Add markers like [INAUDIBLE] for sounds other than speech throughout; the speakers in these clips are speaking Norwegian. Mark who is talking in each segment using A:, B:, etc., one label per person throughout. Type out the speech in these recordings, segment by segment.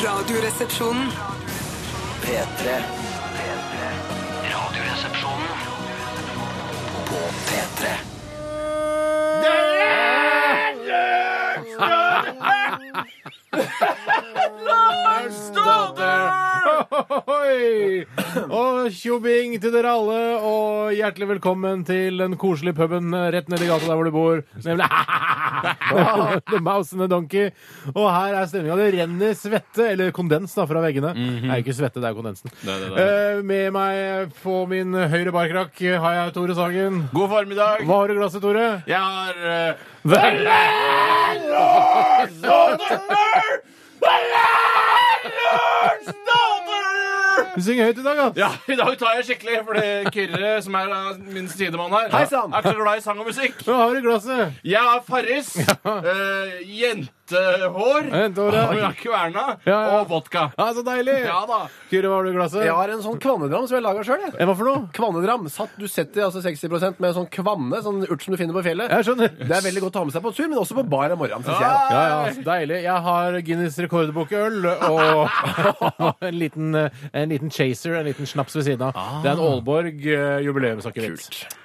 A: Radioresepsjonen.
B: P3. Radioresepsjonen på P3.
C: Ohoi! Og tjobing til dere alle, og hjertelig velkommen til den koselige puben eh, rett nedi gata der hvor du bor. Nemlig [LAUGHS] The Mouse and the Donkey. Og her er stemninga. Det renner svette, eller kondens, da, fra veggene. Det er jo ikke svette, Mhm. det er kondensen. Eh, Med meg på min høyre barkrakk har jeg Tore Sagen.
D: God formiddag.
C: Hva har du i glasset, Tore?
D: Jeg har eh,
C: Du synger høyt i dag, ass!
D: Ja, i dag tar jeg skikkelig, fordi Kyrre, som er da min sidemann her,
B: Heisann.
D: er så glad i sang og musikk.
C: Hva har du i glasset?
D: Jeg har Farris, eh, jentehår,
C: Jentehåret.
D: og jeg har kverna,
C: Eh, Ja, ja.
D: og vodka.
C: Ja, så deilig!
D: Ja da.
C: Kyrre, hva har du i glasset?
B: Jeg har en sånn kvannedram som jeg laga sjøl.
C: Eh, Hva for noe?
B: Kvannedram. Satt, du setter altså 60 med en sånn kvanne, sånn urt som du finner på fjellet.
C: Jeg skjønner.
B: Det er veldig godt å ha med seg på tur, men også på bar om morgenen. Synes jeg, da.
C: Ja, ja, så deilig. Jeg har Guinness rekordbok i øl og [LAUGHS] en liten, eh, en liten chaser, en liten snaps ved siden av.
D: Ah.
C: Det er en Aalborg eh, jubileumsakevitt.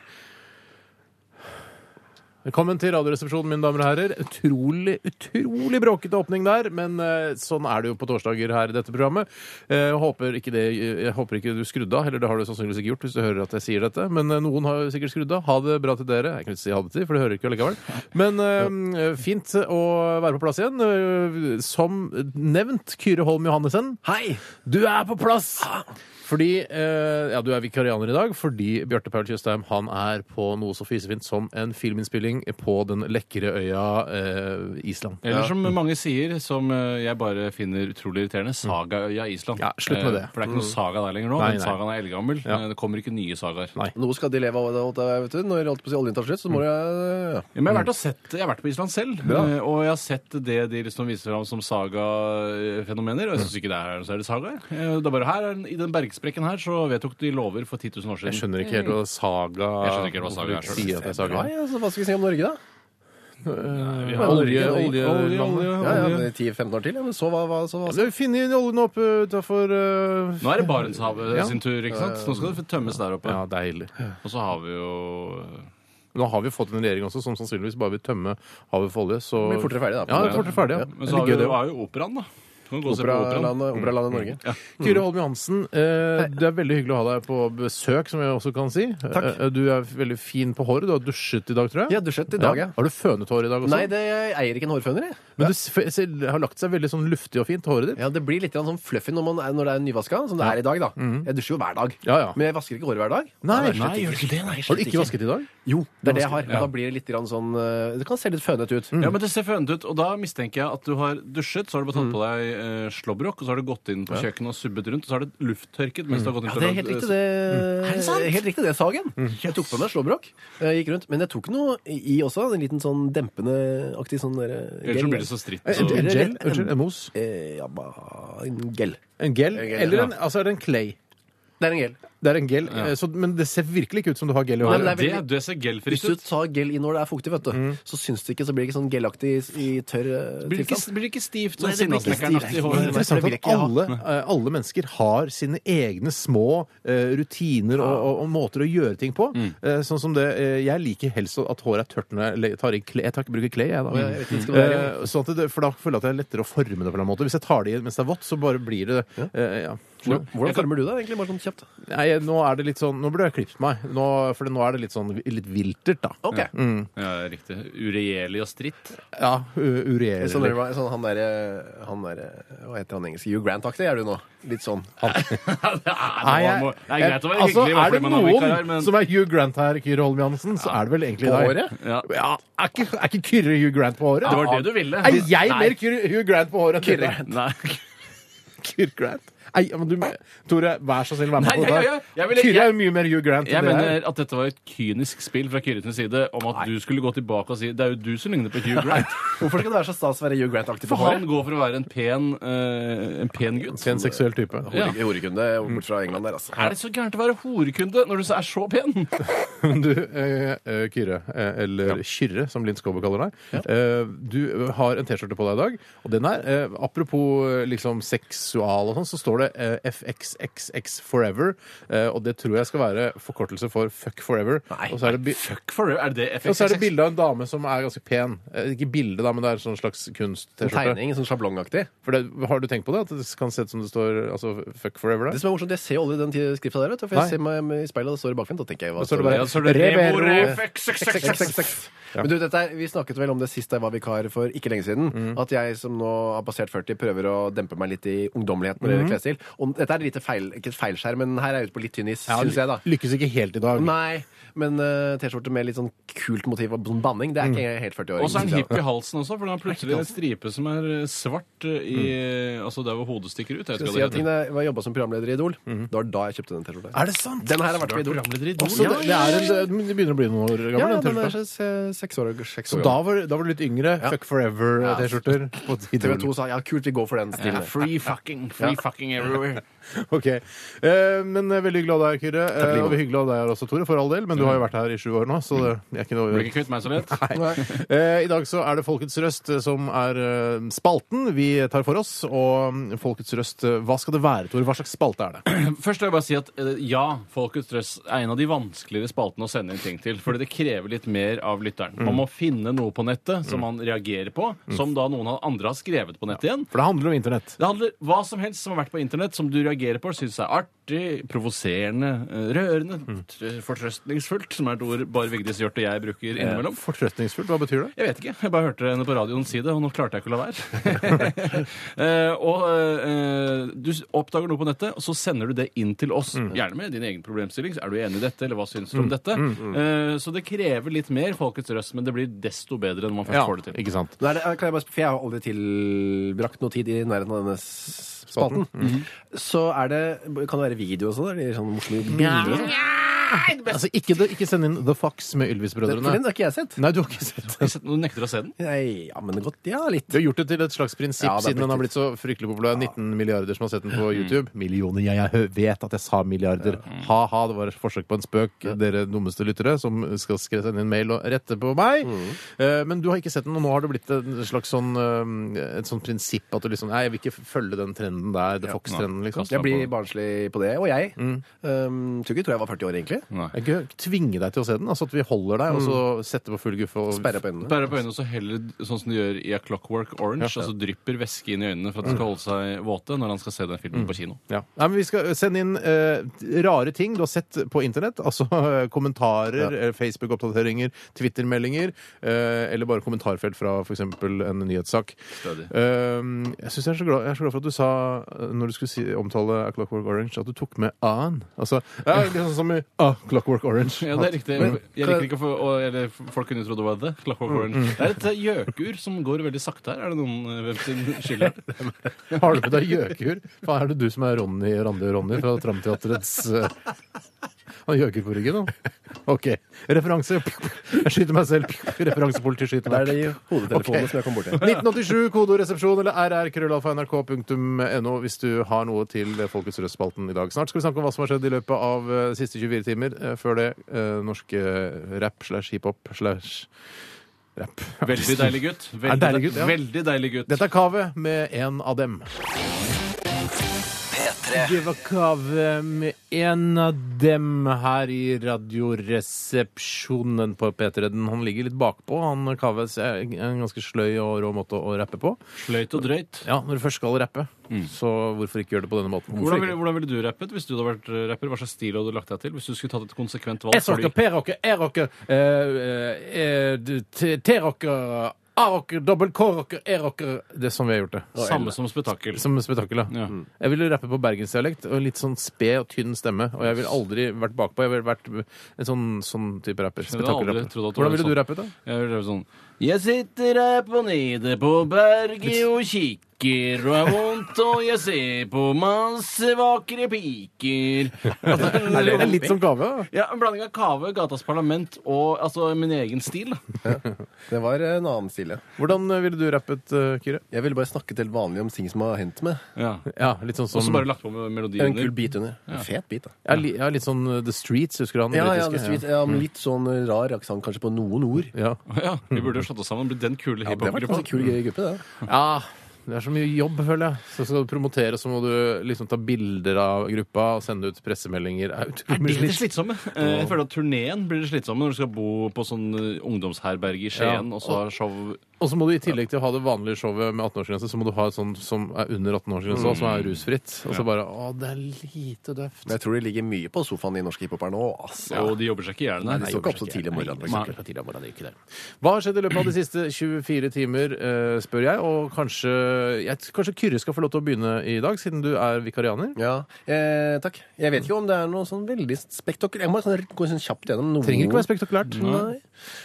C: Velkommen til Radioresepsjonen, mine damer og herrer. Utrolig, utrolig bråkete åpning der, men eh, sånn er det jo på torsdager her i dette programmet. Eh, Jeg håper ikke, det, jeg håper ikke du skrudde av, eller det har du sannsynligvis ikke gjort hvis du hører at jeg sier dette, men eh, noen har jo sikkert skrudd av. Ha det bra til dere. Jeg kan ikke si ha det til, for det hører ikke allikevel. Men eh, fint å være på plass igjen. Eh, Som nevnt, Kyrre Holm Johannessen.
B: Hei!
C: Du er på plass! Fordi, eh, ja, Du er vikarianer i dag fordi Bjarte Paul Tjøstheim han er på noe så fisefint som en filminnspilling på den lekre øya eh, Island.
D: Eller som mange sier, som eh, jeg bare finner utrolig irriterende, Sagaøya Island.
C: Ja, slutt med
D: Eh,
C: det. Mm.
D: For det er ikke noe saga der lenger nå,
C: Nei,
D: men
C: nei.
D: sagaen er eldgammel.
C: Ja.
D: Eh, Det kommer ikke nye sagaer.
C: Nei.
B: Nå skal de leve av det, holdt jeg- vet du. Når jeg holdt på å si oljen tar slutt, så
C: Mm.
B: må jeg ja.
D: Ja, men jeg har, vært og sett, jeg har vært på Island selv, eh, og jeg har sett det de liksom viser fram som saga-fenomener.
C: Mm.
D: Og jeg syns ikke det er, så er det saga. jeg. Eh, Det er bare her, I den bergsprekken her så vedtok de lover for 10 000 år siden.
C: Jeg skjønner ikke helt hva saga
D: Mm. Jeg skjønner ikke hva saga er,
C: Hvorfor de sier at det er saga.
B: Nei, altså, Hva skal vi si om Norge, da?
C: Eh,
B: Norge,
C: Olje,
B: Norge,
D: Olje,
C: oljelandet.
D: olje,
B: Ja, ja,
D: olje.
B: men 10-15 år til? Ja, men så hva, hva, så, hva
C: Vi har funnet oljen oppe utafor eh?
D: Nå er det Barentshavet
C: Ja.
D: sin tur. ikke sant? Nå skal det tømmes der oppe.
C: Ja, deilig.
D: Og så har vi jo
C: Nå har vi fått en regjering også som sannsynligvis bare vil tømme havet for olje. Så...
B: Blir fortere ferdig, da.
C: Ja, det blir fortere ferdig, ja.
D: Men
C: Det
D: så
C: blir
D: har vi
C: gøy, det
D: jo,
C: også.
D: har jo operaen, da. Du kan gå og se på operaen.
B: Operalandet operalandet
C: Mm.
B: Norge.
C: Kyrre Holm Johansen, eh, det er veldig hyggelig å ha deg på besøk, som jeg også kan si.
B: Takk.
C: Eh, Du er veldig fin på håret. Du har dusjet i dag, tror jeg.
B: Jeg har dusjet i dag, ja.
C: Har du fønet hår i dag også?
B: Nei, det, jeg eier ikke en hårføner, jeg.
C: Men du s- f- ser- har lagt seg veldig sånn luftig og fint, håret ditt.
B: Ja, Det blir litt grann sånn fluffy når, man er, når det er nyvaska, som det er i dag. da
C: Mm.
B: Jeg dusjer jo hver dag.
C: Ja, ja.
B: Men jeg vasker ikke håret hver dag.
C: Nei,
B: slett
C: nei, gjør
B: ikke det? Nei,
C: Har du ikke vasket i dag?
B: Jo, det er det jeg har. Da blir det litt grann sånn eh, Det kan se litt fønete ut.
D: Ja, men Det ser fønete ut, og da mistenker jeg at du har dusjet, så har du bare tatt på deg eh, slåbrok, og så har du gått inn på kjøkkenet og subbet rundt, og så har du lufttørket mens du har gått inn
B: Ja, det er helt riktig, det.
D: det sant?
B: Helt riktig det, Sagen. Jeg tok på meg slåbrok. Jeg gikk rundt. Men jeg tok noe i også. En liten sånn dempende-aktig sånn derre
D: Ellers så blir det så stritt.
C: En,
D: Så.
C: en
B: Eller-
C: gel? Unnskyld, en mos?
B: Eh, ja, ba- en gel.
C: En gel?
B: En gel,
C: Eller
B: ja.
C: en, altså, er det en clay?
B: Det er en gel.
C: Det er en gel, eh, så, men det ser virkelig ikke ut som du har gel i
B: Nei,
C: håret.
D: Det,
B: men det er veldig-
D: det ser
B: Hvis
D: gelfritt
B: du
D: ut.
B: tar gel inn når det er fuktig, vet du, så syns det ikke, så blir det ikke sånn gelaktig i tørr eh,
D: Blir det ikke,
B: tilstand.
D: blir det ikke stivt?
B: Nei,
D: Sånn
B: det blir ikke
D: sinnasnekkeraktig
B: stivt.
D: [LAUGHS] hår?
B: Nei, nei.
C: Interessant
B: det vil jeg
C: at
B: ikke ha.
C: alle, eh, alle mennesker har sine egne små eh, rutiner og, og, og måter å gjøre ting på. Eh, sånn som det, eh, Jeg liker helst at håret er tørt når jeg le- tar inn kle. Jeg tar ikke bruker klær, jeg, da.
B: jeg vet ikke skal være
C: Mm. Eh, sånn at det, for da føler jeg at det er lettere å forme det på en eller annen måte. Hvis jeg tar det i mens det er vått, så bare blir det eh, ja.
B: Hvordan, hvordan former du deg egentlig? Bare sånn kjapt.
C: Nei, nå er det litt sånn Nå burde jeg klippet meg, nå, for nå er det litt sånn litt viltert, da.
B: Ok.
D: Mm. Ja, riktig. Uregjerlig og stritt.
C: Ja, u- uregjerlig.
B: Sånn, sånn, han derre han der, Hva heter han engelske? Hugh Grant-aktig er du nå. Litt sånn.
D: [LAUGHS]
C: Nei,
D: det,
C: jeg-
D: må, det er greit å være
C: altså,
D: hyggelig,
C: er
D: fordi
C: det
D: man har vikarer,
C: noen
D: men
C: som er Hugh Grant her, Kyrre Holm Johansen, så er det vel egentlig
B: På
C: deg.
B: håret?
D: Ja.
C: Ja, er ikke, er ikke Kyrre Hugh Grant på håret?
D: Det var det du ville.
C: Er jeg
D: Nei. [LAUGHS]
C: mer Kyrre Hugh Grant på håret enn dere?
D: Nei.
C: Kyrre Grant? Nei, men du, Tore, vær så snill, vær med
D: Nei,
C: på
D: jeg-
C: dette.
D: jeg- jeg vil-
C: Kyrre er jo mye mer Hugh Grant
D: Jeg
C: enn det her.
D: mener at dette var et kynisk spill fra Kyrre sin side om at du skulle gå tilbake og si det er jo du som ligner på Hugh Grant.
B: Hvorfor skal det være så stas å være Hugh Grant-aktig
D: For
B: på
D: han
B: håret?
D: går for å være en pen, eh, en pen gutt.
C: Til en seksuell type.
D: Ja.
B: Horekunde bort fra England der, altså.
D: Er det så gærent å være horekunde når du så er så pen?
C: Men du, eh, eh, Kyrre, eh, eller Kyrre, som Linn Skåber kaller deg, eh, du har en T-skjorte på deg i dag, og den her, eh, apropos eh, liksom seksual og sånn, så står det eh, FXXX Forever, eh, og det tror jeg skal være forkortelse for Fuck Forever. og så er det bi-
D: [LAUGHS] Fuck for you, er det det
C: og så er det
D: FXX?
C: bilde av en dame som er ganske pen. Eh, Ikke bilde, da, men det er en sånn slags kunst-T-skjorte.
B: Tegning, sånn sjablongaktig.
C: For det, Har du tenkt på det? At det kan se ut som det står altså, Fuck Forever
B: Det
C: der?
B: som er morsomt, Jeg ser jo aldri den ti- skrifta der, vet du, for
C: Nei.
B: jeg ser meg i speilet, og det står i bakfint. Da tenker jeg hva
C: Da står det
B: står det
C: bare-
D: Ja, så er det
C: Revero.
D: Revoro FXXX.
B: XXX. Men du, dette er, Vi snakket vel om det sist jeg var vikar for ikke lenge siden. At jeg som nå har passert 40, prøver å dempe meg litt i ungdommelighet når det gjelder klesstil. Og dette er lite feil, ikke et feilskjær, men her er jeg ute på litt tynn is, syns jeg, da.
C: Lykkes ikke helt i dag.
B: Nei, men eh, T-skjorte med litt sånn kult motiv og sånn banning, det er ikke jeg helt 40-åring.
D: Og så er han
B: synes jeg, da.
D: hipp i halsen også, for den har plutselig en stripe som er eh, svart eh, i Altså der hvor hodet stikker ut. Jeg skal
B: Skal jeg si at
D: allerede-
B: da jeg jobba som programleder i Idol, det var da jeg kjøpte den T-skjorta.
C: Er det sant?
B: Den her har vært med i Idol.
D: Programleder i Idol.
C: Også, det, det, er en, det begynner å bli noen år gammel.
B: Ja,
C: den
B: den
C: T-skjorta.
B: er se- seks år, seks
C: Så
B: år gammel.
C: da var, da var du litt yngre. Fuck Forever-T-skjorter. [LAUGHS] på
B: TV
C: Idol.
B: 2 sa ja, kult, vi går for den stilen.
D: Ja, free fucking, free fucking everywhere.
C: Ok. Eh, men eh, veldig hyggelig av deg, Kyrre. Eh, og hyggelig av deg her også, Tore, for all del. Men du har jo vært her i sju år nå, så det er ikke [LAUGHS] noe
D: Blir ikke kvitt meg så [LAUGHS] lett.
C: Eh, I dag så er det Folkets Røst eh, som er eh, spalten vi tar for oss. Og mm, Folkets Røst, eh, hva skal det være, Tore? Hva slags spalte er det?
D: Først vil jeg bare si at eh, ja, Folkets Røst er en av de vanskeligere spaltene å sende inn ting til. Fordi det krever litt mer av lytteren. Man må finne noe på nettet som man reagerer på, som da noen andre har skrevet på nettet igjen.
C: For det handler om internett.
D: Det handler hva som helst som har vært på internett, som du reagerer på, syns er artig, provoserende, eh, rørende, tr- fortrøstningsfullt, som er et ord bare Vigdis Hjorth og jeg bruker innimellom.
C: Fortrøstningsfullt, hva betyr det?
D: Jeg vet ikke. Jeg bare hørte henne på radioen si det, og nå klarte jeg ikke å la være. [LAUGHS] Eh, og eh, du s- oppdager noe på nettet, og så sender du det inn til oss. Gjerne med din egen problemstilling. Er du enig i dette, eller hva syns du om dette?
C: Mm.
D: Eh, så det krever litt mer Folkets Røst, men det blir desto bedre når man først får det til.
C: ikke sant.
B: Nå er det, kan jeg, bare, sp- for jeg har aldri tilbrakt noe tid i nærheten av denne s- spalten. Så er det Kan det være video og sånn? Eller sånn morsomme bilder? og sånn?
C: Altså, ikke, det- ikke send inn The Fox med
B: Den, for den
C: Ylvis-brødrene.
B: har ikke jeg [LAUGHS] sett.
C: Nei, du har ikke sett den.
D: Du nekter å se den?
B: Nei, ja, men det er godt. Ja, litt.
C: Vi har gjort det til et slags prinsipp
B: Ja, det er
C: siden den har
B: blitt
C: blitt så fryktelig populær. 19 milliarder som har sett den på YouTube. Millioner, ja, jeg hø- vet at jeg sa milliarder. Ha-ha, det var et forsøk på en spøk, dere dummeste lyttere, som skal skre- sende en mail og rette på meg. Eh, Men du har ikke sett den, og nå har det blitt en slags sånn, eh, et sånt prinsipp at du liksom Nei, jeg vil ikke følge den trenden der, The Fox-trenden, liksom.
D: Ja.
B: Jeg blir barnslig på det. Og jeg.
C: Mm.
B: Um, tror ikke tror jeg var 40 år, egentlig.
D: Nei.
C: Jeg kan ikke tvinge deg til å se den. Altså at vi holder deg, og så setter på full guffe og
B: Sperra på øynene.
D: Bærer på øynene og så heller sånn som de gjør i A Clockwork Orange. Altså drypper væske inn i øynene for at de skal holde seg våte når han skal se den filmen
C: Mm.
D: på kino.
C: Ja. Nei, men Vi skal sende inn eh, rare ting du har sett på internett. Altså eh, kommentarer, eh, Facebook-oppdateringer, Twitter-meldinger. eh, eller bare kommentarfelt fra f.eks. en nyhetssak.
D: Stødig.
C: Eh, jeg, synes jeg, er så glad, jeg er så glad for at du sa, eh, når du skulle si, omtale A Clockwork Orange, at du tok med A-en. Altså, ja, litt sånn som i A Clockwork Orange.
D: [LAUGHS] Ja, det er riktig.
B: Men-
D: Jeg liker ikke å få og- eller Folk kunne jo tro det var det. Clockwork Orange.
C: Mm,
D: Det er et eh, gjøkur som går veldig sakte her. Er det noen eh, hvem sin skyld
C: [LAUGHS]
D: er? det?
C: Har du med deg gjøkur? Faen, er det du som er Ronny Randi og Ronny fra Tramteatrets eh, Han har gjøkur på ryggen, han. OK. Referanse. Jeg skyter meg selv. Referansepoliti skyter
B: Det er
C: meg.
B: det i hodetelefonene
C: Ok.
B: som jeg kom borti.
C: 1987, kodoresepsjon eller rrkrøllalfa.nrk.no hvis du har noe til Folkets Røst-spalten i dag. Snart skal vi snakke om hva som har skjedd i løpet av eh, siste 24 timer. Eh, Før det eh, norsk eh, rap slash hiphop slash rap.
D: Veldig deilig gutt. Veldig,
C: deilig gutt, ja.
D: veldig deilig gutt.
C: Dette er Kaveh med en av dem.
A: P3
C: Det var Kaveh med en av dem her i Radioresepsjonen på P3. Den- Han ligger litt bakpå. Han Kaveh så er en ganske sløy og rå måte å rappe på.
D: Sløyt og drøyt.
C: Ja, når du først skal rappe, så hvorfor ikke gjøre det på denne måten?
D: Hvordan ville, hvordan ville du rappet hvis du hadde vært eh, rapper? Hva slags stil hadde du lagt deg til? Hvis du skulle tatt et konsekvent valg? før du
C: S-rocker,
D: gikk-
C: P-rocker, E-rocker, eh, T-rocker, A-rocker, dobbel K-rocker, E-rocker Det er sånn vi har gjort det.
D: Samme som spetakkel.
C: Som spetakkel, ja.
D: Ja.
C: Jeg ville rappe på bergensdialekt og litt sånn sped og tynn stemme. Og jeg ville aldri vært bakpå. Jeg ville vært en sånn, sånn type rapper.
D: Jeg ville aldri
C: Spetakkelrapper.
D: trodd at det var
C: Hvordan ville
D: sånn.
C: du rappet, da?
D: Jeg vil gjøre sånn Jeg sitter her på nede på berget og stikker og er vondt, og jeg ser på masse vakre piker. Altså,
C: [LAUGHS] Er det er litt som kave? da.
D: ja, En blanding av Kave, Gatas Parlament og altså, min egen stil. da.
B: Det var en annen stille.
C: Hvordan eh, ville du rappet, eh, Kyrre?
B: Jeg ville bare snakket helt vanlig om ting som har hendt meg.
D: Ja.
C: Ja, litt sånn
D: Og så
C: som
D: bare lagt på med melodi
B: En kul
D: under.
B: bit under. En fet bit, da.
C: ja, li, ja, litt sånn eh, The Streets, husker du han?
B: Ja, ja,
C: britiske?
B: det er sweet. ja, men litt sånn rar aksent kanskje på noen ord.
C: Mm. Ja.
D: Ja, Vi burde jo slått oss sammen og blitt den kule
B: Ja, det var
D: hiphop-gruppa.
B: en kul
C: Mm.
B: gøy gruppe, det.
C: Ja, Ah, det er så mye jobb, føler jeg. Så skal du promotere, så må du liksom ta bilder av gruppa og sende ut pressemeldinger. Det er
D: Det
C: utrolig
D: er det
C: slitt.
D: slitsomme. Eh, Jeg føler at turneen blir det slitsomme når du skal bo på sånn eh, ungdomsherberge i Skien
C: Ja.
D: og så ha show
C: Og så må du i tillegg til å ha det vanlige showet med 18-årsgrense, så må du ha et sånt som er under 18-årsgrense, også, som er rusfritt. Og så bare Å, det er lite døvt.
B: Men jeg tror det ligger mye på sofaen i norske hiphopere nå. altså. ass.
D: Og de jobber seg ikke i hjel,
B: Nei, de står ikke opp så tidlig om morgenen. for
C: Nei,
B: eksempel.
C: på tidlig om morgenen, det gjør ikke det. Hva har skjedd i løpet av de siste 24 timer, eh, spør jeg. Og kanskje, jeg, kanskje Kyrre skal få lov til å begynne i dag, siden du er vikarianer?
B: Ja, eh, takk. Jeg vet ikke om det er noe sånn veldig spektakulært. Jeg må sånn, gå sånn kjapt gjennom noen.
C: Trenger ikke være spektakulært.
B: Nei.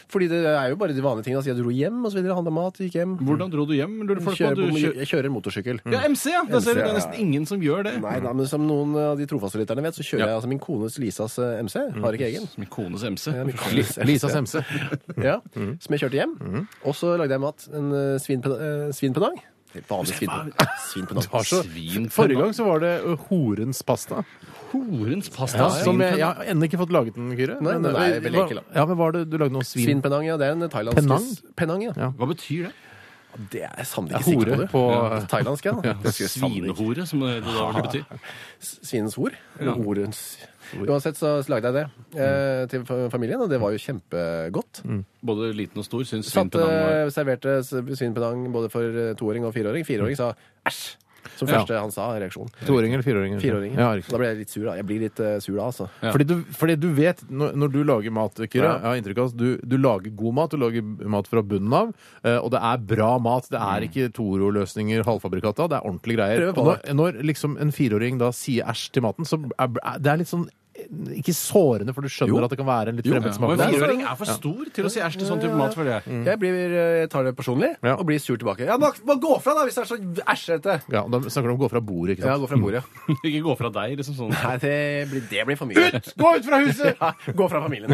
B: Fordi det er jo bare de vanlige tingene. Altså, jeg dro hjem, og så videre, handla mat, gikk hjem.
D: Hvordan dro du hjem? Lurer folk på
B: Kjører
D: at du
B: på,
D: kjø-
B: jeg kjører motorsykkel.
D: Ja, MC, ja! Det, ser,
B: MC,
D: det er
B: ja.
D: nesten ingen som gjør det.
B: Nei, nei, men som noen av de trofaste lytterne vet, så kjører jeg altså min kones Lisas eh, MC. Har ikke egen.
D: Min kones MC.
B: Ja, min
D: Forstår.
B: kones
C: Lisas
B: MC. [LAUGHS]
C: MC.
B: Ja, Som jeg kjørte hjem. Og så lagde jeg mat. En eh, svinped- eh, svinpedang. Helt vanlig [LAUGHS] svinpedang.
C: har så-
B: svinpedang.
D: Svin.
C: Forrige gang så var det ø, horens pasta.
D: Horens pasta.
C: Ja,
D: svin,
C: som jeg,
D: penang.
C: jeg har ennå ikke fått laget den, Kyrre.
B: Nei,
C: Men,
B: den er
C: ø,
B: veldig
C: hva-
B: enkel, da.
C: Ja, men var det, du lagde noe svin...
B: Svinpedang, ja. Det er en thailandsk
C: Penang?
B: Penang, ja.
C: Ja.
D: Hva betyr det?
B: Det er jeg sannelig ikke sikker
C: Hore
B: på. det.
C: på
D: Ja.
B: Thailandsk, ja. Det skulle jeg sannelig ikke-
D: Svinehore, som det da vel betyr.
B: Svinens hor.
D: Ja.
B: eller Horens. Uansett så så lagde jeg det eh, til fa- familien, og det var jo kjempegodt.
D: Både liten og stor syns svin
B: Satt,
D: penang var
B: eh, serverte s- svinpedang både for eh, toåring og fireåring. Fireåring sa æsj, som
C: Ja.
B: første han sa reaksjon.
C: toåring eller fireåring?
B: Fireåring.
C: Ja,
B: da
C: riktig.
B: ble jeg litt sur, da. Jeg blir litt eh, sur da, altså.
D: Ja.
C: Fordi, du, fordi du vet, når, når du lager mat, Kyrre
B: Ja.
C: Jeg har inntrykk av at du, du lager god mat, du lager mat fra bunnen av. ø, Og det er bra mat. Det er ikke Toro-løsninger, halvfabrikata. Det er ordentlige greier.
B: Prøver på
C: Og når, når liksom en fireåring da sier æsj til maten, så er er- det er litt sånn ø, ikke sårende, for du skjønner at det kan være en litt fremmed
D: Og
C: smak.
D: en
C: der.
D: fireåring er for stor til å si æsj til sånn type mat, føler
C: Mm.
D: jeg.
B: Jeg, blir, eh, jeg tar det personlig
C: Ja.
B: og blir sur tilbake. Ja, bare, bare gå fra, da, hvis det er så æsjete!
C: Ja, Da snakker du om å gå fra bordet, ikke
B: Ja,
C: sant?
B: gå fra bordet.
D: [LAUGHS] Ikke gå fra deg, liksom sånn.
B: Nei, det blir, det blir for mye.
C: Gå ut fra huset!
B: [LAUGHS] Ja, gå fra
C: [LAUGHS]
B: familien.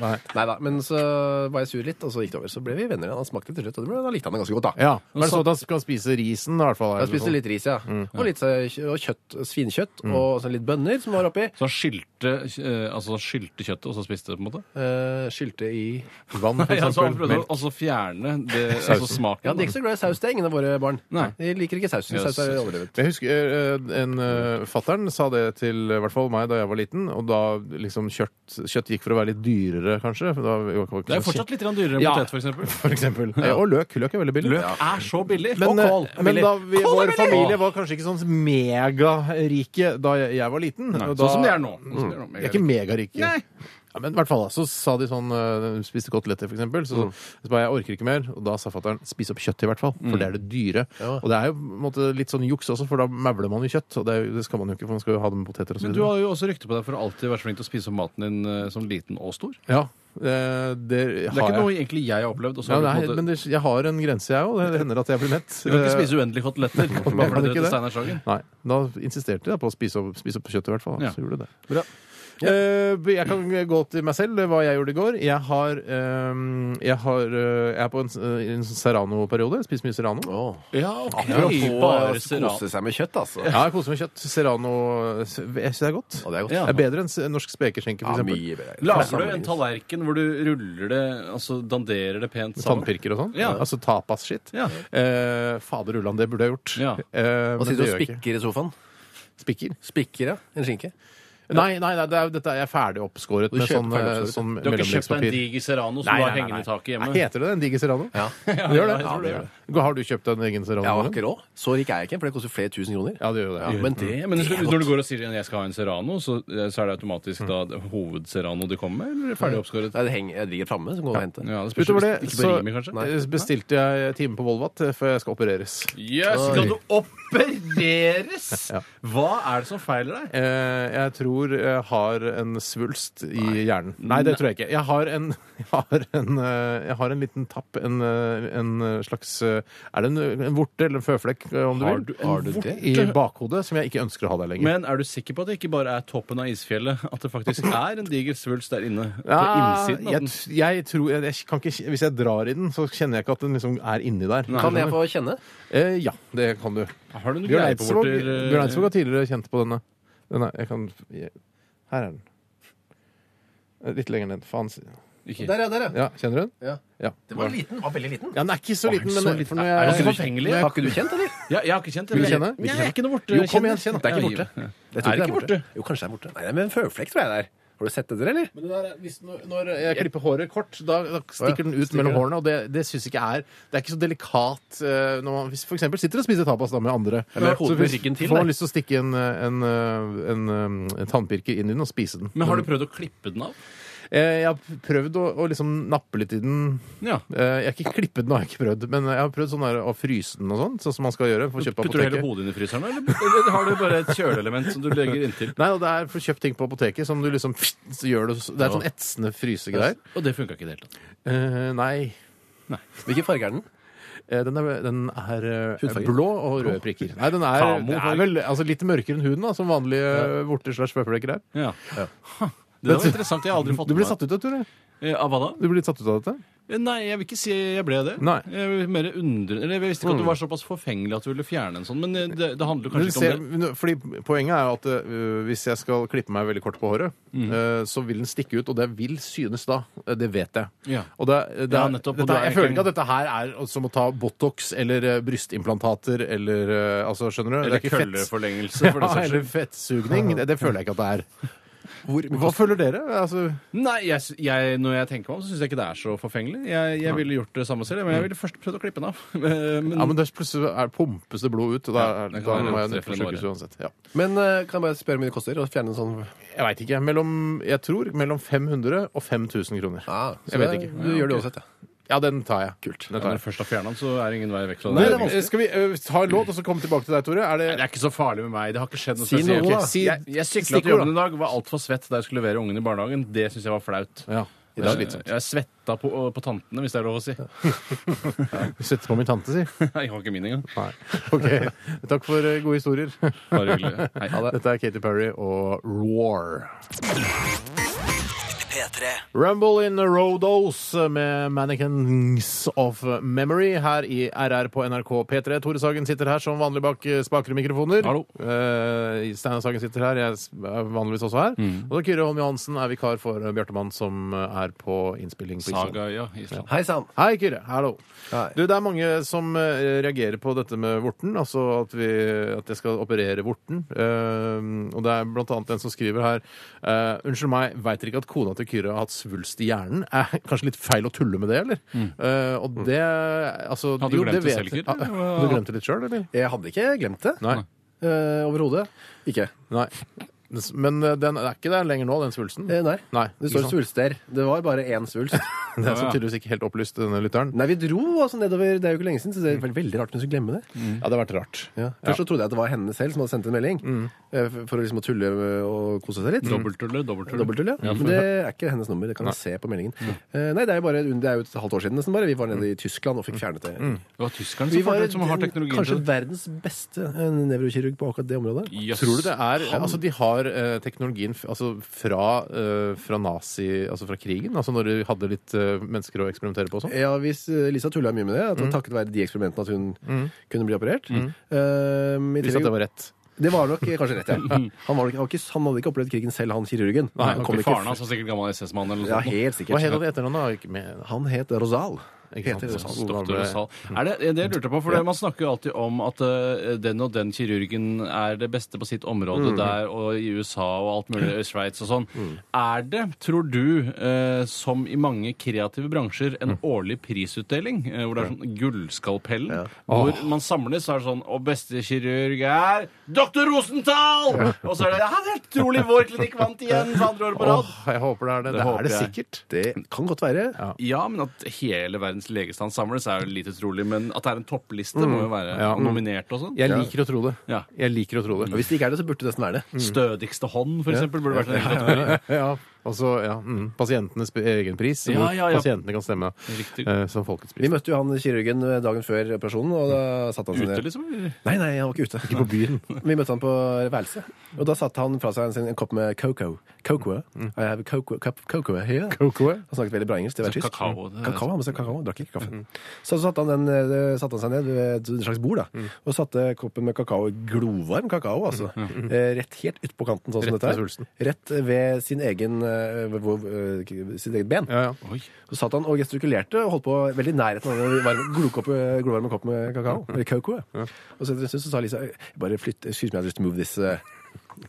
B: Nei da. Men så var jeg sur litt, og så gikk det over. Så ble vi venner igjen. Han smakte til slutt, og det ble, da likte han det ganske godt, da.
C: Ja, men det sånn at han kan spise risen i hvert fall?
B: Jeg spiste litt ris, ja.
C: Mm,
B: Og litt eh, kjø- og kjøtt, svinekjøtt, og sånn litt bønner som var oppi.
D: Så han skylte, eh, altså han skylte kjøttet, og så spiste det, på en måte?
B: Eh, skylte i
C: vann, [LAUGHS] sånn, for
D: Ja, så han
C: eksempel.
D: prøvde å
C: Melk.
D: altså fjerne det,
C: [LAUGHS]
D: altså smaken.
B: Ja, de er ikke så glad i saus, det er ingen av våre barn.
D: Nei.
B: De liker ikke sausen.
D: Yes.
B: Saus er overdrevet.
C: Jeg husker eh, en uh, fattern sa det til eh, i hvert fall meg da jeg var liten, og da liksom kjøtt, kjøtt gikk for å være litt dyrere, kanskje. for Da,
D: Det er jo fortsatt litt grann dyrere enn
C: Ja.
D: potet, for eksempel.
C: For
D: [LAUGHS]
C: eksempel. Eh, Og løk. Løk er veldig billig.
D: Løk er så billig.
C: Men,
D: og kål.
C: eh, men da vi,
D: Kål er
C: vår
D: billig!
C: familie var kanskje ikke sånn megarike da jeg, jeg var liten.
D: Nei,
C: og da,
D: Sånn som det er nå. Sånn som det er nå.
C: Vi Mm. er ikke megarike.
D: Nei.
C: Ja, men i hvert fall da, så sa de sånn eh, Hun spiste koteletter, for eksempel. Så,
D: Mm.
C: så ba jeg jeg orker ikke mer. Og da sa fatter'n spis opp kjøttet, i hvert fall.
D: Mm.
C: For det er det dyre. Og det er jo på en måte, litt sånn juks også, for da mævler man jo kjøtt. Og det, er jo- det skal man jo ikke, for man skal jo ha det med poteter og så
D: Men du
C: videre.
D: har jo også rykte på deg for å alltid være så flink til å spise opp maten din eh, som liten og stor.
C: Ja, eh, det
D: Det er
C: har
D: ikke
C: jeg.
D: noe egentlig jeg har opplevd. Og så
C: Ja,
D: har du på
C: nei,
D: en måte-
C: men det, jeg har en grense, jeg òg. Det hender at jeg blir mett.
D: du kan
C: Eh,
D: ikke spise uendelig koteletter.
C: [LAUGHS] kan
D: Babler det
C: ikke
D: til
C: det.
D: Steinar Sagen.
C: Nei. Da insisterte jeg på å spise opp, spise opp kjøttet, i hvert fall.
D: Ja.
C: Så gjorde jeg det.
B: Bra.
C: Eh, jeg kan gå til meg selv, hva jeg gjorde i går. Jeg har eh, Jeg, har, eh, jeg er på en, eh, en Serrano-periode. Spiser mye Serrano.
B: Åh.
D: Ja,
B: Apropos
D: Bare
B: å
D: serran.
B: kose seg med kjøtt, altså.
C: Ja, jeg koser meg med kjøtt. Serrano eh, jeg syns det er godt.
B: Og det er godt.
D: Ja.
C: Det er bedre enn s- norsk spekeskjenke,
B: Ja,
C: f.eks. eksempel
B: mye bedre.
D: Lager du en tallerken hvor du ruller det, altså danderer det pent sammen?
C: Tannpirker og sånn.
D: Ja.
C: Altså tapas-shit.
D: Ja.
C: Eh, fader ullan, det burde jeg gjort.
D: Ja.
C: Eh, men
B: Og
C: det
B: sitter du
C: gjør
B: og
C: jeg ikke.
B: spikker i sofaen?
C: Spikker?
B: Spikker, ja. En skinke.
C: Nei, nei, nei det er, dette er jeg er ferdig oppskåret
B: Du
C: med
B: kjøper
C: sånn,
B: ferdig
C: eh,
B: oppskåret.
C: sånn
D: Du har ikke kjøpt deg en
C: mellomleggspapir.
D: diger Serrano
C: Nei,
D: som du
C: nei,
D: har
C: nei,
D: hengende
C: nei.
D: i taket
C: Nei,
D: hjemme?
C: Heter det det? En diger Serrano?
B: Ja. Jeg
C: Det gjør det.
D: jeg tror det gjør
C: Har du kjøpt deg en egen Serrano?
B: var
C: eller?
B: ikke råd. Så rik er jeg ikke, for det koster flere tusen kroner.
C: Ja, det gjør det.
B: Ja, men
D: Det,
B: det,
D: men når du går og sier at jeg skal ha en Serrano, så, eh, så er det automatisk da hovedserrano de kommer med? Eller er det ferdig oppskåret?
B: Nei, det henger, jeg ligger framme, så går og henter.
D: Ja, det spørs
C: Utover
D: jo
C: det
D: hvis- ikke på
C: så
D: Rimi, kanskje?
C: eh, bestilte jeg time på Volvat eh, før jeg skal opereres.
D: Yes, skal du opereres?! Hva er det som feiler deg?
C: Eh, Jeg tror tror jeg har en svulst i hjernen. Nei,
D: Mm.
C: det tror jeg ikke. Jeg har en, [LAUGHS] jeg har en, eh, jeg har en liten tapp, en, eh, en slags eh, Er det en, en vorte eller en føflekk, eh, om du
D: Har
C: vil?
D: du-
B: har du
C: En vorte
B: det?
C: I bakhodet, som jeg ikke ønsker å ha der lenger.
D: Men er du sikker på at det ikke bare er toppen av isfjellet? At det
C: [LAUGHS]
D: faktisk er en diger svulst der inne? På
C: Ja,
D: innsiden av
C: jeg,
D: den?
C: t- jeg tror, jeg, jeg kan ikke, Hvis jeg drar i den, så kjenner jeg ikke at den liksom er inni der.
B: Kan jeg få kjenne?
C: Eh, ja, det kan du.
D: Har du noen
C: Bjørn
D: greier på
C: Eidsvåg
D: vorter? eh,
C: Bjørn Eidsvåg har tidligere kjent på denne. denne jeg kan, jeg, her er den. Eh, Litt lenger ned. Faen. si-
D: Ikke.
B: Der, ja. der, ja.
C: Ja, Kjenner du den?
B: ja.
C: Ja.
B: Den var liten. den var veldig liten.
C: ja den er ikke så liten,
D: så
C: men
D: liten?
C: for når jeg,
D: Er den så forfengelig?
C: når jeg-
B: Har ikke du kjent, eller?
D: Ja, jeg har ikke kjent det.
C: Vil du kjenne?
D: Nei, jeg er ikke noe vorte.
C: Jo, kom
D: jeg
C: igjen, kjenn.
D: kjenner. Det er ikke borte.
B: Jeg
D: Er
B: tror
D: det
B: ikke
D: ikke
B: det er borte. Jo, kanskje det er borte. Nei, det er med en føflekk, tror jeg det er. Har du sett etter, eller?
C: Men det der, er- hvis, når, når jeg klipper håret kort, da, da stikker
B: Å ja,
C: den ut
B: stikker
C: mellom
B: det.
C: hårene. Og det, det syns jeg ikke er Det er ikke så delikat eh, når man hvis for eksempel sitter og spiser tapas da med andre.
B: Ja,
C: Så
B: men hodet
C: hvis-
B: med ryggen til,
C: får man
B: da.
C: lyst til å stikke en, eh, en, eh, en, eh, en tannpirker inn i den og spise den.
D: Men har du prøvd å klippe den av?
C: Eh, Jeg har prøvd å, å liksom nappe litt i den.
D: Ja.
C: Eh, Jeg har ikke klippet den, har jeg ikke prøvd, men jeg har prøvd sånn der, å fryse den og sånn, sånn som man skal gjøre. Få kjøpt på
D: Putter du hele
C: apoteket.
D: hodet inn i fryseren, eller, eller har du bare et kjøleelement som du legger inntil?
C: Nei, og det er for kjøpt ting på apoteket som du liksom så gjør det, Det er sånn etsende frysegreier.
D: Og det funka ikke i det hele tatt.
C: Eh, nei.
B: Hvilken farge er den?
C: Eh, Den er, den er eh,
B: Hudfarge.
C: blå og røde prikker. Nei, den er,
D: Tamo,
C: det
D: farge.
C: er vel altså, litt mørkere enn huden, da, som vanlige eh, vorter slash føflekker er.
D: Ja. Ha, Det var interessant. Jeg har aldri fått
C: Du
D: med
C: blir
D: meg.
C: satt ut av Tore.
D: Eh, Av hva da?
C: Du blir litt satt ut av dette.
D: Eh, Nei, jeg vil ikke si jeg ble det.
C: Nei. Mm.
D: Jeg vil mer undre, eller jeg visste ikke at du var såpass forfengelig at du ville fjerne en sånn, men eh, det, det handler
C: Men
D: kanskje ikke
C: ser,
D: om det.
C: fordi Poenget er jo at eh, hvis jeg skal klippe meg veldig kort på håret,
D: Mm.
C: eh, så vil den stikke ut, og det vil synes da. Eh, Det vet jeg.
D: Ja.
C: Og det, er- det er,
D: Ja, nettopp, og
C: dette,
D: du
C: er-
D: er
C: jeg føler
D: egentlig-
C: ikke at dette her er altså, som å ta Botox eller eh, brystimplantater eller eh, altså, Skjønner du? Det er
D: Eller
C: ikke fett. [LAUGHS]
D: kølleforlengelse, for det
C: Ja,
D: saks
C: eller
D: skyld.
C: fettsugning. Det, det føler jeg ikke at det er. Hva føler dere? Altså,
D: Nei, jeg, sy- jeg, når jeg tenker meg om, så syns jeg ikke det er så forfengelig. Jeg, jeg ville gjort det samme selv, men jeg ville først prøvd å klippe den av. [LAUGHS] Men,
B: Mm.
C: ja, men det er plutselig er, pumpes det blod ut, og da,
D: Ja,
C: er-
D: det
C: da
D: kan være
C: må jeg
D: det
C: på
D: treffer
C: sykehus
D: bare.
C: uansett. Ja.
B: Men eh, kan jeg bare spørre hvor mye det koster å fjerne en sånn
C: Jeg veit ikke. Mellom, jeg tror mellom 500 og 5000 kroner.
B: ah, så
C: Jeg vet
B: det-
C: ikke.
B: Du gjør det uansett, ja.
C: Ja, den tar jeg.
B: Kult.
C: Den
D: når
C: tar
D: du
C: jeg.
D: først har fjerna den, så er det ingen vei vekk fra
C: Nei,
D: det.
C: det er skal vi eh, ta en låt og så komme tilbake til deg, Tore? Er
D: Det
C: det
D: er ikke så farlig med meg. Det har ikke skjedd noe
B: Si noe,
D: spesielt.
B: da.
D: Ok, si- Jeg, jeg sykla til
C: Stikkord, da.
D: jobben i dag, var altfor svett da jeg skulle levere ungene i barnehagen. Det syns jeg var flaut.
C: ja. Det er
D: Jeg,
C: slitsomt.
D: jeg svetta på, eh, på tantene, hvis det er lov å si.
C: Du setter på min tante, si.
D: [LAUGHS] Jeg har ikke min engang.
C: Nei. [LAUGHS] OK. Takk for eh, gode historier.
D: Bare hyggelig. Hei.
C: Dette er Katy Perry og Roar.
A: P3
C: Rumble in Rodos med Mannequins of Memory her i RR på NRK P3. Tore Sagen sitter her som vanlig bak eh, spaker og mikrofoner.
D: Hallo.
C: Eh, Steinar Sagen sitter her, jeg s- er vanligvis også her.
D: Mm.
C: Og da Kyrre Holm Johansen er vikar for eh, Bjarte Mann, som eh, er på innspilling. på Island.
D: Saga, ja. Island.
B: Hei sann.
C: Hei, Kyrre. Hallo.
B: Hei.
C: Du, det er mange som eh, reagerer på dette med vorten, altså at, vi, at jeg skal operere vorten. Eh, og det er blant annet en som skriver her eh, Unnskyld meg, veit dere ikke at kona til Kyrre har hatt svulst i hjernen? Eh, kanskje litt feil å tulle med det, eller? Eh, og det altså,
D: Mm. Hadde du
C: jo,
D: glemt det selv,
C: jeg.
D: Kyrre?
C: Ah, Du glemte det litt sjøl, eller?
B: Jeg hadde ikke glemt det.
C: Nei.
B: Eh, Overhodet. Ikke. Eh,
C: Nei. Men eh, den er ikke der lenger nå, den svulsten?
B: Eh, nei.
C: Nei,
B: Det står
C: ikke sant?
B: svulster. Det var bare én svulst.
C: Det er så tydeligvis ikke helt opplyst, denne lytteren.
B: Nei, vi dro altså nedover. Det er jo ikke lenge siden, så det er veldig, veldig rart hun skulle glemme det.
D: Mm.
C: Ja, det har vært rart.
B: Ja. Først så trodde jeg at det var henne selv som hadde sendt en melding eh, for- for å liksom å tulle og kose seg litt.
D: Mm. Dobbelttulle, dobbelttulle.
B: Dobbelttull, ja. Men det er ikke hennes nummer. Det kan jeg se på meldingen. Eh, nei, det er jo bare det er jo et halvt år siden nesten bare. Vi var nede i Tyskland og fikk fjernet det.
D: Det var tyskerne
B: Vi
D: som,
B: var
D: var, som har
B: den-
D: teknologien
B: kanskje
D: til det.
B: verdens beste eh, nevrokirurg på akkurat det området.
D: Jøss.
C: Tror du det er Altså, de har eh, teknologien f altså, fra, eh, fra nazi... Altså fra krigen? Altså når de hadde litt eh, mennesker å eksperimentere på og sånn?
B: Ja, hvis eh, Lisa tulla mye med det. At det var Takket være de eksperimentene at hun kunne bli operert. Eh, i
C: Hvis at
B: tillegg-
C: det var rett.
B: Det var nok kanskje rett, ja. Han, var nok, han, var ikke, han hadde ikke opplevd krigen selv, han kirurgen.
D: Nei,
B: han
D: ok,
B: kom ikke-
D: Faren hans var sikkert gammel SS-mann eller
B: Ja,
D: noe sånt.
B: helt
C: Hva het
B: sikkert.
C: det etternavnet? da? Ikke med-
B: Han het Rosal.
C: Ikke sant?
B: Heter det
C: Sånn,
D: Doktor
C: gamle-
D: Rosal. Er det, det jeg lurte på, for det- Man snakker jo alltid om at eh, den og den kirurgen er det beste på sitt område der og i USA og alt mulig, i Sveits og sånn. Er det, tror du, eh, som i mange kreative bransjer, en årlig prisutdeling eh, hvor det er sånn gullskalpellen? Hvor man samles og er det sånn Og beste kirurg er Doktor Rosenthal! Og så er det ja, det er helt utrolig, vår klinikk vant igjen for andre året på rad.
C: Åh, jeg håper det er det. Det,
D: håper
C: er det
D: jeg.
C: sikkert.
B: Det kan godt være.
D: Ja, men at hele verden verdens legestand samles, er jo lite trolig. Men at det er en toppliste, må jo være
C: Mm. Ja.
D: og nominert og sånn.
C: Jeg liker å tro det.
D: Ja.
C: Jeg liker å tro [LAUGHS]
B: Og
C: det.
B: hvis det ikke er det, så burde det nesten være det.
D: Stødigste hånd, for eksempel, burde vært en egen kategori.
C: Ja, altså, ja, mm, Pasientenes egen pris,
D: Ja,
C: hvor
D: ja, ja.
C: pasientene kan stemme
D: Riktig.
C: eh, som folkets
B: Vi
C: pris.
B: møtte jo han kirurgen dagen før operasjonen, og da satt han seg
D: Ute,
B: ned.
D: liksom? eller?
B: Nei, nei, han var ikke ute. Ikke på byen. [LAUGHS] Vi møtte han på værelset, og da satte han fra seg en, sin- en kopp med cocoa. Cocoa. I have a cocoa, cup of cocoa here.
C: Mm. Cocoa?
B: Han snakket veldig bra engelsk. Det var
D: Så
B: tysk.
D: kakao, det-
B: kakao, han sa kakao, han drakk ikke
C: Mm.
B: kaffe. Så, så satte, han den, eh, satte han seg ned ved et slags bord da,
C: Mm.
B: og satte koppen med kakao, glovarm kakao, altså, eh, rett helt ut på kanten, sånn som
C: Mm. Rett
B: dette
C: ved
B: er.
C: svulsten.
B: Rett ved sin egen, eh, ved hvor, eh, sitt eget ben.
C: Ja, ja.
D: Oi.
B: Så satt han og gestikulerte og holdt på veldig i nærheten av den varme- glokopp- glovarme koppen med kakao. Eller cocoa. Og så etter en stund så sa Lisa jeg bare flytt, excuse me, I just move this eh."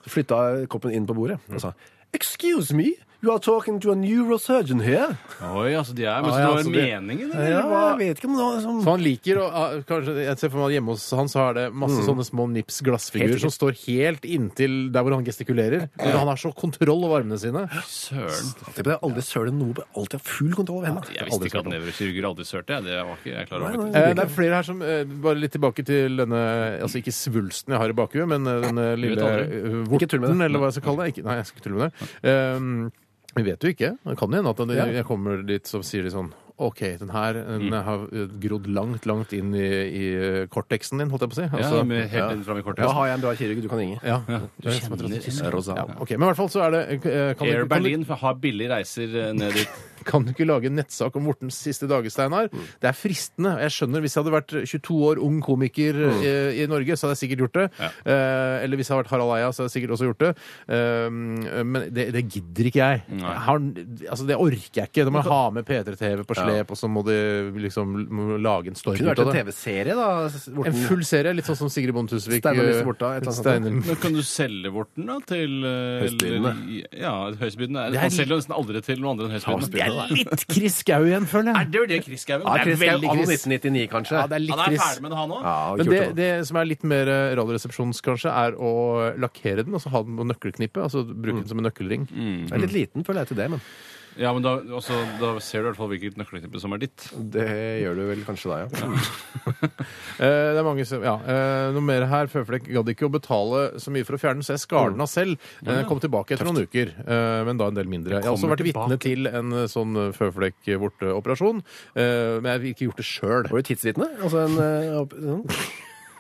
B: Så Flytta koppen inn på bordet og sa Excuse me, you are talking to a neurosurgeon here.
D: Oi, altså de er
C: Ah,
D: Men
C: ja,
D: så det var
C: altså, det-
D: meningen, eller?
B: Ja,
D: hva?
B: jeg vet ikke om det var sånn
C: Så han liker å ah, kanskje, Jeg ser for meg at hjemme hos han så er det masse sånne små nips glassfigurer
B: Helt
C: som står Mm. helt inntil der hvor han gestikulerer. Men han har så kontroll over armene sine.
D: Søren.
B: Tenk på det, aldri søler noe, men alltid har full kontroll over hendene.
D: Jeg visste ikke at nevrokirurger aldri sørte. jeg. Det var ikke jeg klar over.
B: Nei, nei.
C: Eh, det er flere her som eh, Bare litt tilbake til denne Altså ikke svulsten jeg har i bakhuet, men eh, denne lille
D: aldri.
C: eh,
B: Ikke tull med
C: vorten,
B: det.
C: eller hva jeg skal kalle det. Ikke, nei, jeg skal ikke tulle med det. Ehm, Vi vet jo ikke. Det kan jo hende at det-
B: Ja.
C: jeg kommer dit så sier de sånn OK, den her den har eh, grodd langt, langt inn i, i eh, korteksen din, holdt jeg på å si.
D: Ja,
C: Altså,
D: med
C: ja.
D: helt inn fram i kortet.
B: Da har jeg en bra kirurg du kan ringe.
C: Ja.
D: Du kjenner en-
B: Rosa.
C: Ja, ok, Men i hvert fall så er det eh, sånn kan du,
D: Air
C: ikke- kan,
D: Berlin for har billige reiser eh, ned dit.
C: du, kan du ikke lage en nettsak om Mortens siste dager, Steinar?
B: Mm.
C: Det er fristende. Jeg skjønner, Hvis jeg hadde vært 22 år ung komiker
B: Mm.
C: eh, i, Norge, så hadde jeg sikkert gjort det. Eh, eller hvis jeg hadde vært Harald Eia, så hadde jeg sikkert også gjort det. Eh, men det, det gidder ikke jeg. jeg har, altså, det orker jeg ikke. Da må jeg ha med P3-TV på slep, og så må de liksom må lage en storm
B: Kunne
C: ut
B: vært
C: av
B: en
C: det.
B: TV-serie, da. Morten.
C: En full serie, litt sånn som Sigrid Bonde Tusvik.
B: Steinar Lyse
C: eh,
B: Borta, et eller annet sånt.
C: Steinar-
B: [LAUGHS]
D: Men kan du selge vorten da til eh,
B: Høystbydende.
D: Ja, høystbydende.
C: er
D: Han
C: litt-
D: selger jo nesten aldri til noen andre enn
C: Det
D: høystbydende.
C: er litt Chris Skau igjen, føler jeg.
D: Er det jo det Chris Gauen?
B: Ja,
D: Det er
B: Chris,
D: veldig
B: anno
D: Chris.
B: 1999, kanskje.
C: Ja, det er litt
D: Han er
C: Chris.
D: ferdig med det, han òg.
B: Ja,
C: Men
B: kult,
C: det,
B: da.
C: det som er litt mer eh, radioresepsjons, kanskje, er å lakkere den og så ha den på nøkkelknippet. Altså bruke den som en nøkkelring.
B: Jeg er litt liten, føler jeg, til det, men
D: Ja, men da, også, da ser du i hvert fall hvilket nøkkelknippe som er ditt.
B: det gjør du vel kanskje da, ja.
C: Eh, det er mange som, ja, eh, Noe mer her. Føflekk gadd ikke å betale så mye for å fjerne den, så jeg skar den av selv. Eh, Jeg kom tilbake etter noen uker, eh, men da en del mindre. Jeg har også
D: Kommer
C: vært vitne til en eh, sånn føflekkvorteoperasjon, eh, men jeg har ikke gjort det sjøl.
B: Var du tidsvitne? Altså en eh, opp- sånn.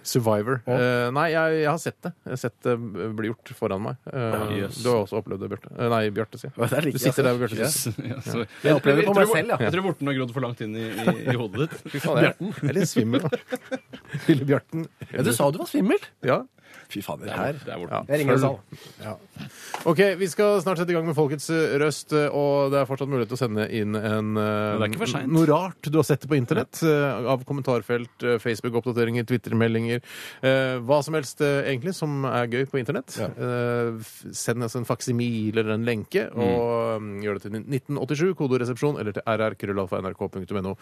C: Survivor. Eh, nei, jeg, jeg har sett det. Jeg har sett det bli gjort foran meg. Eh,
D: Yes.
C: Du har også opplevd det, Bjarte. Eh, Nei, Bjarte, sier
B: [LAUGHS] Hva, det er
C: jeg.
B: like,
C: Du
B: altså.
C: sitter der ved Bjarte. sier jeg.
D: [LAUGHS] Ja, så-
B: Jeg opplever det på meg
D: tror-
B: selv, ja.
D: Jeg tror vorten har grodd for langt inn i, i, i hodet
C: [LAUGHS]
D: ditt.
C: Fy faen, jeg- jeg er litt svimmel, da. Lille Bjarten.
B: Ja, du sa du var svimmel!
C: Ja.
B: Fy fader,
D: Det
B: her.
D: er, det er vorten.
C: Ja.
B: Jeg ringer en sal.
C: OK, vi skal snart sette i gang med Folkets eh, røst, eh, og det er fortsatt mulighet til å sende inn en eh,
D: Men det er ikke for sent.
C: noe rart du har sett på internett. eh, Av kommentarfelt, eh, Facebook-oppdateringer, Twitter-meldinger. eh, Hva som helst eh, egentlig som er gøy på internett. Eh, f- Send oss en faksimil eller en lenke, og mm, gjør det til 1987, kodoresepsjon, eller til rr.krøllalfa.nrk.no.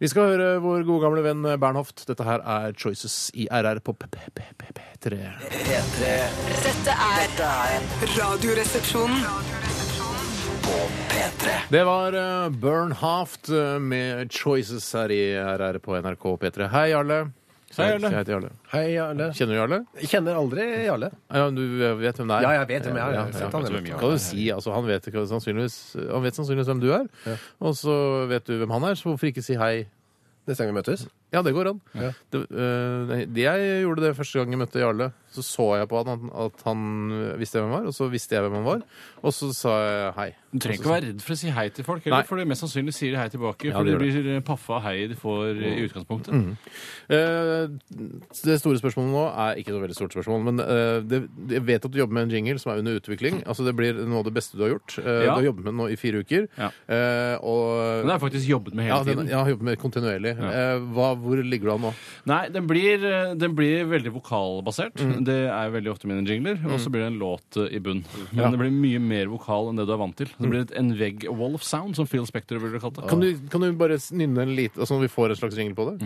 C: Vi skal høre vår gode gamle venn Bernhoft. Dette her er Choices i RR på PPP3.
A: Dette er Radioresepsjonen.
C: Det var eh, Burn Haft eh, med Choices her i RR på NRK P3. Hei, Jarle.
D: Hei, Jarle.
C: Jeg heter Jarle.
B: Hei, Jarle.
C: Kjenner du Jarle?
B: Jeg Kjenner aldri Jarle.
C: Ja, du eh, vet hvem det er?
B: Ja, jeg vet hvem jeg er. Jeg har sett han,
C: ja.
B: jeg vet.
C: Kan du si, altså, han, vet, ikke sannsynligvis, han vet sannsynligvis hvem du er, og så vet du hvem han er, så hvorfor ikke si hei?
B: Neste gang vi møtes.
C: Ja, det går an. Det, eh, nei, jeg gjorde det første gang jeg møtte Jarle. Så så jeg på han at han visste hvem han var, og så visste jeg hvem han var, og så sa jeg hei.
D: Du trenger ikke å være redd for å si hei til folk, heller,
C: Nei.
D: for det mest sannsynlig sier de hei tilbake.
C: Ja,
D: for
C: det
D: de
C: gjør det.
D: blir eh, paffa av heiet de får eh, i utgangspunktet.
C: Eh, Det store spørsmålet nå er ikke noe veldig stort spørsmål, men eh, det, jeg vet at du jobber med en jingle som er under utvikling. Altså Det blir noe av det beste du har gjort. Eh,
D: Mm. Ja.
C: Du har jobbet med den nå i fire uker.
D: Ja.
C: Eh,
D: Den
C: og
D: har jeg faktisk jobbet med hele
C: ja, den,
D: tiden.
C: jeg har jobbet med kontinuerlig. Eh, hva, hvor ligger du an nå?
D: Nei, den blir, eh, den blir veldig vokalbasert. Det er veldig ofte mine jingler. Og så blir det en låt eh, i bunn. Men
C: Ja.
D: det blir mye mer vokal enn det du er vant til. Det blir et- en vegg a wall of sound, som Phil Spector ville kalt det. altså,
C: Kan du, kan du bare nynne en lite, sånn at vi får en slags jingle på det?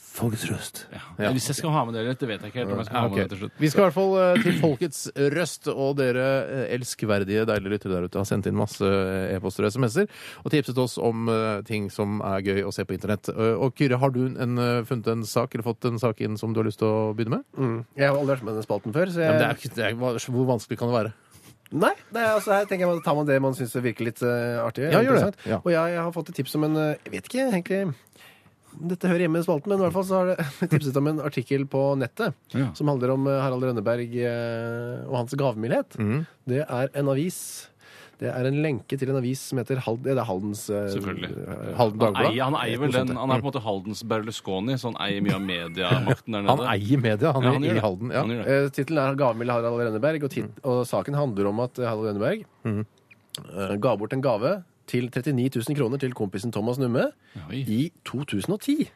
C: Folkets røst.
D: Ja.
C: Ja,
D: Hvis jeg skal ha med det eller ikke, det vet jeg ikke helt om jeg skal
C: Ja,
D: ha
C: ok.
D: med det til slutt.
C: Vi skal i hvert fall eh, til Folkets røst, og dere eh, elskverdige, deilige lyttere der ute har sendt inn masse eh, e-poster og SMS-er og tipset oss om eh, ting som er gøy å se på internett. Eh, Og Kyrre, har du en, eh, funnet en sak eller fått en sak inn som du har lyst til å begynne med?
B: Mm. Jeg har aldri vært med i den spalten før. Så jeg...
C: Men det er, ikke- det er, hva- hvor vanskelig kan det være?
B: Nei, det er, altså, her tenker jeg man tar man det man syns virker litt eh, artig.
C: Ja, gjør det.
B: interessant.
C: Ja.
B: Og jeg, jeg har fått et tips om en eh, Jeg vet ikke egentlig om dette hører hjemme i spalten, men i hvert fall så har det [LAUGHS] tipset om en artikkel på nettet
D: Ja.
B: som handler om eh, Harald Rønneberg eh, og hans gavmildhet. Det er en avis. Det er en lenke til en avis som heter Hald, det er Haldens eh,
D: Selvfølgelig.
C: Halden
D: Han eier,
C: Dagblad?
D: han eier vel den Han er på en måte Haldens Berlusconi, så han eier mye av mediemakten der nede.
C: Han eier media, han,
D: Ja,
C: er
D: han gjør
C: i
D: det.
C: Halden. Ja.
D: Han gjør det.
B: Eh, Tittelen er 'Gavmild Harald Rønneberg', og, tit og saken handler om at eh, Harald Rønneberg eh, ga bort en gave til 39 000 kroner til kompisen Thomas Numme
D: Oi.
B: i 2010.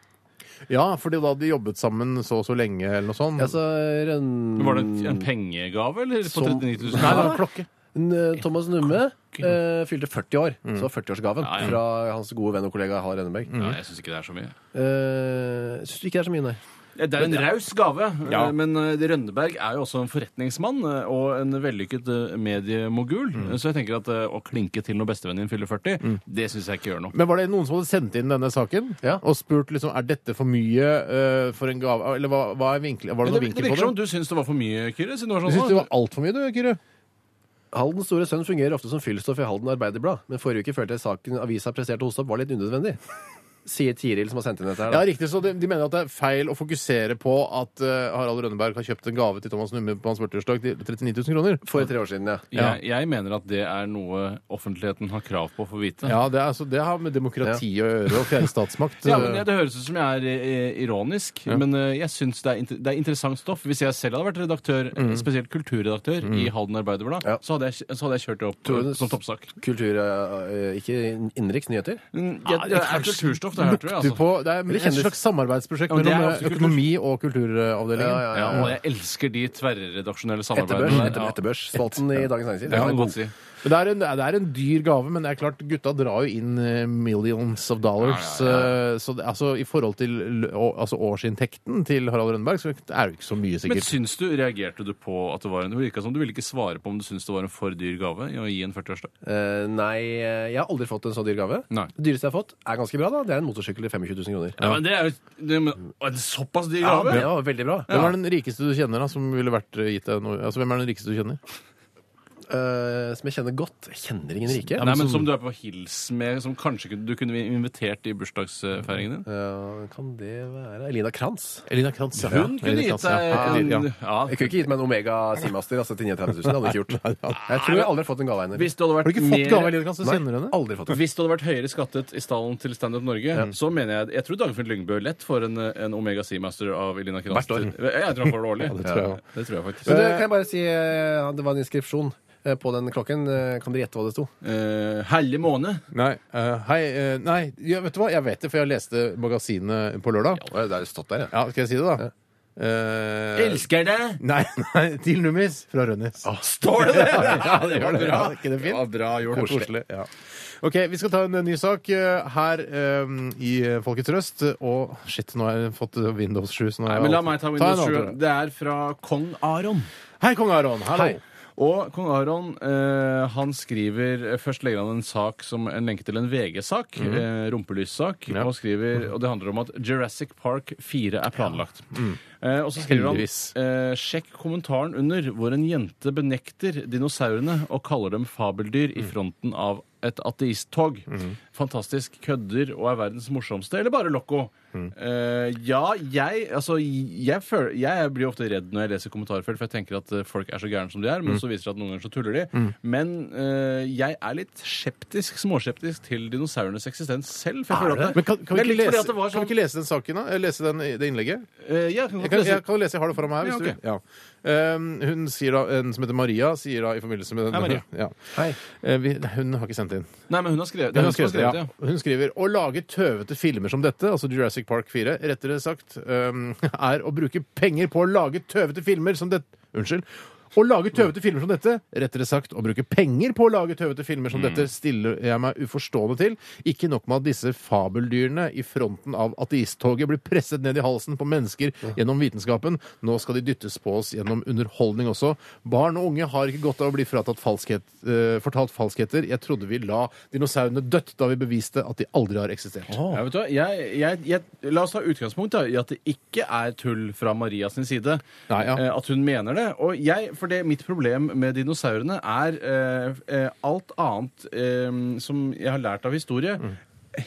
C: ja, fordi da hadde de jobbet sammen så og så lenge, eller noe sånt.
B: Altså Rønn...
D: Mm. Men Var det en pengegave, eller? På
B: Som-
D: 39
C: Nei, det
D: 000?
C: var klokke.
B: N- Thomas Numme eh, fylte 40 år, så 40-årsgaven
D: Ja, ja.
B: fra hans gode venn og kollega Harald Rønneberg.
D: Nei, jeg syns ikke det er så mye.
B: Eh, Syns du ikke det er så mye, nei?
D: Ja, Det er en raus gave,
C: Ja.
D: eh, men eh, Rønneberg er jo også en forretningsmann eh, og en vellykket eh, mediemogul.
C: Mm.
D: Så jeg tenker at eh, å klinke til når bestevennen din fyller 40, det syns jeg ikke gjør noe.
C: Men var det noen som hadde sendt inn denne saken
B: Ja.
C: og spurt liksom, er dette for mye eh, for en gave? Eller hva, hva er vinkel? var det
D: Men
C: noen
D: Det, det
C: vinkel på
D: virker som
C: det?
D: du syns det var for mye, Kyrre. siden du var
C: Du syns
D: sånn,
C: det var altfor mye, du, Kyrre?
B: Haldens store sønn fungerer ofte som fyllstoff i Halden Arbeiderblad, men forrige uke følte jeg saken avisa presterte å hoste opp, var litt unødvendig. Sier Tiril, som har sendt inn dette her.
C: Ja,
B: Da.
C: riktig. Så de, de mener at det er feil å fokusere på at eh, Harald Rønneberg har kjøpt en gave til Thomas Numme på hans 40-årsdag til 39 000 kroner.
B: For tre år siden, ja.
C: Ja.
D: jeg, jeg mener at det er noe offentligheten har krav på å få vite.
C: Ja, det, er, altså, det har med demokrati å gjøre og fjernstatsmakt.
D: [LAUGHS] Ja, men Det høres ut som jeg er eh, ironisk, men eh, jeg syns det, er inter- det er interessant stoff. Hvis jeg selv hadde vært redaktør, eh, spesielt kulturredaktør, i Halden Arbeiderblad,
B: Ja.
D: så, hadde jeg, så hadde jeg kjørt det opp
B: Tror du
D: eh,
B: det-
D: som toppsak.
B: Kultur eh, Ikke innenriks nyheter?
D: Mm, jeg- det er kulturstoff, det her, tror jeg.
C: Du
D: Altså.
C: på, det er
B: Det
C: et
B: kjennes-
C: slags samarbeidsprosjekt
D: Ja, men det er
C: mellom
D: absolutt
C: eh, økonomi og kulturavdelingen.
B: Ja, ja,
D: Ja, og jeg elsker de tverrredaksjonelle samarbeidene.
B: Etterbørs,
D: der.
B: etter,
D: Ja.
B: etterbørs. Spalten i Dagens Næringsliv.
D: Det kan du godt si.
C: Men Det er, en, det er en dyr gave, men det er klart, gutta drar jo inn eh, millions of dollars.
D: Ja,
C: eh, Så det, altså, i forhold til l- å- altså, årsinntekten til Harald Rønneberg, så er det jo ikke så mye,
D: Men
C: sikkert.
D: syns du, reagerte du på at det var en Det virka som du ville ikke svare på om du syntes det var en for dyr gave i å gi en 40-årsdag.
B: Eh, nei, eh, jeg har aldri fått en så dyr gave.
D: Nei.
B: Det dyreste jeg har fått, er ganske bra. da Det er en motorsykkel til 25 000 kroner.
D: Ja, men det er jo det, men, å, en såpass dyr
B: Ja,
D: gave!
B: det var veldig bra.
C: Hvem er den rikeste du kjenner, da, som ville vært eh, gitt deg noe? Altså, hvem er den rikeste du kjenner?
B: Eh, som jeg kjenner godt. Jeg kjenner ingen rike.
D: Nei, men Som du er på hils med, som kanskje kunne- du kunne invitert i bursdagsfeiringen din?
B: Eh, kan det være Elina Kranz?
C: Elina Krantz. ja.
D: Hun
C: Ja,
D: Mm, kunne
C: Elina
D: gitt
C: Krantz, ja. Ja,
D: deg
C: ja.
D: en ja.
B: Jeg kunne ikke gitt meg en Omega Seamaster altså, til 39 000. Det hadde jeg ikke gjort. Jeg tror jeg aldri har fått en gave av henne.
D: Hvis det hadde vært
C: Har du ikke fått
D: mer-
C: gave av Elina Krantz? Du kjenner henne?
B: Aldri fått en.
D: Hvis det hadde vært høyere skattet i stallen til Stand Up Norge, så mener jeg Jeg tror Dagfinn Lyngbø lett får en, en Omega Seamaster av Elina Kranz.
B: Hvert år.
D: Jeg tror han får det årlig.
C: det tror jeg også.
D: det tror jeg faktisk.
B: Men du, kan jeg bare si eh, det var en inskripsjon eh, på den klokken. Eh, Kan dere gjette hva det sto?
D: Eh, Helle måned.
C: Nei, eh, hei, eh, nei ja, vet du hva? Jeg vet det, for jeg leste magasinet på lørdag.
B: Å, Det har stått der, ja.
C: Ja, skal jeg si det, da? Eh,
D: Elsker deg!
C: Nei, [LAUGHS] nei, til nummis fra Rønnis.
D: Står det det?!
C: Ah. [LAUGHS] Ja, det gjør det.
D: var bra.
C: Ja, er ikke det fint?
D: var bra gjort.
C: Koselig. ja. Ok, Vi skal ta en ny sak eh, her eh, i Folkets Røst. Og shit, nå har jeg fått eh, Windows 7. Så nå har
D: Nei,
C: jeg
D: men la
C: alt-
D: meg ta
C: en
D: Windows 7.
C: annen, Tore.
D: Det er fra kong Aron.
C: Hei, kong Aron. Hallo.
B: Hei.
D: Og kong Aron eh, han skriver eh, Først legger han en sak som en lenke til en VG-sak. Eh, Rumpelyssak.
C: Mhm. Ja.
D: Og, skriver, og det handler om at Jurassic Park 4 er planlagt. Eh, og så skriver
C: Mhm. Heldigvis.
D: han eh, Sjekk kommentaren under hvor en jente benekter dinosaurene og kaller dem fabeldyr
C: Mm.
D: i fronten av et ateisttog. Fantastisk. Kødder og er verdens morsomste. Eller bare Loco.
C: Mm.
D: Eh, ja, jeg Altså, jeg, føler, jeg blir ofte redd når jeg leser kommentarfelt, for jeg tenker at eh, folk er så gærne som de er, men
C: Mm.
D: så viser det seg at noen ganger så tuller de. Men eh, jeg er litt skeptisk, småskeptisk til dinosaurenes eksistens selv. For jeg føler at det,
C: Men kan, kan, vi
D: Det er
C: ikke
D: litt fordi
C: lese,
D: at det var
C: kan vi
D: sånn-
C: ikke lese den saken, da? Eh, Lese den, det innlegget?
D: Eh, jeg kan
C: Jeg
D: godt
C: kan,
D: lese
C: jeg kan lese, jeg har det foran meg. her,
D: Ja,
C: hvis
D: ok.
C: du vil. Ja. Eh, hun sier da, En som heter Maria, sier da i forbindelse med den
D: Hei, Maria.
C: Ja.
B: Hei.
C: Eh, vi, hun har ikke sendt inn.
D: Nei, men hun har
C: Hun,
D: skrevet det.
C: har
D: Hun som har
C: skrevet, det,
D: skrevet det,
C: ja. hun skriver å lage tøvete filmer som dette, altså Jurassic Park 4, ehm, rettere sagt, øhm, er å bruke penger på å lage tøvete filmer som dette Unnskyld. Å lage tøvete filmer som dette, rettere sagt å bruke penger på å lage tøvete filmer
D: Mm.
C: som dette, stiller jeg meg uforstående til. Ikke nok med at disse fabeldyrene i fronten av ateisttoget blir presset ned i halsen på mennesker gjennom vitenskapen, nå skal de dyttes på oss gjennom underholdning også. Barn og unge har ikke godt av å bli fratatt falskhet, eh, fortalt falskheter. Jeg trodde vi la dinosaurene dødt da vi beviste at de aldri har eksistert.
D: Ja, vet du hva? Jeg, jeg, jeg, la oss ta utgangspunkt da, i at det ikke er tull fra Maria sin side.
C: Nei, ja.
D: Eh, At hun mener det. Og jeg, for det, Mitt problem med dinosaurene er eh, eh, alt annet eh, som jeg har lært av historie.
C: Mm.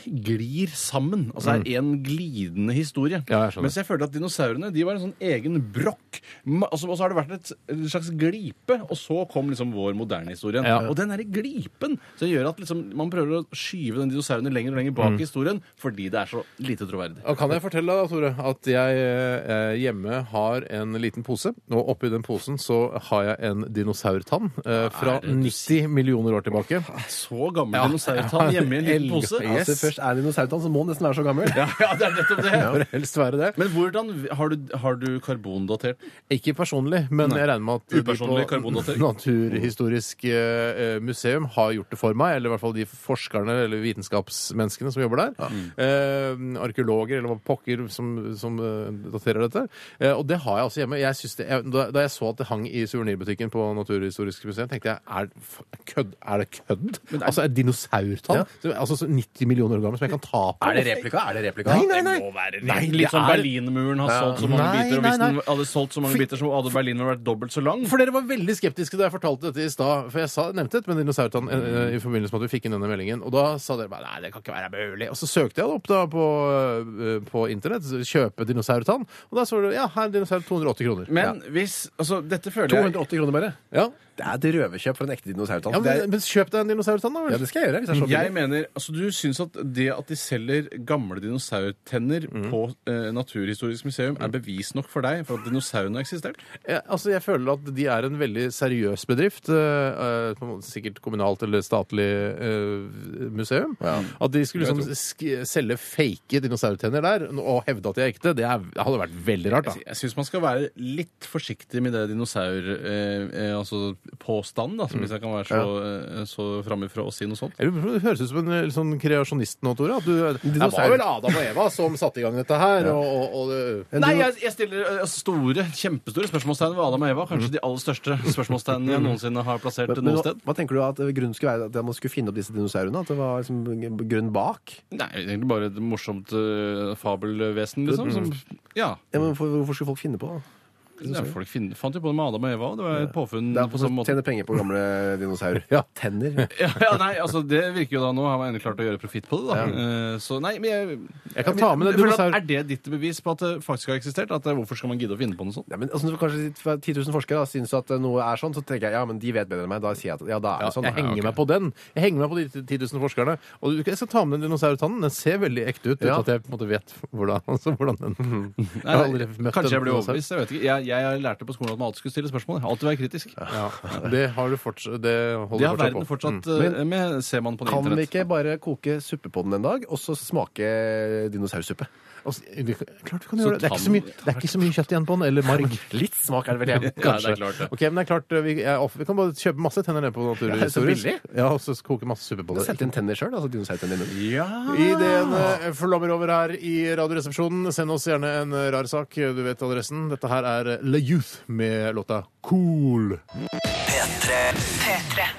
D: Glir sammen. Altså er en glidende historie.
C: Ja, jeg skjønner.
D: Mens jeg følte at dinosaurene de var en sånn egen brokk. Ma- Altså, og så har det vært et, en slags glipe, og så kom liksom vår moderne historie.
C: Ja.
D: Og den derre glipen så gjør at liksom, man prøver å skyve den dinosaurene lenger og lenger
C: Mm.
D: bak i historien fordi det er så lite troverdig.
C: Og kan jeg fortelle deg, da, Tore, at jeg eh, hjemme har en liten pose. Og oppi den posen så har jeg en dinosaurtann eh, fra
D: det du
C: 90 millioner år tilbake.
D: Så gammel dinosaurtann hjemme i en liten pose.
C: Yes.
B: Altså, først er det dinosaurtann, så må den nesten være så gammel. [LAUGHS]
D: Ja, ja, det er nettopp
C: Bør
D: det.
C: helst være det.
D: Men hvordan har du, har du karbondatert den?
C: Ikke personlig, men jeg regner med at de
D: Upersonlig
C: på
D: karbondatering.
C: Naturhistorisk eh, eh, museum har gjort det for meg, eller i hvert fall de forskerne eller vitenskapsmenneskene som jobber der. Eh, arkeologer eller hva pokker som, som eh, daterer dette. Eh, og det har jeg altså hjemme. Jeg synes det, jeg, da, da jeg så at det hang i suvenirbutikken på Naturhistorisk museum, tenkte jeg er, det f- kødd, er det kødd? Altså et dinosaurtall? Som- Altså så 90 millioner år gammel som jeg kan ta på?
B: Er det replika? Er det replika?
C: Nei, nei, nei.
D: Det må være
C: Nei,
D: litt,
C: det
D: litt sånn
C: er-
D: Berlinmuren har solgt så mange
C: Nei,
D: biter, og hvis
C: nei,
D: den
C: nei.
D: hadde solgt så mange
C: For-
D: biter, så hadde Berlinmuren vært dobbelt så lang.
C: For dere var veldig skeptiske da jeg fortalte dette i stad. For jeg sa, nevnte dette med dinosaurtann eh, i forbindelse med at vi fikk inn denne meldingen. Og da sa dere bare nei, det kan ikke være mulig. Og så søkte jeg det opp da på, eh, på internett. Kjøpe dinosaurtann. Og da så du ja, her er dinosaur 280 kroner.
D: Men hvis Altså, dette føler jeg
B: 280 kroner bare.
C: ja.
B: Det er et røverkjøp for en ekte dinosaurtann.
C: ja
B: Det er-
C: men, men kjøp deg en dinosaurtann, da
B: Ja,
C: vel.
B: det skal jeg gjøre. hvis jeg er så
D: Jeg
B: billig.
D: mener, altså Du syns at det at de selger gamle dinosaurtenner
B: Mm.
D: på eh, Naturhistorisk museum, er bevis nok for deg for at dinosaurene har eksistert?
C: Ja, altså, jeg føler at de er en veldig seriøs bedrift. eh, eh, på en måte sikkert kommunalt eller statlig eh, museum. At de skulle liksom sk selge fake dinosaurtenner der og hevde at de er ekte, det er, hadde vært veldig rart. da.
D: Jeg syns man skal være litt forsiktig med det dinosaurpåstanden, eh, eh, altså påstanden, da, som
B: Mm.
D: hvis jeg kan være så, eh, så framifrå og si noe sånt.
C: Jeg lurer på om Det høres ut som en eh, litt sånn kreasjonist nå, Tore. At du, eh, det var vel Adam og Eva som satte i gang dette her. Og, og, og det,
D: Nei, jeg, jeg stiller eh, store, kjempestore spørsmålstegn ved Adam og Eva. Kanskje de aller største spørsmålstegnene jeg noensinne har plassert
B: Mm. Men, men,
D: noe
B: hva,
D: sted.
B: hva tenker du at grunnen skulle være at man skulle finne opp disse dinosaurene? At det var liksom grunn bak?
D: Nei, egentlig bare et morsomt eh, fabelvesen, liksom.
B: Mm.
D: Som, ja.
B: Ja, men hvorfor, hvorfor skulle folk finne på det?
D: Ja, folk finn- fant jo på det med Adam og Eva, og det var et påfunn
B: Det er
D: på
B: for
D: samme
B: å
D: måte.
B: tjene penger på gamle
C: [LAUGHS]
B: dinosaurer.
C: Ja.
B: Tenner.
D: [LAUGHS] Ja, ja, nei, altså Det virker jo da nå. Har man endelig klart å gjøre profitt på det. da Eh, Så nei, men jeg,
C: Jeg kan ta med det
D: Jeg føler at-
C: dinosaur-
D: Er det ditt bevis på at det faktisk har eksistert? At eh, Hvorfor skal man gidde å finne på noe sånt?
B: Ja, men altså, Kanskje 10 000 forskere da, syns at noe er sånn, så tenker jeg ja, men de vet bedre enn meg. Da sier jeg at ja, da er
C: ja,
B: det sånn.
C: jeg henger meg på den. Jeg henger meg på de 10 000 forskerne. Og du- jeg skal ta med den dinosaurtannen. Den ser veldig ekte ut. uten
B: Ja.
C: At jeg på en måte vet hvordan, [LAUGHS] altså, hvordan den Jeg
D: Nei,
C: har aldri møtt en
D: kanskje jeg blir
C: dinosaur.
D: overbevist. Jeg vet ikke. Jeg, jeg lærte på skolen at man alltid skulle stille spørsmål. jeg. Alltid være kritisk.
C: Ja, det har du fortsatt Det
D: Det
C: holder
D: har verden
C: fortsatt på. Mm.
D: fortsatt eh, med, ser man på
B: Kan vi
D: internett.
B: ikke bare koke suppe på den en dag, og så smake dinosaursuppe?
C: Og s- vi- Klart vi kan
D: Så
C: gjøre det. Det er, ikke så mye,
D: tann-
C: det er ikke så mye kjøtt igjen på den. Eller marg.
B: Litt smak er det
C: [LAUGHS]
B: vel igjen.
D: Ja, det er klart det.
C: Ok, men det er klart, eh, vi, jeg, off- vi kan bare kjøpe masse tenner nede på
B: Ja, så
C: Naturhistorisk.
B: billig.
C: Ja, og så koke masse suppe på det.
B: Sett inn tenner sjøl, altså dinosaurtenner i munnen.
D: Ja.
C: Ideene eh, flommer over her i Radioresepsjonen. Send oss gjerne en eh, rar sak. Du vet adressen. Dette her er eh, Le Youth med låta Cool.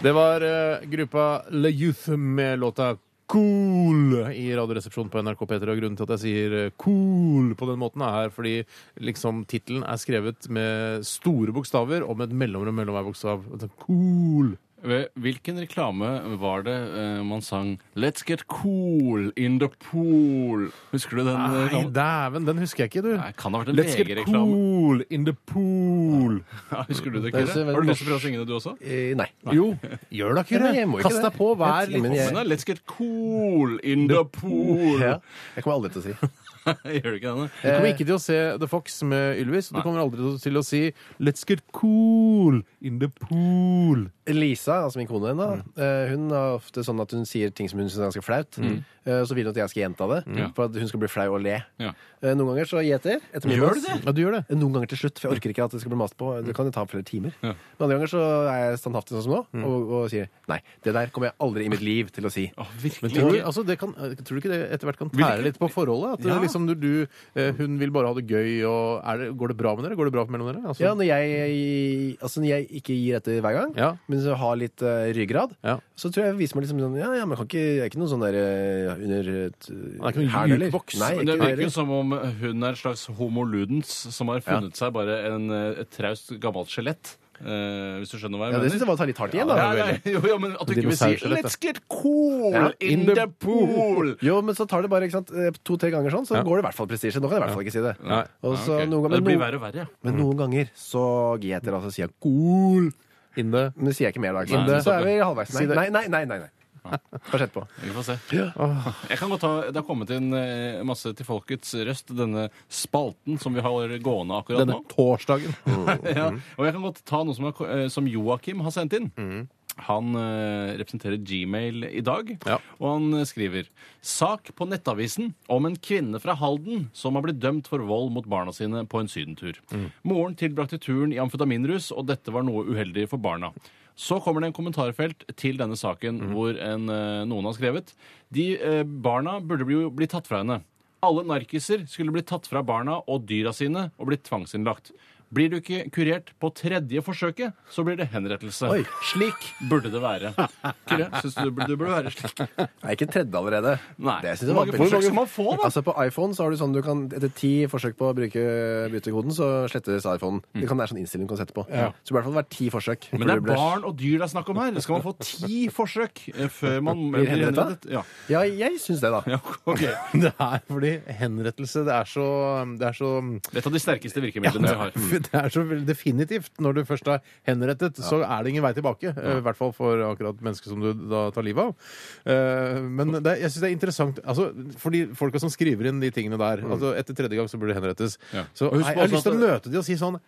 C: Det var eh, gruppa Le Youth med låta Cool i Radioresepsjonen på NRK P3. Og grunnen til at jeg sier eh, cool på den måten, er fordi liksom tittelen er skrevet med store bokstaver og med et mellomrom mellom hver bokstav. Altså, Cool.
D: Ved Hvilken reklame var det eh, man sang 'Let's get cool in the pool'? Husker du den? eh,
C: Nei,
D: reklamen?
C: dæven, den husker jeg ikke, du.
D: Nei, kan det ha vært en
C: Let's get
D: VG-reklame?
C: cool in the pool.
D: Ja, husker du det,
B: Det er så
D: Kyrre?
B: veldig
D: Har du lyst til å prøve å synge det, du også?
B: Eh, nei.
C: Jo, gjør da ikke
B: Nei, jeg må ikke
C: Kast
B: det.
C: deg på hver
B: Jeg- men
C: liten
D: Men
B: jeg-
D: da, Let's get cool in the pool.
B: Ja. Jeg kommer aldri til å si.
D: [LAUGHS] Gjør du ikke denne?
C: Du kommer ikke til å se The Fox med Ylvis. og Du kommer aldri til å si Let's get cool in the pool.
B: Lisa Lisa, altså min kone, da, eh, hun er ofte sånn at hun sier ting som hun syns er ganske flaut.
C: Mm.
B: eh, og så vil hun at jeg skal gjenta det, for at hun skal bli flau og le.
D: Ja.
B: Eh, noen ganger så gjeter etter min
D: Gjør
B: plass.
D: du det?
C: Ja, du gjør det.
B: Noen ganger til slutt, for jeg orker ikke at det skal bli mast på. Det kan jo ta flere timer.
D: Ja.
B: Men andre ganger så er jeg standhaftig sånn som nå,
C: Mm.
B: og, og sier nei, det der kommer jeg aldri i mitt liv til å si.
D: Å,
C: Men
D: virkelig.
C: tror, du- altså det kan, tror du ikke det etter hvert kan
D: Vil
C: tære
D: ikke-
C: litt på forholdet? At det
D: Ja.
C: liksom du, du, eh, hun vil bare ha det gøy, og er det, går det bra med dere? Går det bra mellom dere? Altså,
B: Ja, når jeg, altså når jeg ikke gir etter hver gang,
C: Ja.
B: men så har litt eh, ryggrad,
C: Ja.
B: så tror jeg jeg viser meg liksom sånn Ja, ja, men jeg, kan ikke, jeg er ikke noe sånn der eh, under et
C: er ikke noen jukeboks.
B: Nei,
D: Men
B: ikke
D: det
B: det
D: virker jo
B: heller.
D: som om hun er en slags homo ludens som har funnet seg bare en, eh, et traust, gammelt skjelett. Eh, hvis du skjønner hva jeg
B: Ja, det
D: mener?
B: syns jeg var å ta litt hardt igjen, da.
D: Ja, nei, jo, jo, men at du ikke vil si
C: Dinosaurskjelett,
D: 'let's get cool
B: Ja,
D: in the pool'.
B: Jo, men så tar det bare ikke sant, eh, to-tre ganger sånn, så går det i hvert fall prestisje. Nå kan jeg i hvert fall ikke si det.
C: Nei.
B: Og så
D: Ja, ok.
B: noen ganger,
D: det blir
B: men,
D: verre Mm. og verre. ja.
B: noen, men noen ganger så gir jeg etter, altså sier jeg cool.
C: In the
B: Men det sier jeg ikke mer da. ikke
D: Nei,
B: sant?
D: det
B: så
D: stopper.
B: er vi halvveis. Nei, nei, nei. nei, nei, nei. Hva skjedde på?
D: Vi får se. [LAUGHS] Jeg kan godt ta, Det har kommet inn eh, masse til Folkets Røst, denne spalten som vi har gående akkurat
C: Denne
D: nå.
C: torsdagen.
D: [LAUGHS] ja. Og jeg kan godt ta noe som, er, eh, som Joakim har sendt inn. Han eh, representerer Gmail i dag,
C: Ja.
D: og han eh, skriver Sak på Nettavisen om en kvinne fra Halden som har blitt dømt for vold mot barna sine på en sydentur. Moren tilbrakte turen i amfetaminrus, og dette var noe uheldig for barna. Så kommer det en kommentarfelt til denne saken hvor en, eh, noen har skrevet De eh, barna burde bli, bli tatt fra henne. Alle narkiser skulle bli tatt fra barna og dyra sine og blitt tvangsinnlagt. Blir du ikke kurert på tredje forsøket, så blir det henrettelse.
B: Oi.
D: Slik burde det
B: [LAUGHS]
D: være. Kyrre, syns du du burde være slik?
B: Nei, ikke en tredje allerede.
D: Nei.
B: Det synes jeg
D: Hvor
B: var
D: mange
B: veldig-
D: forsøk skal man få, da?
B: Altså På iPhone så har du sånn du kan etter ti forsøk på å bruke byttekoden, så slettes iPhonen. Det kan være sånn innstilling du kan sette på. Så det burde i hvert fall vært ti forsøk.
D: Mm. Men det er
B: før du ble-
D: barn og dyr det er snakk om her. Skal man få ti forsøk eh, før man
B: Blir henrettet?
D: Ja. [LAUGHS]
B: Ja, jeg syns det, da.
D: ja
B: [LAUGHS]
D: ok.
C: [LAUGHS] Det er fordi henrettelse det er så, det er så
D: Det er Et av de sterkeste virkemidlene vi har.
C: altså, [LAUGHS] det er så veldig definitivt. Når du først er henrettet, så er det ingen vei tilbake. eh, I hvert fall for akkurat mennesket som du da tar livet av. Eh, Men det, er- jeg syns det er interessant altså, For de folka som skriver inn de tingene der altså Etter tredje gang så burde det henrettes.
D: Mm. Ja.
C: Så
D: Og husk
C: jeg, jeg har
D: også
C: lyst til å
D: at-
C: møte de og si sånn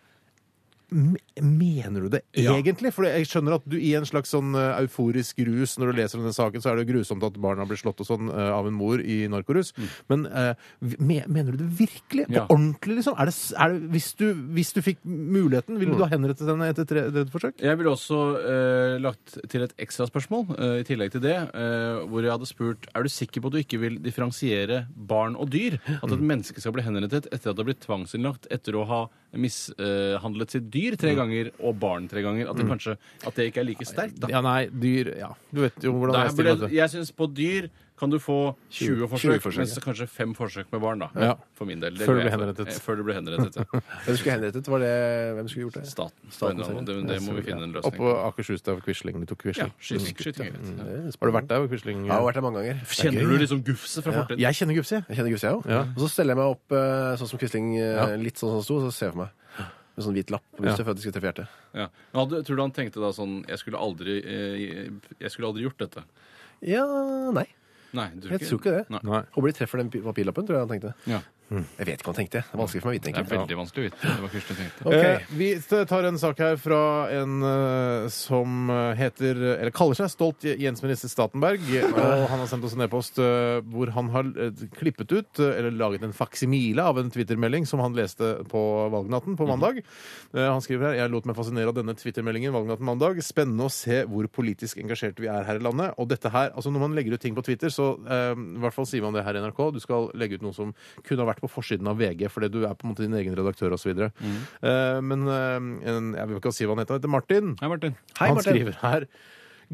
C: "M- Mener du det
D: Ja.
C: egentlig? For jeg skjønner at du i en slags sånn eh, euforisk rus når du leser om den saken, så er det jo grusomt at barna blir slått og sånn eh, av en mor i narkorus. Men eh, vi- me- mener du det virkelig? På
D: Mm. Ja.
C: ordentlig, liksom? Er det, s- er det, hvis, du, hvis du fikk muligheten,
D: Mm.
C: ville du ha henrettet henne etter tre- tredje forsøk?
D: Jeg ville også eh, lagt til et ekstra spørsmål eh, i tillegg til det, eh, hvor jeg hadde spurt er du sikker på at du ikke vil differensiere barn og dyr. At et menneske skal bli henrettet etter at det har blitt tvangsinnlagt etter å ha mishandlet sitt dyr tre ganger og barn tre ganger. At det kanskje at det ikke er like sterkt. da.
C: Ja, nei, dyr Ja, du vet jo hvordan
D: Der
C: jeg
D: burde,
C: stiller meg til.
D: jeg syns på dyr kan du få 20 forsøk,
B: 20 forsøk,
D: mens kanskje fem forsøk med barn. da,
C: Ja.
D: For min del.
C: Før du
D: går jeg
C: blir
D: for.
C: henrettet.
D: Eh, Før du blir henrettet. Ja.
B: Hvem skulle henrettet? Var det Hvem skulle gjort det?
D: Staten.
B: Staten
D: det, det, må vi finne en løsning
C: Oppå Akershus, der Quisling du tok
D: Ja,
C: Quisling.
D: skyting. skyting er greit.
C: Har du vært der, Quisling?
B: Jeg har vært der mange ganger. Det er
D: Kjenner
B: gøy.
D: du liksom gufset fra fortiden?
C: Jeg kjenner Gupsi.
B: Jeg kjenner Gusse, jeg òg.
C: Ja.
B: Og så steller jeg meg opp eh, sånn som Quisling, eh, litt sånn som han sto, og så ser jeg for meg med sånn hvit lapp på brystet for at de skal treffe hjertet.
D: Ja. Men hadde, tror du han tenkte da sånn Jeg skulle aldri, eh, jeg skulle aldri gjort dette.
B: Ja, nei.
D: Nei, du
B: Jeg tror ikke det.
D: Nei.
C: Nei.
B: Håper de treffer den pi- papirlappen, tror jeg han tenkte.
D: Ja.
B: Jeg vet ikke hva han tenkte. Det er vanskelig for meg å vite,
D: Det er
B: egentlig.
D: veldig vanskelig å vite. Det var først jeg tenkte.
B: Ok.
C: Eh, vi tar en sak her fra en eh, som heter Eller kaller seg stolt Jens-minister Statenberg. Og han har sendt oss en e-post eh, hvor han har eh, klippet ut, eh, eller laget en faksimile av en twittermelding som han leste på valgnatten på mandag. Eh, han skriver her Jeg lot meg fascinere av denne twittermeldingen valgnatten mandag. Spennende å se hvor politisk engasjerte vi er her i landet. Og dette her, altså når man legger ut ting på Twitter, så eh, i hvert fall sier man det her i NRK. Du skal legge ut noe som kunne ha vært på forsiden av VG, fordi du er på en måte din egen redaktør osv. videre
B: Mm.
C: Eh, men eh, en, jeg vil ikke si hva han heter. Han heter Martin.
D: Hei, Martin.
B: Hei,
C: han
B: Martin.
C: skriver her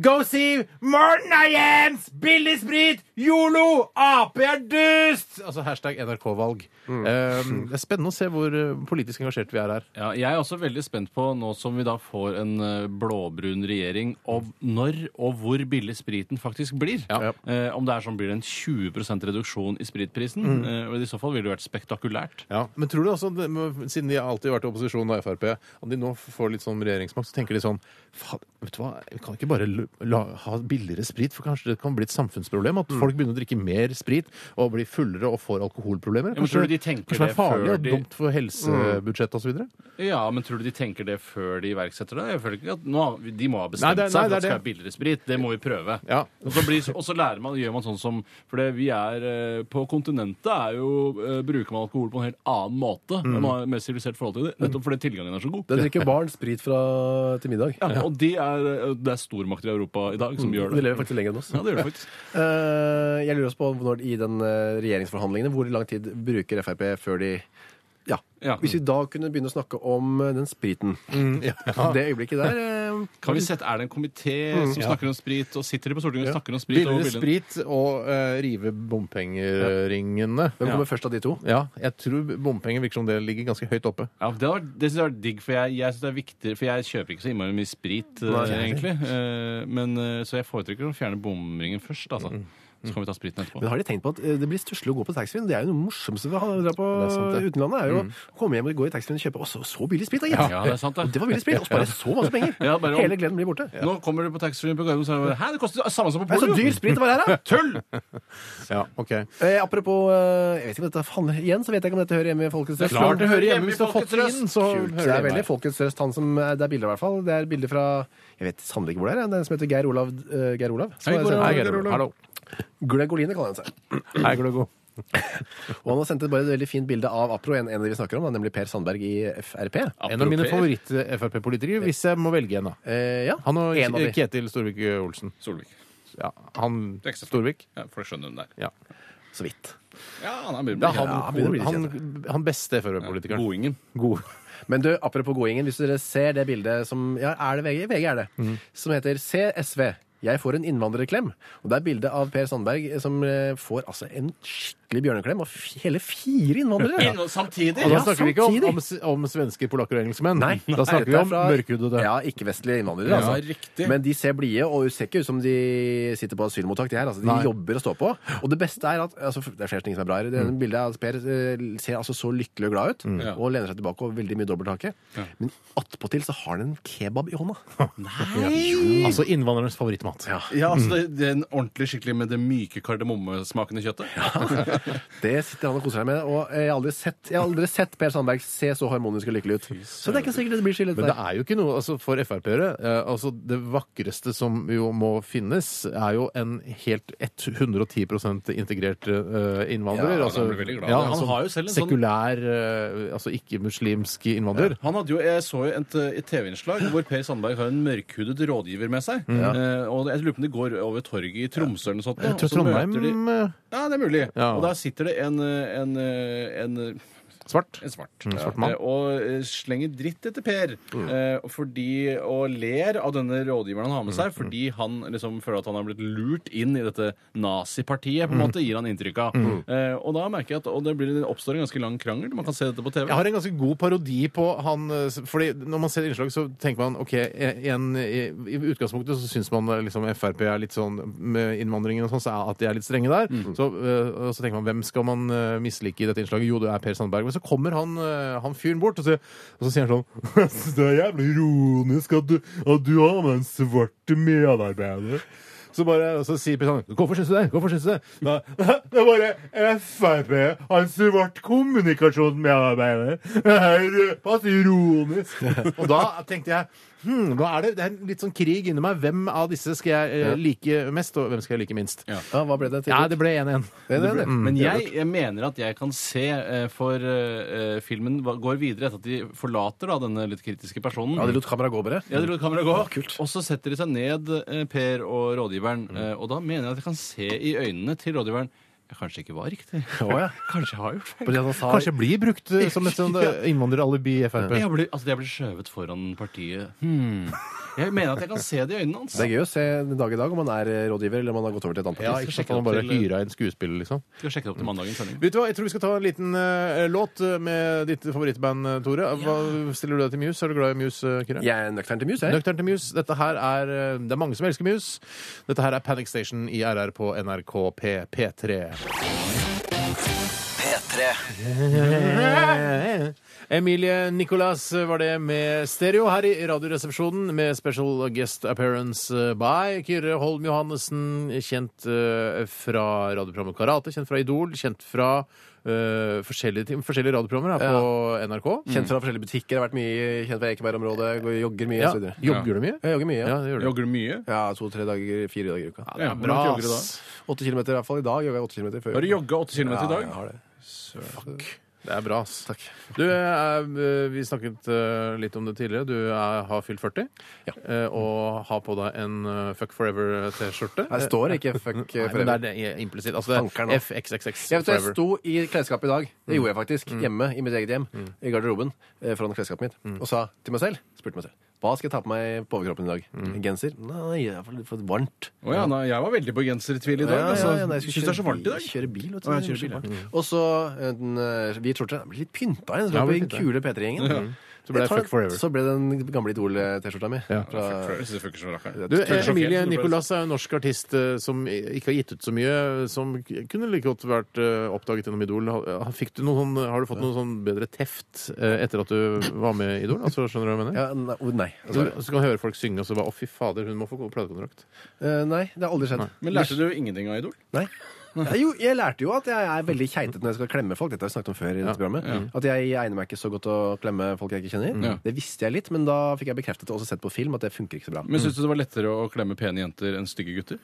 C: Go see Morten og Jens! Billigsprit! Yolo! Ap er dust! Altså hashtag NRK-valg.
B: Mm.
C: Eh, det er spennende å se hvor eh, politisk engasjert vi er her.
D: Ja, jeg er også veldig spent på, nå som vi da får en eh, blåbrun regjering, om når og hvor billig spriten faktisk blir.
C: Ja.
D: Eh, om det er sånn blir det en 20 reduksjon i spritprisen.
B: Mm.
D: Eh, og I så fall ville det vært spektakulært.
C: Ja, Men tror du også, det- men siden de alltid har vært i opposisjon, da, Frp, at de nå får litt sånn regjeringsmakt, så tenker de sånn Faen, vet du hva, vi kan ikke bare l- la, ha billigere sprit, for kanskje det kan bli et samfunnsproblem
D: Mm.
C: at folk begynner å drikke mer sprit og blir fullere og får alkoholproblemer.
D: Ja, men tror du de tenker
C: kanskje det er
D: det før
C: farlig og
D: de-
C: dumt for helsebudsjettet osv.?
D: Ja, men tror du de tenker det før de iverksetter det? Jeg føler ikke at nå, har vi- De må ha
C: Nei,
D: bestemt
C: det er-
D: seg
C: nei, det er
D: for at det
C: det.
D: skal være billigere sprit. Det må vi prøve.
C: Ja.
D: Og, så blir, og så lærer man, gjør man sånn som For det vi er eh, på kontinentet er jo, eh, bruker man alkohol på en helt annen måte.
C: Mm.
D: Man har et mer sivilisert forhold til det, nettopp fordi tilgangen er så god.
B: Det drikker barn sprit fra til middag.
D: Ja, og de er, eh, det er stormakter i Europa i dag som
C: Mm.
D: gjør
B: De
D: det.
B: lever faktisk lenger enn oss.
D: Ja, det gjør det faktisk.
B: Eh, jeg lurer også på når, i den eh, regjeringsforhandlingene, hvor lang tid bruker Frp før de ja.
D: Ja.
B: Hvis vi da kunne begynne å snakke om eh, den spriten.
C: Mm.
D: Mm.
B: Det øyeblikket der eh,
D: Kan vi sette, Er det en komité som snakker om sprit, og sitter de på Stortinget og snakker om sprit? og
C: Mm. Billigere
D: billig-
C: sprit og eh, rive bompengeringene.
B: Hvem
C: Ja.
B: kommer først av de to?
C: Ja, jeg tror bompenger virker som det ligger ganske høyt oppe.
D: Ja, Det, hadde vært- det syns jeg var digg, for jeg, jeg synes det er viktig, for jeg kjøper ikke så innmari mye sprit, eh, egentlig. Eh, men, eh, så jeg foretrekker å fjerne bomringen først, altså.
B: Mm.
D: Så kan vi ta spriten etterpå.
B: Men har de tenkt på at eh, det blir stusslig å gå på taxfree? Det er jo noe morsomste ved å dra på
C: Det er sant, det.
B: utenlandet. er jo å komme hjem og gå i taxfree og kjøpe Å, så- så billig sprit, da, gitt!
D: Ja, det er sant, det.
B: Og var billig sprit! Og spare så masse penger!
D: Ja, bare om-
B: Hele gleden blir borte.
D: Nå kommer du på taxfree på Gardermoen, så er det bare, Hæ, det koster det samme som på
B: Det er
D: Polo!
B: så dyr sprit det var her, da!
D: Tull!
C: Ja, ok.
B: [LAUGHS] Eh, apropos eh, Jeg vet ikke om dette handler igjen, så vet jeg ikke om dette hører hjemme i Folkets Røst.
C: Klart det hører hjemme
D: Hjemme i
C: hvis du har fått det
D: Folkets
C: inn, så hører
B: Kult. Det er
C: hjemme
B: veldig
C: her.
B: Folkets Røst, han som eh, Det er bilder, i hvert fall. Det er bilder fra Jeg vet sannelig ikke hvor det er. Det er en som heter Geir Olav. eh, Geir Olav som
D: Hei,
B: har
D: Geir
B: sendt-
C: Hei, Geir Olav. Hallo.
B: Glegoline kaller han seg.
C: Hei, Gløgo.
B: Og han har sendt et bare et veldig fint bilde av Apro, en, en av de vi snakker om, da, nemlig Per Sandberg i Frp.
C: En av mine eh, favoritt-Frp-politikere, hvis jeg må velge en, da.
B: Eh, ja,
C: Han og
B: en av de.
C: Ketil Storvik-Olsen.
D: [LAUGHS] Solvik.
C: Ja, han
D: Det er ikke så
C: Storvik.
D: Ja, folk skjønner hvem det er.
C: Ja.
B: Så vidt.
D: Ja, han er mye
C: Det er han,
B: han begynner å bli litt
C: han, han beste Frp-politikeren.
D: Boingen.
C: God.
B: Men du, apropos godingen, hvis dere ser det bildet som Ja, er det VG? VG er det.
C: Mm.
B: Som heter CSV. Jeg får en innvandrerklem. Og det er bilde av Per Sandberg eh, som eh, får altså en skikkelig bjørneklem av f- hele fire innvandrere.
D: Inn- Samtidig!
C: Og da
B: Ja,
C: snakker vi ikke om,
B: samtidig.
C: om, s- om svenske, polakker og [LAUGHS] engelskmenn.
B: Nei,
C: Da snakker vi om
B: Dette er fra-
C: mørkhudede.
B: Ja, ikke-vestlige innvandrere.
D: Ja,
B: altså.
D: riktig.
B: Men de ser blide og ser ikke ut som de sitter på asylmottak. De, her, altså. de
C: Nei.
B: jobber og står på. Og det beste er at altså, Det er flere ting som er bra her. Det
C: Mm.
B: ene bildet er at Per eh, ser altså så lykkelig og glad ut
D: Ja.
B: og lener seg tilbake og veldig mye dobbelthake. Men attpåtil så har han en kebab i hånda.
D: Nei!
C: Altså innvandrernes favorittmat.
B: Ja.
D: Ja, altså det,
B: Mm.
D: det er en ordentlig skikkelig med det myke kardemommesmaken i kjøttet.
B: Det sitter han og koser seg med. Og jeg har aldri sett, jeg har aldri sett Per Sandberg se så harmonisk og lykkelig ut. Så det er ikke sikkert det blir skillet
C: Men det
B: der.
C: er jo ikke noe altså For Frp-ere eh, altså Det vakreste som jo må finnes, er jo en helt 110 integrert eh, innvandrer.
B: Ja, han
C: altså,
D: blir veldig glad.
C: ja,
D: Han
C: altså,
D: har jo selv en sånn-
C: sekulær, eh, altså ikke-muslimsk innvandrer.
D: Han hadde jo, Jeg så jo et, et TV-innslag hvor Per Sandberg har en mørkhudet rådgiver med seg. Eh, og Jeg lurer på om de går over torget i Tromsø eller noe sånt. da,
C: Jeg
D: og
C: tror
D: så møter
C: Trondheim
D: de-
C: eh,
D: Ja, det er mulig.
C: Ja.
D: Og der sitter det en, eh, en, eh, en
C: svart.
D: en svart.
C: Mm, svart mann. Mm.
D: Eh, Og eh, slenger dritt etter Per. eh, Fordi, og ler av denne rådgiveren han har med
C: Mm.
D: seg, fordi han liksom føler at han har blitt lurt inn i dette nazipartiet,
C: Mm.
D: på en måte, gir han inntrykk av. Eh, Og da merker jeg at og det blir, det oppstår en ganske lang krangel. Man kan se dette på TV.
C: Jeg har en ganske god parodi på han eh, s- Fordi når man ser innslag, så tenker man OK, e- en, i, i utgangspunktet så syns man eh, liksom Frp er litt sånn med innvandringen og sånn, så er at de er litt strenge der. Så, eh, og så tenker man hvem skal man eh, mislike i dette innslaget? Jo, det er Per Sandberg. Men så kommer han, eh, han fyren bort, og så, og så sier han sånn [LAUGHS] Jeg syns det er jævlig ironisk at du, at du har med en svart medarbeider. Så bare, og så sier Per Sandberg Hvorfor syns du det? Hvorfor syns du det? Da, [LAUGHS] det er bare Frp, han svart kommunikasjonsmedarbeider. Det er pass ironisk. [LAUGHS] og da tenkte jeg Hmm, da er det, det er en litt sånn krig inni meg. Hvem av disse skal jeg eh, like mest, og hvem skal jeg like minst?
D: Ja.
B: Ja, hva ble det til?
C: Ja, det ble 1-1.
B: Det er Mm. det, det.
D: Men jeg, jeg mener at jeg kan se, eh, for eh, filmen va- går videre etter at de forlater da, denne litt kritiske personen.
B: Ja, de lot kameraet gå, bare.
D: Ja, de lot kameraet gå. Og så setter de seg ned, eh, Per og rådgiveren.
B: Mm.
D: eh, Og da mener jeg at jeg kan se i øynene til rådgiveren jeg kanskje ikke var riktig.
B: Å, ja.
D: [LAUGHS] Kanskje jeg har gjort feil.
B: Fordi at han sa
C: Kanskje blir brukt eh, som et [LAUGHS] sånn eh, innvandreralibi i Frp.
D: Jeg ble, altså, jeg ble skjøvet foran partiet. Hmm. Jeg mener at jeg kan se det i øynene hans.
B: Det er gøy å se den dag i dag om man er eh, rådgiver eller om man har gått over til et annet parti.
C: Ja,
D: ikke
C: ikke
D: sant.
C: sant. Han bare
D: Til-
C: hyra en skuespiller, liksom.
D: Skal sjekke det opp til mandagens sending.
C: Vet du hva, Jeg tror vi skal ta en liten eh, låt eh, med ditt favorittband, eh, Tore. Hva Stiller du deg til Muse? Er du glad i Muse, eh, Kyrre?
B: Jeg er nøktern til mus, jeg.
C: Nøktern til Muse. Dette her er, eh, det er mange som elsker Muse. Dette her er Panic Station i RR på NRK P P3.
A: P3.
C: Emilie Nicolas var det med stereo her i Radioresepsjonen med special guest appearance eh, by Kyrre Holm Johannessen, kjent eh, fra radioprogrammet Karate, kjent fra Idol, kjent fra eh, forskjellige, tim- forskjellige radioprogrammer her på NRK.
B: Kjent fra forskjellige butikker, har vært mye kjent fra Ekeberg-området, går- jogger mye
C: Ja.
B: og så videre.
C: Jogger du mye?
B: Jeg jogger mye, ja.
C: Ja, det gjør du.
D: Jogger du mye?
B: Ja, to-tre dager, fire dager i uka.
C: det er
D: Ja,
C: bra,
D: bra, jogger du da?
C: ass.
B: Åtte kilometer i hvert fall. I dag jogger jeg åtte kilometer før.
D: Har du jogga 8 km i
B: Ja,
D: dag?
B: jeg har det.
C: Det er bra, ass.
B: Takk.
C: Du, eh, vi snakket eh, litt om det tidligere. Du er, har fylt 40
B: Ja.
C: eh, og har på deg en eh, Fuck Forever-T-skjorte.
B: Her står ikke fuck
C: Nei, men
B: forever.
C: det er det implisitt. Altså
B: Anker
C: det
B: nå.
C: er FXXX
B: Jeg, vet, du, jeg
C: Forever.
B: sto i klesskapet i dag, det gjorde jeg faktisk, hjemme i mitt eget hjem, i garderoben, eh, foran klesskapet mitt, og sa til meg selv, spurte meg selv, hva skal jeg ta på meg på overkroppen i dag? Genser? Nei, det er for, for varmt.
D: Å ja, nei, jeg var veldig på gensertvil i dag.
B: Ja,
D: altså.
B: ja, ja, nei, jeg
D: Syns
B: skulle
D: det er så varmt i dag.
B: Kjøre bil, vet du.
D: Å, jeg kjører bil, ja.
B: Mm. Og så en eh, hvit skjorte. Den blir litt pynta
C: Ja,
B: igjen. Så ble
C: blir
B: den kule P3-gjengen.
C: Så ble det
B: Jeg tar-
C: Fuck Forever.
B: Så ble det den gamle Idol-T-skjorta mi.
C: Ja.
B: Fra,
D: Det funker som rakkeren.
C: Eh, Du,
B: Tørt
C: eh,
B: sjokk.
C: Emilie
D: helt, du ble-
C: Nicolas er jo en norsk artist eh, som ikke har gitt ut så mye, som kunne like godt vært eh, oppdaget gjennom Idol. Ha- Fikk du noen, sånn- har du fått noen sånn bedre teft eh, etter at du var med i Idol? Altså, skjønner du hva jeg mener?
B: ja, nei, oh, nei.
C: Så,
B: Altså,
C: så kan du høre folk synge, og så bare 'Å, fy fader, hun må få platekontrakt'.
B: eh, nei, det har aldri skjedd.
D: Men lærte du ingenting av Idol?
B: Nei. Ja, jo, jeg lærte jo at jeg er veldig keitete når jeg skal klemme folk. Dette har vi snakket om før i dette programmet. At jeg egner meg ikke så godt å klemme folk jeg ikke kjenner.
D: Ja.
C: Mm.
B: Det visste jeg litt, men da fikk jeg bekreftet det og også sett på film at det funker ikke så bra.
D: Men Syns du det var lettere å klemme pene jenter enn stygge gutter?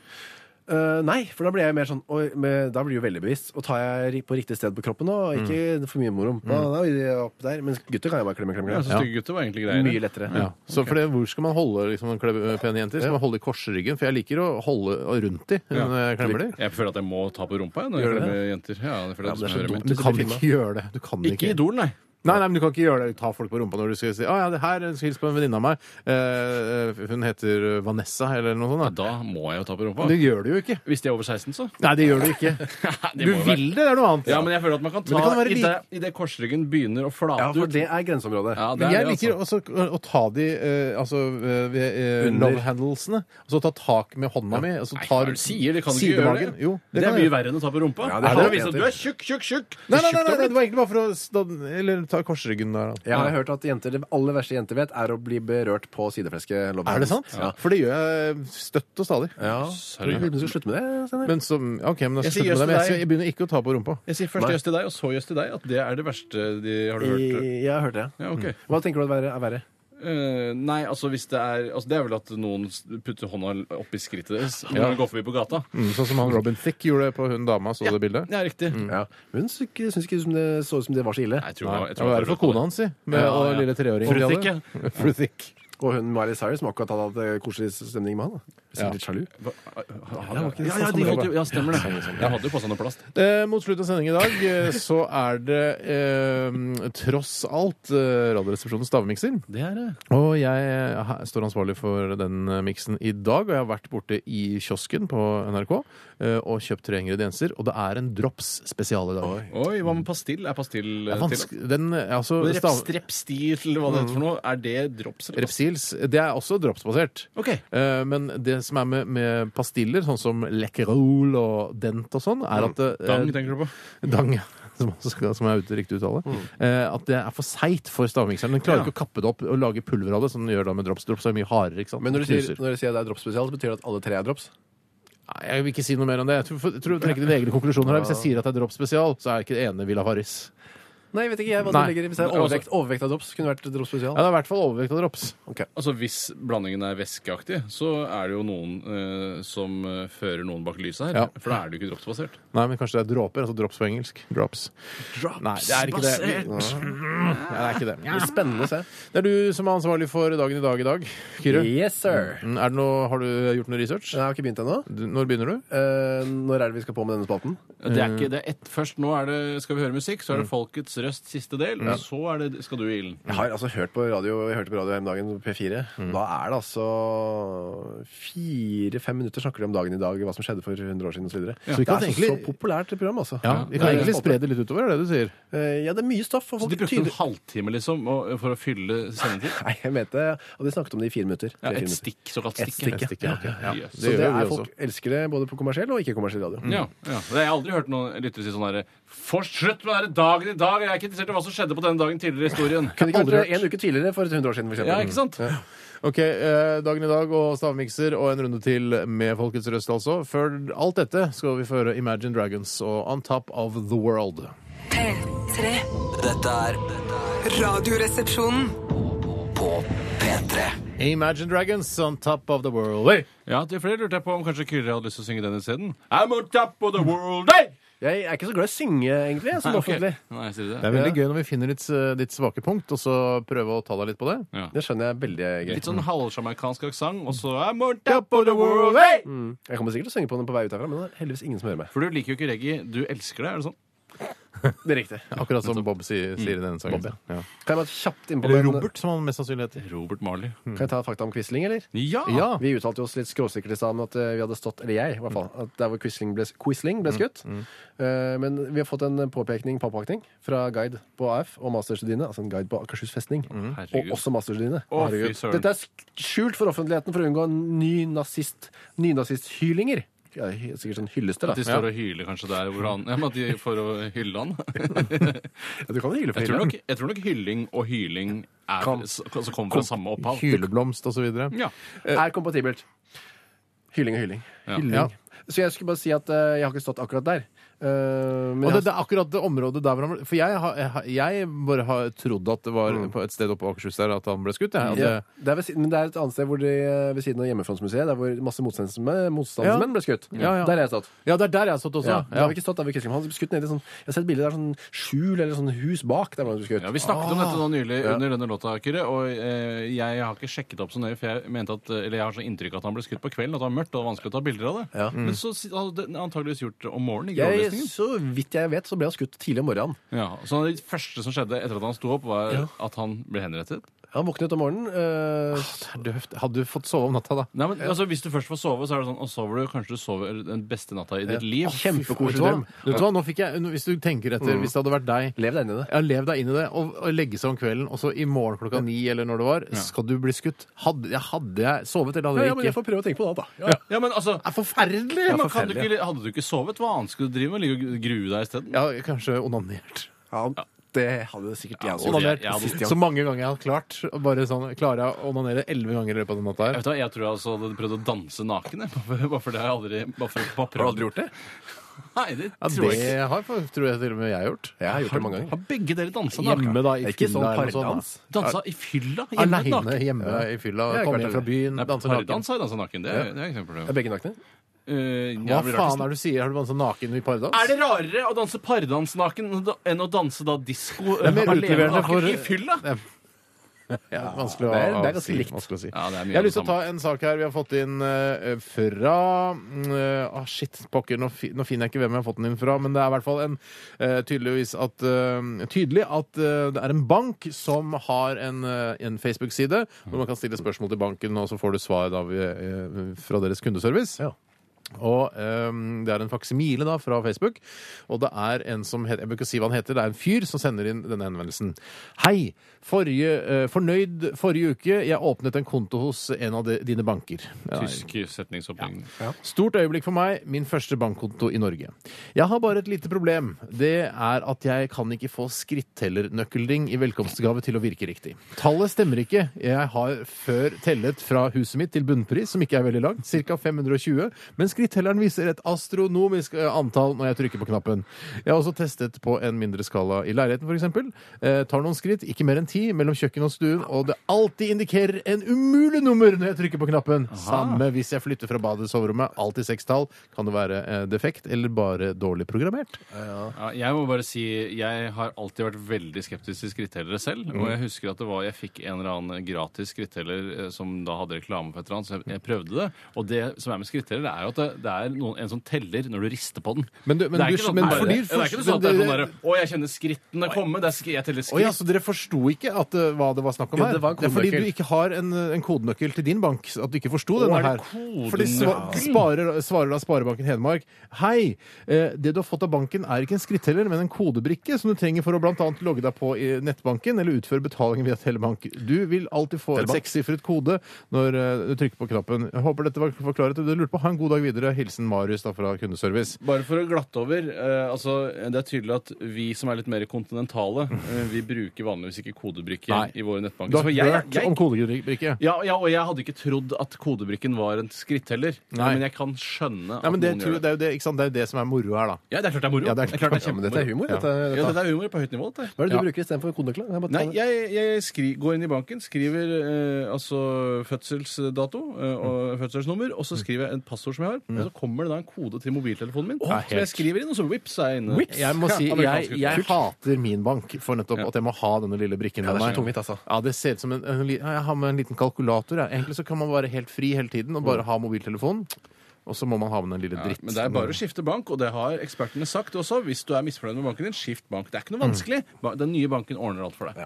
B: Eh, nei, for da blir jeg mer sånn oi, men Da blir du veldig bevisst. Og tar jeg ri- på riktig sted på kroppen nå, og
C: Mm.
B: ikke for mye moro. Men gutter kan jeg bare klemme, klemme,
D: Ja,
B: klemme.
D: så Altså, stygge gutter var egentlig greiere.
B: Mye lettere.
C: Ja. Så for det, hvor skal man holde liksom, en klem- pene jenter? Skal man holde i korsryggen? For jeg liker å holde rundt de når jeg eh, klemmer de.
D: Jeg føler at jeg må ta på rumpa jeg, når jeg
B: Gjør du
D: klemmer jenter. Ja, det føler jeg
B: men det er så
D: hører
B: dumt.
D: med.
C: Du kan ikke gjøre det. Du kan
D: Ikke Idol, nei.
C: Nei, nei, men du kan ikke gjøre det. Ta folk på rumpa når du skal si 'Å ja, det her skal hilse på en venninne av meg'. Eh, hun heter Vanessa, eller noe sånt.
D: Da må jeg jo ta på
C: Da.
D: rumpa.
C: Det gjør du jo ikke.
D: Hvis de er over 16,
C: [LAUGHS]
D: så.
C: Nei, det gjør du ikke. Du
D: Det må jo være-
C: vil det, det er noe annet.
D: Ja, men jeg føler at man kan
C: det
D: ta
C: kan være
D: i,
C: lik-
D: det, I det korsryggen begynner å flate
B: Ja, for
D: ut.
B: det er grenseområdet.
D: Ja, det
C: Men
D: er
C: jeg
D: det,
C: liker også
D: altså.
C: å- å ta de eh, altså, eh, ved, eh,
B: Under.
C: love handlesene. Altså ta tak med hånda mi. Altså,
D: Nei, hva
C: ta
D: er det du sier? Det kan du ikke
C: sidemagen.
D: gjøre.
C: Jo, kan
D: det,
C: jeg
D: er mye
C: gjøre.
D: verre enn å ta på rumpa.
B: Ja,
D: Ja, det
B: det er
D: er at
B: det.
D: du er tjukk, tjukk, tjukk.
C: Nei, nei, nei, nei, det var egentlig bare for å stå- Eller ta korsryggen der. da.
B: Jeg har hørt at jenter, Det aller verste jenter vet, er å bli berørt på sideflesket. lobby.
C: Er det sant?
B: Ja.
C: For det gjør jeg støtt og stadig.
B: ja.
D: Sorry.
B: Tror du du skal slutte med det? Steinar?
C: Men som, ok, men da
D: Jeg sier
C: slutter jeg med det. Men jeg,
D: jøss til
C: skal- jeg begynner ikke å ta på rumpa.
D: Jeg sier først
B: Nei.
D: jøss til deg, og så jøss til deg. At det er det verste de har du hørt.
B: I- Jeg har hørt det.
D: Ja, ok.
C: Mm.
B: Hva tenker du at verre er verre?
D: Eh, nei, altså hvis det er altså, Det er vel at noen s- putter hånda oppi skrittet deres når de går forbi på gata.
C: Mm, sånn som han Robin Thicke gjorde på hun dama, så du det bildet?
D: Det er riktig.
B: Ja. Hun syns ikke syns ikke som det så ut som det var så ille.
D: Nei, jeg tror,
C: Mm. Nei,
D: jeg
C: det
D: tror
C: var
D: jeg
C: for
D: føler på
C: kona hans, si. Med,
D: Ja,
C: Og
D: ja.
C: lille treåringen.
D: Fru
C: de
D: Thicke.
C: hadde. Fru Thicke.
B: Og hun Miley Cyrus må akkurat ha hatt eh, koselig stemning med han. da. Sikkert
C: Ja.
B: litt sjalu.
D: Ja, ja, ja, de holdt jo, [LAUGHS] ja, stemmer det. Jeg hadde jo på seg noe plast.
C: Eh, mot slutten av sendingen i dag eh, så er det eh, tross alt eh, Radioresepsjonens stavmikser.
D: Det er det.
C: Og jeg eh, står ansvarlig for den eh, miksen i dag, og jeg har vært borte i kiosken på NRK eh, og kjøpt tre ingredienser, og det er en drops spesial i dag.
D: Oi, hva med pastill? Er pastill
C: Det er
D: eh, til?
C: vanskelig Den, eh, altså, stav- Mm.
D: Repstil, hva det heter for noe. Er det drops? eller
C: Repsils, det er også dropsbasert.
D: Ok.
C: Eh, men det som er med, med pastiller, sånn som Lecquerol og Dent og sånn, er at eh,
D: Mm. Dang tenker du på?
C: Dang, ja. [LAUGHS] Som, også skal, som er ut, riktig uttale. Eh, at det er for seigt for stavmikseren. Den klarer
D: Mm. Ja.
C: ikke å kappe det opp og lage pulver av det, som den gjør da med drops. Drops er mye hardere. ikke sant?
B: Men når du, sier,
C: Knuser.
B: når du sier det er drops spesial, så betyr det at alle tre er drops?
C: Nei, Jeg vil ikke si noe mer om det. Jeg tror, for, jeg tror jeg trekker dine egne konklusjoner her. Hvis jeg sier at det er drops spesial, så er jeg ikke det ene Villa Farris.
B: Nei, jeg vet ikke jeg hva
C: Nei. altså-
B: som ligger i. Hvis det er overvekt, overvekt av drops, kunne det vært drops
C: Ja, det
B: spesial.
C: er i hvert fall overvekt av drops.
B: Ok.
D: Altså Hvis blandingen er væskeaktig, så er det jo noen eh, som eh, fører noen bak lyset her.
C: Ja.
D: For da er det jo ikke dropsbasert.
C: Nei, men kanskje det er dråper. Altså drops på engelsk. Drops. Nei, det er ikke det. Nei, det er ikke det.
B: Det er spennende å se.
C: Det er du som er ansvarlig for dagen i dag i dag, Kyrre.
B: Yes, sir.
C: Mm, Er det noe, har du gjort noe research?
B: Jeg har ikke begynt ennå.
C: Du- Når begynner du?
B: Eh, når er det vi skal på med denne spalten?
D: Det er ikke det. er ett- først nå er det, skal vi høre musikk, så er det Folkets dansrøst siste del, og så er det, skal du i ilden.
B: Jeg har altså hørt på radio Jeg hørte på radio her om dagen, P4.
C: Mm.
B: Da er det altså fire-fem minutter snakker de om dagen i dag, hva som skjedde for 100 år siden osv.
C: Så
B: Det
C: vi
B: er
C: kan
B: så,
C: egentlig-
B: så populært program, altså.
C: Ja, Vi kan
B: Det er
C: egentlig
B: en
C: spre det litt utover, er det du sier?
B: måte. Eh, Ja, det er mye stoff. Og
D: Så
B: folk
D: de brukte en
B: tyder
D: halvtime liksom å- for å fylle sendetid?
B: Nei, jeg mente Og de snakket om det i fire minutter.
D: Ja,
B: Tre, fire
D: et
B: minutter.
D: stikk, såkalt
B: Et
D: stikk.
B: stikk,
C: ja, ok. Ja.
D: Yes.
C: Det
B: Så
C: gjør
B: det
C: vi
B: er
C: også. Mm.
B: folk elsker det både på kommersiell og ikke-kommersiell radio.
D: Ja, ja. Det har jeg aldri hørt noen lyttere si sånn herre For slutt med den dagen i dag! Jeg er ikke interessert i hva som skjedde på denne dagen tidligere i historien.
B: Kunne ikke
C: Aldri
B: vært en uke tidligere for 100 år siden, f.eks.
D: Ja, ikke sant?
C: Ok, eh, dagen i dag og stavmikser og en runde til med Folkets Røst altså. Før alt dette skal vi få høre Imagine Dragons og On Top of the World.
A: P3.
E: Dette er
A: Radioresepsjonen.
E: på P3.
C: Imagine Dragons On Top of the World. Hey!
D: Ja, til flere lurte jeg på om kanskje Kyrre hadde lyst til å synge den isteden. I'm on top of the world, hey!
B: Mm. Jeg er ikke så glad i å synge, egentlig, som
D: Nei, ok.
B: offentlig.
D: Nei, sier du
C: Det
D: det?
C: er veldig gøy når vi finner ditt, eh, ditt svake punkt, og så prøve å ta deg litt på det.
B: Det skjønner jeg veldig greit.
D: Litt sånn halvsjamaikansk aksent, og så I'm on top of the world, hey!
B: Mm. Jeg kommer sikkert til å synge på den på vei ut herfra, men det er heldigvis ingen som hører meg.
D: For du liker jo ikke reggae. Du elsker det, er det sånn?
B: Det er riktig.
C: Akkurat som Bob sier, sier i denne sangen.
B: Bob,
C: ja.
B: Kan jeg bare kjapt innpå
C: Eller
B: den-
C: Robert, som han mest sannsynlig heter.
D: Robert Marley.
B: Kan jeg ta fakta om Quisling, eller?
D: Ja!
C: Ja.
B: Vi uttalte jo oss litt skråsikkert i stad om at eh, vi hadde stått, eller jeg i hvert fall, at der hvor Quisling ble, Quisling
D: Mm,
B: ble skutt. Eh, men vi har fått en påpekning, påpakning, fra guide på AF og masterstudiene, altså en guide på Akershus festning, og
D: Mm, Herregud.
B: også masterstudiene.
D: Å, fy
B: Herregud.
D: søren.
B: Dette er sk- skjult for offentligheten for å unngå ny nazist, nynazisthylinger. Ja, hy- sikkert sånn hylleste,
D: At de
B: da.
D: står og hyler kanskje der hvor han ja, men at de For å hylle han.
B: Ja, du kan jo hylle for
D: Jeg tror,
B: hylle.
D: nok, jeg tror nok hylling og hyling er,
B: Kan-
D: s- altså kommer fra samme opphav.
C: Hyleblomst og så videre.
D: Ja.
B: Er kompatibelt. Hylling og hylling.
D: eh, Ja.
B: hylling.
C: Ja.
B: Så jeg skulle bare si at eh, jeg har ikke stått akkurat der. Eh, men
C: Og det,
B: jeg,
C: det er akkurat det området der hvor han ble For jeg, har- jeg, har- jeg bare har trodd at det var på et sted oppe på Akershus der at han ble skutt. Jeg, at
B: ja,
C: det,
B: det er ved, siden- men det er et annet sted hvor de, eh, ved siden av Hjemmefrontsmuseet, der hvor masse motstandsmenn,
C: Ja.
B: motstandsmenn ble skutt.
C: Ja, ja.
B: Der har jeg stått.
C: ja, det er der jeg har stått også.
B: Ja,
C: Ja.
B: Der har vi ikke stått, der vi ikke Han ble skutt ned i sånn, jeg har sett bilder der sånn skjul eller sånn hus bak der hvor han ble skutt.
D: Ja, Vi snakket om dette nå nylig under denne låta, Kyrre. Og eh, jeg har ikke sjekket opp så nøye, for jeg mente at, eller jeg har så inntrykk av at han ble skutt på kvelden. At det var mørkt og det var vanskelig å ta bilder av det.
B: Ja.
D: Men så si- hadde han antageligvis gjort det om morgenen. i grålysningen.
B: jeg, så vidt jeg vet, så ble han skutt tidlig om morgenen.
D: Ja, så det første som skjedde etter at han sto opp, var at han ble henrettet.
B: Han våknet om morgenen. eh,
C: Det er døvt. Hadde du fått sove om natta, da?
D: Nei, men altså, Hvis du først får sove, så er det sånn, og sover du, kanskje du sover den beste natta i ditt liv.
C: Vet
B: Kjempekoselig
C: du hva?
B: drøm.
C: Vet du hva? Nå fikk jeg, nå- hvis du tenker etter, hvis det hadde vært deg
B: Lev deg inn i det.
C: ja, Lev deg inn i det, og, og legge seg om kvelden, og så i morgen klokka ni eller når det var, skal du bli skutt. Hadde, ja, hadde jeg sovet, eller hadde
B: Ja,
C: jeg
B: ja,
C: ikke?
B: men jeg får prøve å tenke på det, da. Ja,
D: Ja, men altså...
C: Det er forferdelig!
D: Ja, men kan du ikke, hadde du ikke sovet, hva annet skulle du drive med? Ligge og grue deg isteden?
C: Ja, kanskje onanert.
B: ja, det hadde sikkert jeg også.
D: jeg-
C: Onanert
D: jeg hadde-
C: sist- så mange ganger jeg har klart. og Bare sånn, Klarer jeg å onanere elleve ganger i løpet av den natta her?
D: Jeg, vet, hva, jeg tror jeg altså hadde prøvd å danse naken. jeg. [LAUGHS] Bare for det har jeg aldri bare for, bare prøvd.
B: gjort det?
D: Nei, det
C: Ja,
D: tror jeg
C: det
D: ikke.
C: har tror jeg til og med jeg gjort.
B: Jeg har gjort det mange ganger.
D: Har begge dere dansa naken?
C: Hjemme, da, i
B: Det er ikke sånn
C: fylla eller noe sånt.
B: pardans.
C: da.
D: Dansa i fylla? Hjemme
C: Aleine
D: naken?
C: hjemme i fylla.
B: Jeg har ikke
C: Komme
B: vært
C: hjem fra byen,
D: Nei,
C: danse naken.
D: Pardans har jeg dansa naken. Det er, det er ikke noe
B: Er
D: problem.
B: begge nakne?
D: Eh,
C: Hva
D: ja, blir det
C: faen
D: artist?
C: er det du sier? Har du dansa naken i pardans?
D: er det rarere å danse pardans naken enn å danse da eh, disko
C: Det er mer utleverende for
D: i fylla?
C: Ja. Ja, vanskelig å,
B: det er- det er
C: å
B: ganske
C: si,
B: likt.
C: vanskelig å si.
D: Ja, det er mye
C: jeg har lyst til
D: av det
C: å ta en sak her vi har fått inn eh, fra eh, ah, Shit, pokker, nå, fi, nå finner jeg ikke hvem jeg har fått den inn fra, men det er i hvert fall en eh, tydeligvis at eh, tydelig at eh, det er en bank som har en, eh, en Facebook-side hvor man kan stille spørsmål til banken, og så får du svar da, ved, eh, fra deres kundeservice. Og ehm, Det er en faksimile da fra Facebook. Og det er en som heter, jeg bør ikke si hva han heter, det er en fyr som sender inn denne henvendelsen. Hei! Forrige, eh, fornøyd forrige uke. Jeg åpnet en konto hos en av de, dine banker. Ja,
D: Tysk setningsoppbygging.
C: Stort øyeblikk for meg, min første bankkonto i Norge. Jeg har bare et lite problem. Det er at jeg kan ikke få skrittellernøkkelring i velkomstgave til å virke riktig. Tallet stemmer ikke. Jeg har før tellet fra huset mitt til bunnpris, som ikke er veldig langt, ca. 520, men skrittelleren viser et astronomisk eh, antall når jeg trykker på knappen. Jeg har også testet på en mindre skala i leiligheten, f.eks. Eh, tar noen skritt, ikke mer enn ti, mellom kjøkken og stuen, og det alltid indikerer en umulig nummer når jeg trykker på knappen. Samme hvis jeg flytter fra badet til soverommet. Alltid sekstall. Kan det være eh, defekt eller bare dårlig programmert?
D: Ja, jeg må bare si, jeg har alltid vært veldig skeptisk til skrittellere selv.
C: Mm.
D: Og jeg husker at det var, jeg fikk en eller annen gratis skritteller eh, som da hadde reklame for et eller annet, så jeg, jeg prøvde det. Og det som er med skritteller, det er jo at det, det er noen, en som teller når du rister på den.
C: Men du- men
D: det er
C: du-
D: ikke sånn,
C: men
D: at-
C: fordi
D: det er ikke
C: først-
D: sånn at det er
C: det-
D: sånn derre Å, jeg kjenner skrittene komme. Det er, sk- jeg teller
C: Å ja,
D: skritt.
C: så dere forsto ikke at, eh, hva det var snakk om
B: Jo,
C: her?
B: det var en
C: er fordi
B: kodenøkkel.
C: du ikke har en, eh, en kodenøkkel til din bank. At du ikke forsto denne
D: er det
C: her. Fordi sva-
D: kodenøkkel?
C: sparer, svarer da Sparebanken Hedmark Hei, eh, det du har fått av banken er ikke en skritteller, men en kodebrikke som du trenger for å bl.a. logge deg på i nettbanken eller utføre betaling via telebank. Du vil alltid få et
B: Telebank.
C: sekssifret kode når eh, du trykker på knappen. Jeg håper dette var forklaret. Du lurte på. Ha en god dag videre. Hilsen Marius da fra kundeservice.
D: Bare for å glatte over. eh, altså, det er tydelig at vi som er litt mer kontinentale, eh, vi bruker vanligvis ikke kodebrikker
C: Nei.
D: i våre nettbanker.
C: Du har
D: Så jeg-
C: hørt
D: jeg-
C: om kodebrikke?
D: Ja, ja, og jeg hadde ikke trodd at kodebrikken var en skritteller.
C: Nei.
D: Men jeg kan skjønne at
C: Nei, men det,
D: noen
C: tror, jeg-
D: gjør
C: det, er jo det, ikke sant? det er jo det som er moro her, da.
D: Ja, det er klart det er moro.
C: Ja, det er
D: klart det er
B: Ja, men dette er
D: kjempemoro.
B: humor.
C: Ja.
B: Dette, er-
D: Ja,
B: dette.
D: dette er humor på høyt nivå. dette.
B: Hva er det du
C: Ja.
B: bruker istedenfor kodnøkkelen? Jeg må ta
D: Nei,
B: det.
D: jeg, jeg skri, går inn i banken, skriver eh, altså fødselsdato eh,
C: Mm.
D: og fødselsnummer, og så skriver jeg et passord som jeg har, og så kommer det da en kode til mobiltelefonen min.
C: Ja,
D: som
C: Mm. helt-
D: jeg skriver inn, og så vips, er jeg inne.
C: Jeg må
D: Ja,
C: si, jeg,
D: amerikansk uttrykk.
C: jeg hater min bank for nettopp
D: Ja.
C: at jeg må ha denne lille brikken.
B: Ja, det er
C: med meg.
B: så tungvint, altså.
C: Ja, det ser ut som en, en, li- ja, jeg har med en liten kalkulator. Jeg. Egentlig så kan man være helt fri hele tiden og bare ha mobiltelefonen. Og så må man ha med den lille
D: Mm. Ja,
C: dritt.
D: men det er bare å skifte bank, og det har ekspertene sagt også. Hvis du er misfornøyd med banken din, skift bank. Det er ikke
B: Mm.
D: noe vanskelig. Ba- Den nye banken ordner alt for deg.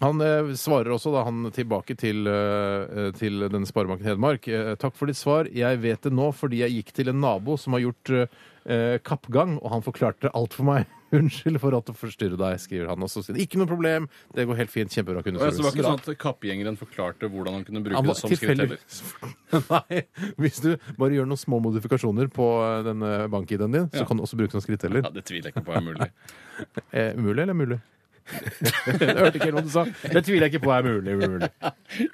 C: Han eh, svarer også da han tilbake til, eh, eh, til denne Sparebanken Hedmark. Eh, takk for ditt svar. Jeg vet det nå fordi jeg gikk til en nabo som har gjort eh, kappgang, og han forklarte alt for meg. [LAUGHS] Unnskyld for at det forstyrrer deg, skriver han. Og så sier han, ikke noe problem, det går helt fint. Kjempebra.
D: Og jeg, så det var
C: kundeservice.
D: ikke sånn at Kappgjengeren forklarte hvordan han kunne bruke
C: Han
D: det
C: var
D: som skritteller.
C: [LAUGHS] Nei, hvis du bare gjør noen små modifikasjoner på eh, denne bank-ID-en din, så
D: Ja.
C: kan du også bruke den som skritteller.
D: Ja, det tviler jeg ikke på er mulig.
C: Eh, umulig eller mulig? [LAUGHS] jeg hørte ikke helt hva du sa. Det tviler jeg ikke på er mulig. umulig.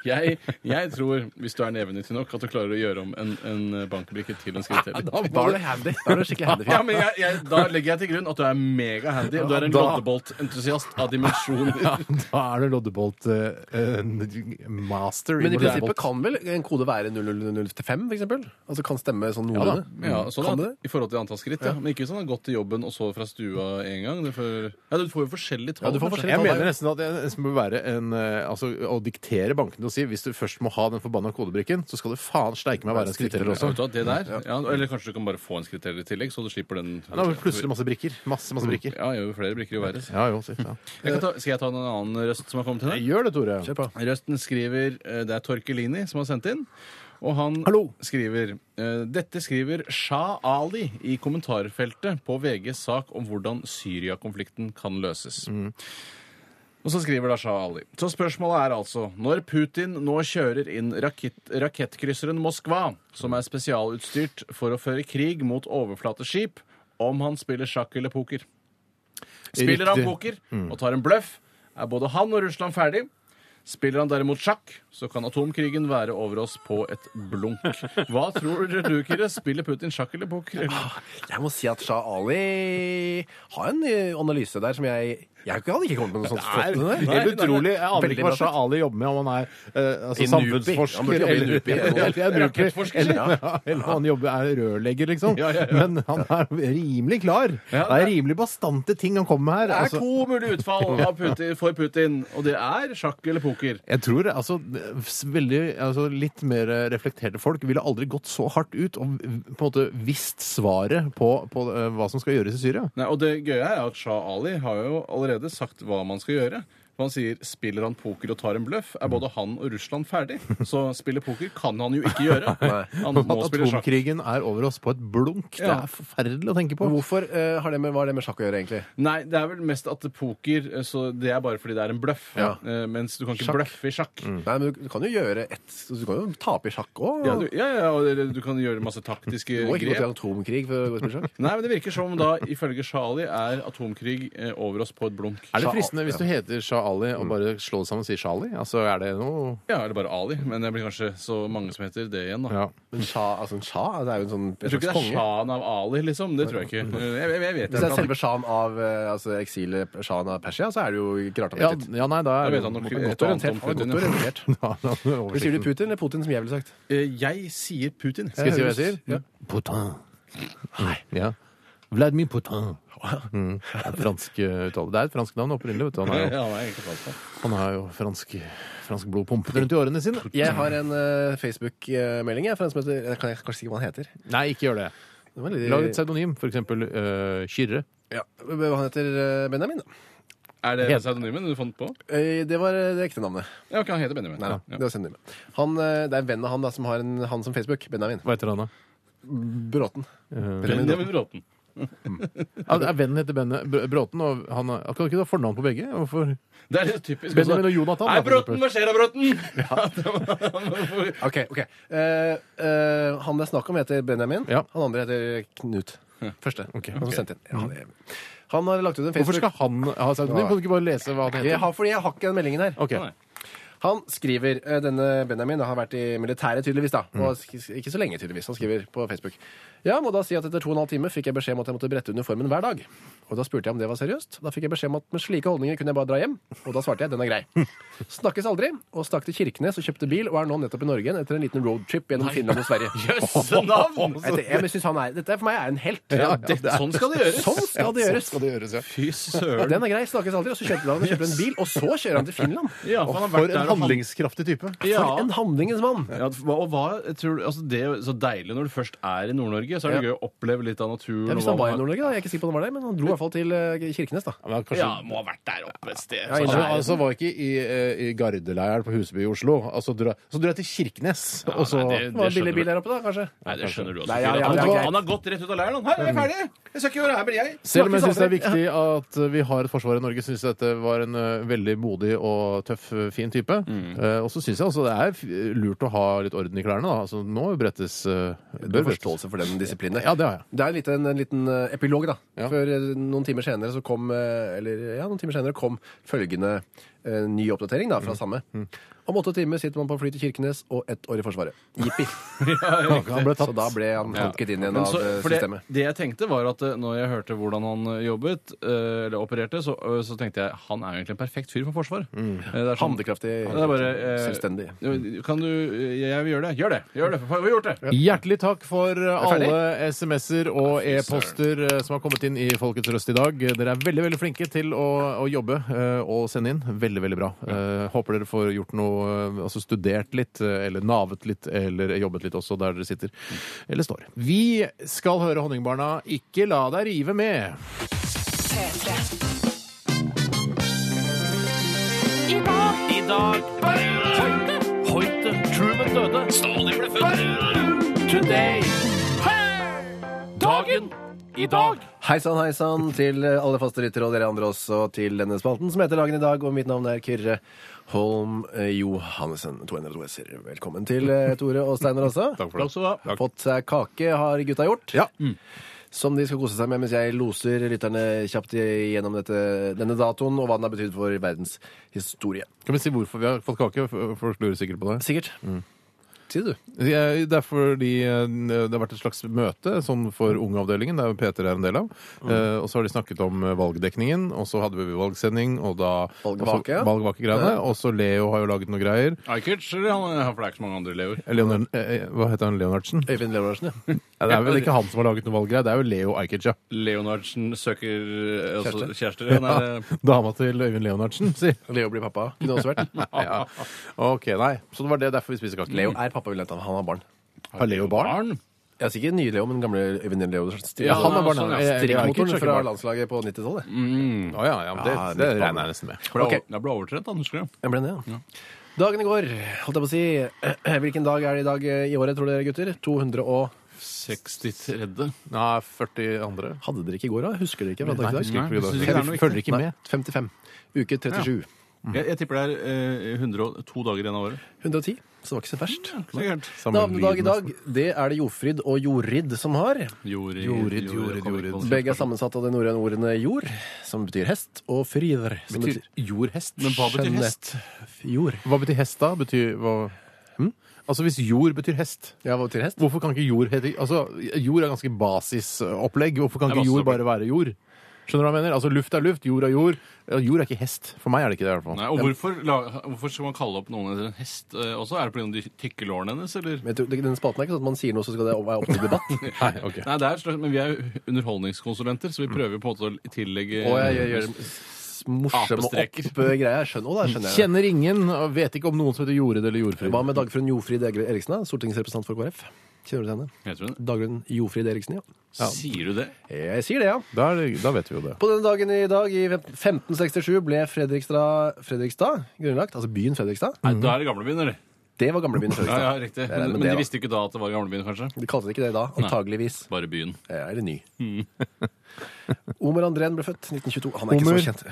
D: Jeg, jeg tror, hvis du er nevenyttig nok, at du klarer å gjøre om en, en bankbrikke til en
B: [LAUGHS]
D: skritteller.
B: Da er du handy. Da er du skikkelig handy.
D: [LAUGHS] Ja, men jeg, jeg, Da legger jeg til grunn at du er megahandy, og du er en
C: Da-
D: loddeboltentusiast av
C: [LAUGHS]
D: dimensjoner.
C: Da er du loddebolt eh, eh, master.
B: Men i
C: loddebolt.
B: prinsippet kan vel en kode være 0000 til 5, for eksempel? Altså kan stemme sånn
C: Ja da.
B: noenlunde?
D: Ja, sånn
B: kan
D: at,
B: det?
D: I forhold til antall skritt, ja. Men ikke hvis han har gått til jobben og så fra stua en gang. Det får- ja, Du får jo forskjellige tall.
B: Ja, du
D: kanskje.
B: får forskjellige
C: Jeg
B: tall.
C: mener nesten at det nesten bør være en, eh, altså, å diktere bankene og si hvis du først må ha den forbanna kodebrikken, så skal du faen steike meg være en skritteller
D: Ja,
C: også.
D: vet du hva, det der, ja, eller kanskje du kan bare få en skritteller i tillegg, så du slipper den.
C: Da har vi plutselig masse brikker. Masse, masse brikker.
D: Ja, jo flere brikker, jo verre.
C: Ja, jo, sikkert, ja.
D: Jeg kan ta, skal jeg ta en annen røst som har kommet til deg?
C: [LAUGHS] Gjør det, Tore.
B: Kjør på.
D: Røsten skriver eh, Det er Torkelini som har sendt inn. Og han
B: Hallo.
D: skriver eh, Dette skriver Shah Ali i kommentarfeltet på VGs sak om hvordan Syria-konflikten kan løses. Og så skriver da Shah Ali. Så spørsmålet er altså Når Putin nå kjører inn rakett, rakettkrysseren Moskva, som er spesialutstyrt for å føre krig mot overflateskip, om han spiller sjakk eller poker. Spiller han
C: Riktig.
D: poker og tar en bløff, er både han og Russland ferdig. Spiller han derimot sjakk, så kan atomkrigen være over oss på et blunk. Hva tror du, Kyrre? Spiller Putin sjakk eller poker?
B: Jeg må si at Shah Ali har en eh, analyse der som jeg Jeg hadde ikke kommet med noe sånt.
C: er
B: flott, nei.
C: helt utrolig. Jeg aner
B: Veldig
C: ikke hva
B: bra.
C: Shah Ali jobber med, om han er eh, altså,
B: I Nupi. Han
C: samfunnsforsker
B: burde jobbe i
C: eller, [LAUGHS]
B: Nupi.
C: eller, eller,
D: Rakettforsker.
C: eller, ja, eller han jobber, er rørlegger, liksom.
D: Ja, ja, ja.
C: Men han er rimelig klar.
D: Ja,
C: det er rimelig bastante ting han kommer med her.
D: Det er
C: altså.
D: to mulige utfall av Putin, for Putin, og det er sjakk eller poker.
C: Jeg tror altså, s- veldig, altså Litt mer reflekterte folk ville aldri gått så hardt ut og på en måte visst svaret på, på eh, hva som skal gjøres i Syria.
D: Nei, og det gøye er at Shah Ali har jo allerede sagt hva man skal gjøre. For Han sier spiller han poker og tar en bløff, er både han og Russland ferdig. Så spille poker kan han jo ikke gjøre.
C: [LAUGHS]
D: Han
C: At
D: må spille sjakk.
C: atomkrigen er over oss på et blunk. Det
D: Ja.
C: er forferdelig å tenke på.
B: Men Hvorfor eh, har det med, hva har det med sjakk å gjøre, egentlig?
D: Nei, det er vel mest at poker eh, så Det er bare fordi det er en bløff.
B: Ja.
D: Eh, Mens du kan ikke
B: Sjakk.
D: bløffe i sjakk.
B: Nei, men du, du kan jo gjøre et Du kan jo tape i sjakk òg.
D: Ja, du, ja, ja, og det- du kan gjøre masse taktiske
B: må ikke gå til
D: grep.
B: atomkrig for å gå og spille sjakk.
D: Nei, men Det virker som om da, ifølge Shali, er atomkrig eh, over oss på et blunk.
C: Er det
B: Shah-
C: fristende hvis du heter Shah Ali og bare slår det sammen og sier Shah Ali? Altså, er det noe
D: Ja, eller bare Ali, men det blir kanskje så mange som heter det igjen, da.
C: ja.
B: Men Shah, altså en Shah det er jo en sånn
D: Jeg tror ikke det er shahen av Ali, liksom. Det tror jeg ikke. Eh, Jeg, jeg, jeg vet
B: Hvis det er
D: ikke.
B: selve shahen av eh, altså eksilet shahen av Persia, så er det jo ikke rart han
C: Ja,
B: vet litt.
C: ja, nei, da
D: Da
C: er
D: vet han nok
C: måtte-
D: et
C: godt
D: og
C: orientert.
D: annet om Putin,
C: Godt
D: ja.
C: orientert. Ja, [LAUGHS] da er det oversikten.
B: Men Sier du Putin eller Putin, som jeg ville sagt?
D: Eh, Jeg sier Putin.
C: Skal jeg si hva jeg sier?
B: Ja.
C: Putin. Nei. Ja. Vladimir Putin. Mm. Det er et fransk eh, uttale. Det er et fransk navn opprinnelig. vet du. Han er jo,
D: [LAUGHS] Ja, nei, ikke sant, da.
C: han har jo fransk, fransk blod pumpende rundt i årene sine.
B: Jeg har en eh, Facebook-melding jeg, fra en som heter Jeg kan jeg kanskje si hva han heter.
C: Nei, ikke gjør det.
B: Det var litt-
C: Lag et pseudonym, f.eks. Uh, Kyrre.
B: Ja, Han heter eh, Benjamin, da.
D: Er det
C: Helt-
D: pseudonymen du fant på?
B: Eh, Det var eh, det ekte navnet.
D: Ja, ok, han heter Benjamin.
B: Nei,
D: Ja.
B: da, Det, var pseudonymet. han, eh, det er en venn av han da, som har en, han som Facebook. Benjamin.
C: Hva heter han, da? Eh,
B: Bråten. Benjamin Bråten.
D: Benjamin Bråten.
C: Ja, det er Vennen heter Benne Br- Bråten, og han er- kan du ikke ta fornavn på begge? Hvorfor?
D: Det er litt typisk.
C: Benjamin
D: også.
C: og Jonathan,
D: Hei,
C: da, for
D: Bråten! Hva skjer da, Bråten? [LAUGHS]
B: Ok, ok. Eh, eh, han det er snakk om, heter Benjamin.
C: Ja.
B: Han andre heter Knut. Første. Han som sendte inn. Ja, det, han har lagt ut en Facebook.
C: Hvorfor skal han ha pseudonym? Kan du ikke bare lese hva han
B: jeg
C: heter?
B: har, fordi jeg har ikke den meldingen her.
C: Ok.
D: Nei.
B: Han skriver eh, Denne Benjamin har vært i militæret, tydeligvis. da
C: Mm.
B: Og sk- Ikke så lenge, tydeligvis. Han skriver på Facebook. Ja, må da si at etter to og en halv time fikk jeg beskjed om at jeg måtte brette uniformen hver dag. Og da spurte jeg om det var seriøst. Da fikk jeg beskjed om at med slike holdninger kunne jeg bare dra hjem. Og da svarte jeg den er
C: [LAUGHS]
B: grei. Snakkes aldri. Og stakk til Kirkenes og kjøpte bil, og er nå nettopp i Norge igjen etter en liten roadtrip gjennom Finland
C: [LAUGHS]
B: og Sverige.
D: Jøsse navn!
B: Jeg, jeg, men synes han er, dette er for meg er en helt.
D: Det, sånn skal det gjøres.
B: Sånn skal det gjøres.
C: Skal det gjøres, ja.
D: Fy søren.
B: Den er grei. Snakkes aldri. Og så kjøper han han kjøper en bil, og så kjører han til Finland.
D: Ja, for han har vært
C: For
D: der,
C: en
D: og han-
C: handlingskraftig type.
D: Ja.
B: For en handlingens mann!
D: Ja, og hva, tror du, altså Det er jo så deilig når du først er i Nord-Norge, så er det
B: Ja.
D: gøy å oppleve litt av naturen.
B: Ja,
D: og
B: hvis
D: hva
B: han var i
D: man-
B: Nord-Norge, da. Jeg er ikke sikker på om han var der, men han dro i hvert fall til eh, Kirkenes, da.
C: Ja, men kanskje-
D: Ja, må ha vært der oppe et sted. sånn.
B: i
C: Altså,
B: nærheten.
C: altså var ikke i, eh, i gardeleiren på Huseby i Oslo. Altså, dra, så dro jeg til Kirkenes, og så
D: nei, det-
B: Det var en billig
D: skjønner
B: bil
D: du.
B: der oppe, da, kanskje?
D: Nei, det skjønner du også.
B: Nei, ja,
D: Frida.
B: ja,
D: han,
B: det er
D: har-
B: greit. Mm.
D: han har gått rett ut av leiren. han. Hei, jeg er ferdig! Jeg skal ikke gjøre det her, men jeg.
C: Selv om jeg
B: Snakkes
C: syns det er
B: aldri.
C: viktig at vi har et forsvar i Norge, syns jeg dette var en eh, veldig modig og tøff, eh, fin type. Eh, og så syns jeg altså det er f- lurt å ha litt orden i klærne, da. Altså, nå brettes eh, det
B: Du har
C: bør brettes.
B: forståelse for den disiplinen.
C: Ja, det har jeg.
B: Det er en liten, en liten eh, epilog, da.
C: Ja.
B: For eh, noen timer senere så kom eh, Eller ja, noen timer senere kom følgende eh, ny oppdatering da, fra samme. Om åtte timer sitter man på fly til Kirkenes og ett år i Forsvaret. [LAUGHS] Jippi.
C: Han ble
B: Så
C: tatt.
B: da ble han hanket inn igjen
D: Men
B: av
D: så-
B: eh,
D: for det,
B: systemet.
D: det jeg tenkte var at eh, når jeg hørte hvordan han eh, jobbet, eh, eller opererte, så, eh, så tenkte jeg han er jo egentlig en perfekt fyr for forsvar.
B: Mm.
D: Eh, det er sånn-
B: Handlekraftig,
D: Det er bare, eh,
B: selvstendig.
D: jo, Kan du eh, Jeg vil gjøre det. Gjør det! Gjør det. for- Vi har gjort det!
C: Hjertelig takk for eh,
B: Er ferdig?
C: alle SMS-er og e-poster eh, som har kommet inn i Folkets Røst i dag. Dere er veldig veldig flinke til å, å jobbe eh, og sende inn. Veldig, veldig bra. Eh, Håper dere får gjort noe, eh, altså studert litt, eh, eller navet litt, eller jobbet litt også der dere sitter eller står. Vi skal høre Honningbarna 'Ikke la deg rive med'.
A: P3.
D: I dag Hoite Hoite Truman døde Stalin ble født Today Dagen I dag
B: Hei sann, hei sann til alle faste lyttere og dere andre også til denne spalten som heter Dagen i dag. Og mitt navn er Kyrre Holm eh, Johannessen. To n-er og to s-er. Velkommen til eh, Tore og Steinar også.
C: [LAUGHS] Takk for det.
B: Fått seg kake har gutta gjort.
C: Ja.
B: Som de skal kose seg med mens jeg loser lytterne kjapt gjennom dette, denne datoen og hva den har betydd for verdens historie.
C: Kan vi si hvorfor vi har fått kake? F- Folk lurer sikkert på det.
B: Sikkert. Si det, du.
C: Jeg- Det er fordi eh, det har vært et slags møte sånn for ungeavdelingen, der Peter er en del av. Eh, og så har de snakket om eh, valgdekningen, og så hadde vi valgsending, og da
B: Valgvake, ja.
C: også- valgvakegreiene. Og så Leo har jo laget noen greier.
D: Ajkic eller han han- For det er ikke så mange andre elever
C: Leonard, eh, hva heter han? Leonardsen?
B: Øyvind Leonardsen, ja.
C: Ja, det er vel ikke han som har laget noen valggreier, det er jo Leo Ajkic, ja.
D: Leonardsen søker eh, altså, Kjæreste ja, nei, det-
C: [LAUGHS] Dama til Øyvind Leonardsen, si.
B: [LAUGHS] Leo blir pappa. Kunne også vært.
C: Ja. OK, nei. Så det var det derfor vi spiser kake.
B: Leo er pappa, vil jeg ta. Han har barn.
C: Har Leo barn?
B: Ja, Sikkert nye Leo, men gamle Øyvind Leo.
C: Ja, han har barn.
D: sånn, ja.
C: ja. Eh, Leo Ajkic har
B: Strikkmotoren
C: ikke
B: fra
C: barn.
B: landslaget på 90-tallet.
C: Å ja, ja, men det,
B: Ja,
C: det
B: mitt barn.
C: regner jeg nesten med.
D: Ble,
B: Ok.
D: Jeg ble overtrett da, husker jeg
B: Jeg ble det, ja. Dagen i går, holdt jeg på å si. [CLEARS THROAT] Hvilken dag er det i dag eh, i året, tror dere, gutter? 200 og
D: 63
C: Nei, 40 andre.
B: Hadde dere ikke i går, da? Husker dere ikke? fra
C: Nei,
B: dag
C: jeg
B: til
C: husker
B: dag?
C: ikke
D: Nei,
C: det.
D: jeg synes ikke det er noe
C: Jeg følger ikke
B: Nei,
C: med.
B: 55. Uke 37.
D: Mm. jeg, jeg tipper det er eh, 102 dager igjen av året
B: 110. Så det var ikke så verst.
D: Så gærent.
B: Navnedag i dag, det er det Jofrid og Jorid som har.
D: Jorid,
C: Jorid, Jorid,
D: jeg kommer ikke på det.
B: Begge er sammensatt av de norrøne ordene jord, som betyr hest, og frider, som betyr
C: jordhest.
D: Men hva betyr hest?
B: jord.
C: Hva betyr hest da? Betyr hva hm? Altså hvis jord betyr hest
B: Ja, hva betyr hest?
C: Hvorfor kan ikke jord hete Altså, jord er ganske basisopplegg. Hvorfor kan
D: Det er
C: ikke jord
D: basisopplegg.
C: bare være jord? Skjønner du hva jeg mener? Altså Luft er luft, jord er jord. Ja, Jord er ikke hest. For meg er det ikke det. i hvert fall.
D: Nei, og hvorfor, la- hvorfor skal man kalle opp noen etter en hest eh, også? Er det pga. de tykke lårene hennes, eller?
B: Men jeg tror- Den spalten er ikke sånn at man sier noe, så skal det være opp til debatt.
C: [LAUGHS] Nei, ok.
D: Nei, det er et slags, men vi er jo underholdningskonsulenter, så vi prøver på en måte å tillegge
B: Og jeg gjør- gjør s- morsomme
D: Apestreker.
B: opp-greier. Jeg skjønner, å, da skjønner jeg det.
C: Kjenner ingen, og vet ikke om noen som heter Jorid eller Jordfrid.
B: Hva med Dagfrun Jofrid Eriksen, da? stortingsrepresentant for KrF? Kjenner du til henne?
D: Heter hun det?
B: Dagrun Jofrid Eriksen, ja.
D: Sier du det?
B: Jeg sier det, ja.
C: Da, er det, da vet vi jo det.
B: På denne dagen i dag, i 1567, ble Fredrikstad, Fredrikstad grunnlagt. Altså byen Fredrikstad.
C: Mm.
D: Nei, da er det gamlebyen, eller?
B: Det var gamlebyen
D: Ja,
B: Fredrikstad.
D: ja, riktig.
B: Jeg
D: Men,
B: regner med
D: men
B: det,
D: de
B: da.
D: visste ikke da at det var gamlebyen, kanskje?
B: De kalte det ikke det da, antageligvis.
D: Bare byen.
B: Ja, Eller ny. [LAUGHS] Omer Andrén ble født 1922. Han er
C: Omer.
B: ikke så kjent.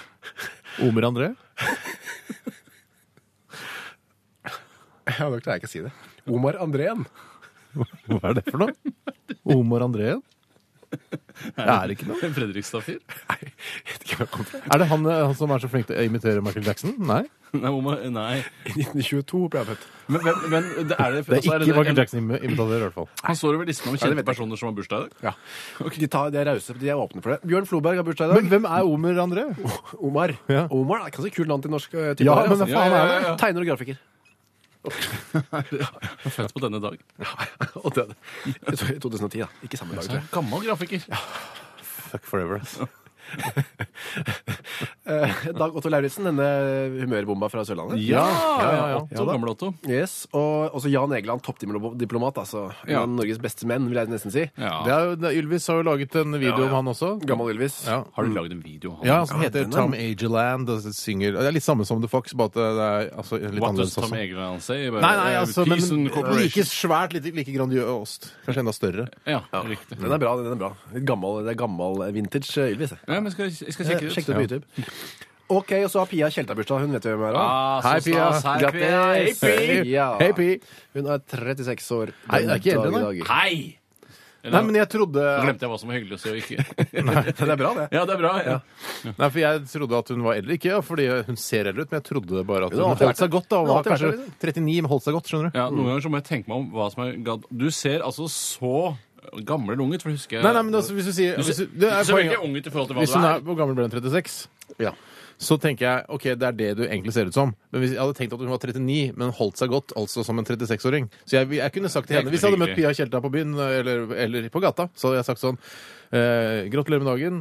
B: [LAUGHS]
C: Omer André?
B: Ja, da klarer jeg ikke å si det. Omar Andrén.
C: Hva er det [LAUGHS] for noe? Omar André? [LAUGHS] Det er ikke noe.
D: [LAUGHS] Fredrikstad-fyr?
C: Er det han, eh, han som er så flink til å imitere Michael Jackson? Nei.
D: Nei, hvor må- nei.
B: 1922 ble han født.
D: Men, men, men det er det,
C: Det er
D: altså, er
C: ikke
D: det-
C: Michael Jackson-imitator, i hvert fall.
D: Han står over listen over
B: Ja, det
D: kjente
B: vet jeg.
D: personer som har bursdag i dag.
B: Ja. De, tar, de er rause, de er åpne for det. Bjørn Floberg har bursdag i
C: Men
B: dag.
C: hvem er Omer André?
B: Omar.
C: Ja.
B: Omar er et ganske kult navn til norsk. eh, type
C: Ja,
B: der,
C: men hva
B: altså.
C: faen
D: Ja,
C: er
D: ja,
C: det?
D: ja, ja.
B: Tegner og grafiker. [LAUGHS]
D: Født på denne dag.
B: Og døde. I to- i 2010, da. Ikke samme dag, tror jeg.
D: Gammel grafiker.
C: Fuck forever, ass.
B: Eh, [LAUGHS] Dag Otto Lauritzen, denne humørbomba fra Sørlandet.
C: Ja, ja, ja, ja.
D: Otto, gammel Otto.
B: Yes, og også Jan Egeland, toppdiplomat. altså. En
D: Ja.
B: av Norges beste menn, vil jeg nesten si.
D: Ja.
C: Det er, jo- det- Ylvis har jo laget en video om han også.
B: Gammel Ylvis.
C: Ja.
D: Har du lagd en video? av
C: Ja,
D: han?
C: altså, den heter
B: den er-
C: Tom Ageland og synger Det er litt samme som The Fox, bare at det er altså, litt
D: What does
C: annerledes
D: Tom
C: også.
D: Egeland say? Bare,
C: Nei, nei,
D: eh,
C: altså,
D: Peace and
C: men like
D: cooperation.
C: svært, like, like grandiost. Kanskje enda større.
D: Ja, riktig.
B: Den er bra. den er bra. Litt gammel, det er gammel eh, vintage eh, Ylvis. jeg.
D: Ja, men skal, jeg skal
B: Eh,
D: sjekke det
B: Sjekk det
D: ut.
B: på YouTube. OK, og så har Pia Tjelta bursdag. Hun vet jo hvem hun er. da.
D: Ah, så
C: Hei, Pia.
D: stas. Hei,
B: Grattis.
D: Pia. Hei, Pia.
B: Ja.
C: Hei, Pi.
B: Hun er 36 år.
C: Nei, det er ikke
B: den
C: eldre,
B: dag i dag.
D: Hei! Eller,
C: Nei, men jeg
D: Nå
C: trodde
D: glemte jeg hva som var hyggelig å si og
C: [LAUGHS]
D: ikke.
B: [LAUGHS] Det er bra, det.
D: Ja, det er bra. Ja.
C: Nei, for jeg trodde at hun var eldre, ikke ja, fordi hun ser eldre ut, men jeg trodde bare at
B: Hun
C: hun
B: har alltid
C: holdt seg godt. da, Hun
B: Hun har
C: var
B: alltid vært
C: kanskje
B: det,
C: 39,
B: liksom.
C: men holdt seg godt, skjønner du.
D: Ja, noen ganger så må jeg tenke meg om hva som er gad- Du ser altså så gammel ung ut, for husker jeg
C: Nei, nei, men altså, hvis du sier
D: Du
C: hvis
D: ser,
C: du, det er
D: du ser
C: poenget.
D: ikke ung ut i forhold til hva
C: Hvis hun
D: du
C: er
D: er.
C: Hvor gammel ble hun? 36?
B: Ja.
C: Så tenker jeg ok, det er det du egentlig ser ut som. Men hvis jeg hadde tenkt at hun var 39, men holdt seg godt, altså som en 36-åring Så jeg, jeg kunne sagt til
D: Det er
C: henne
D: ikke
C: Hvis jeg hadde
D: noe
C: møtt Pia Tjelta på byen eller, eller på gata, så hadde jeg sagt sånn eh, Gratulerer med dagen.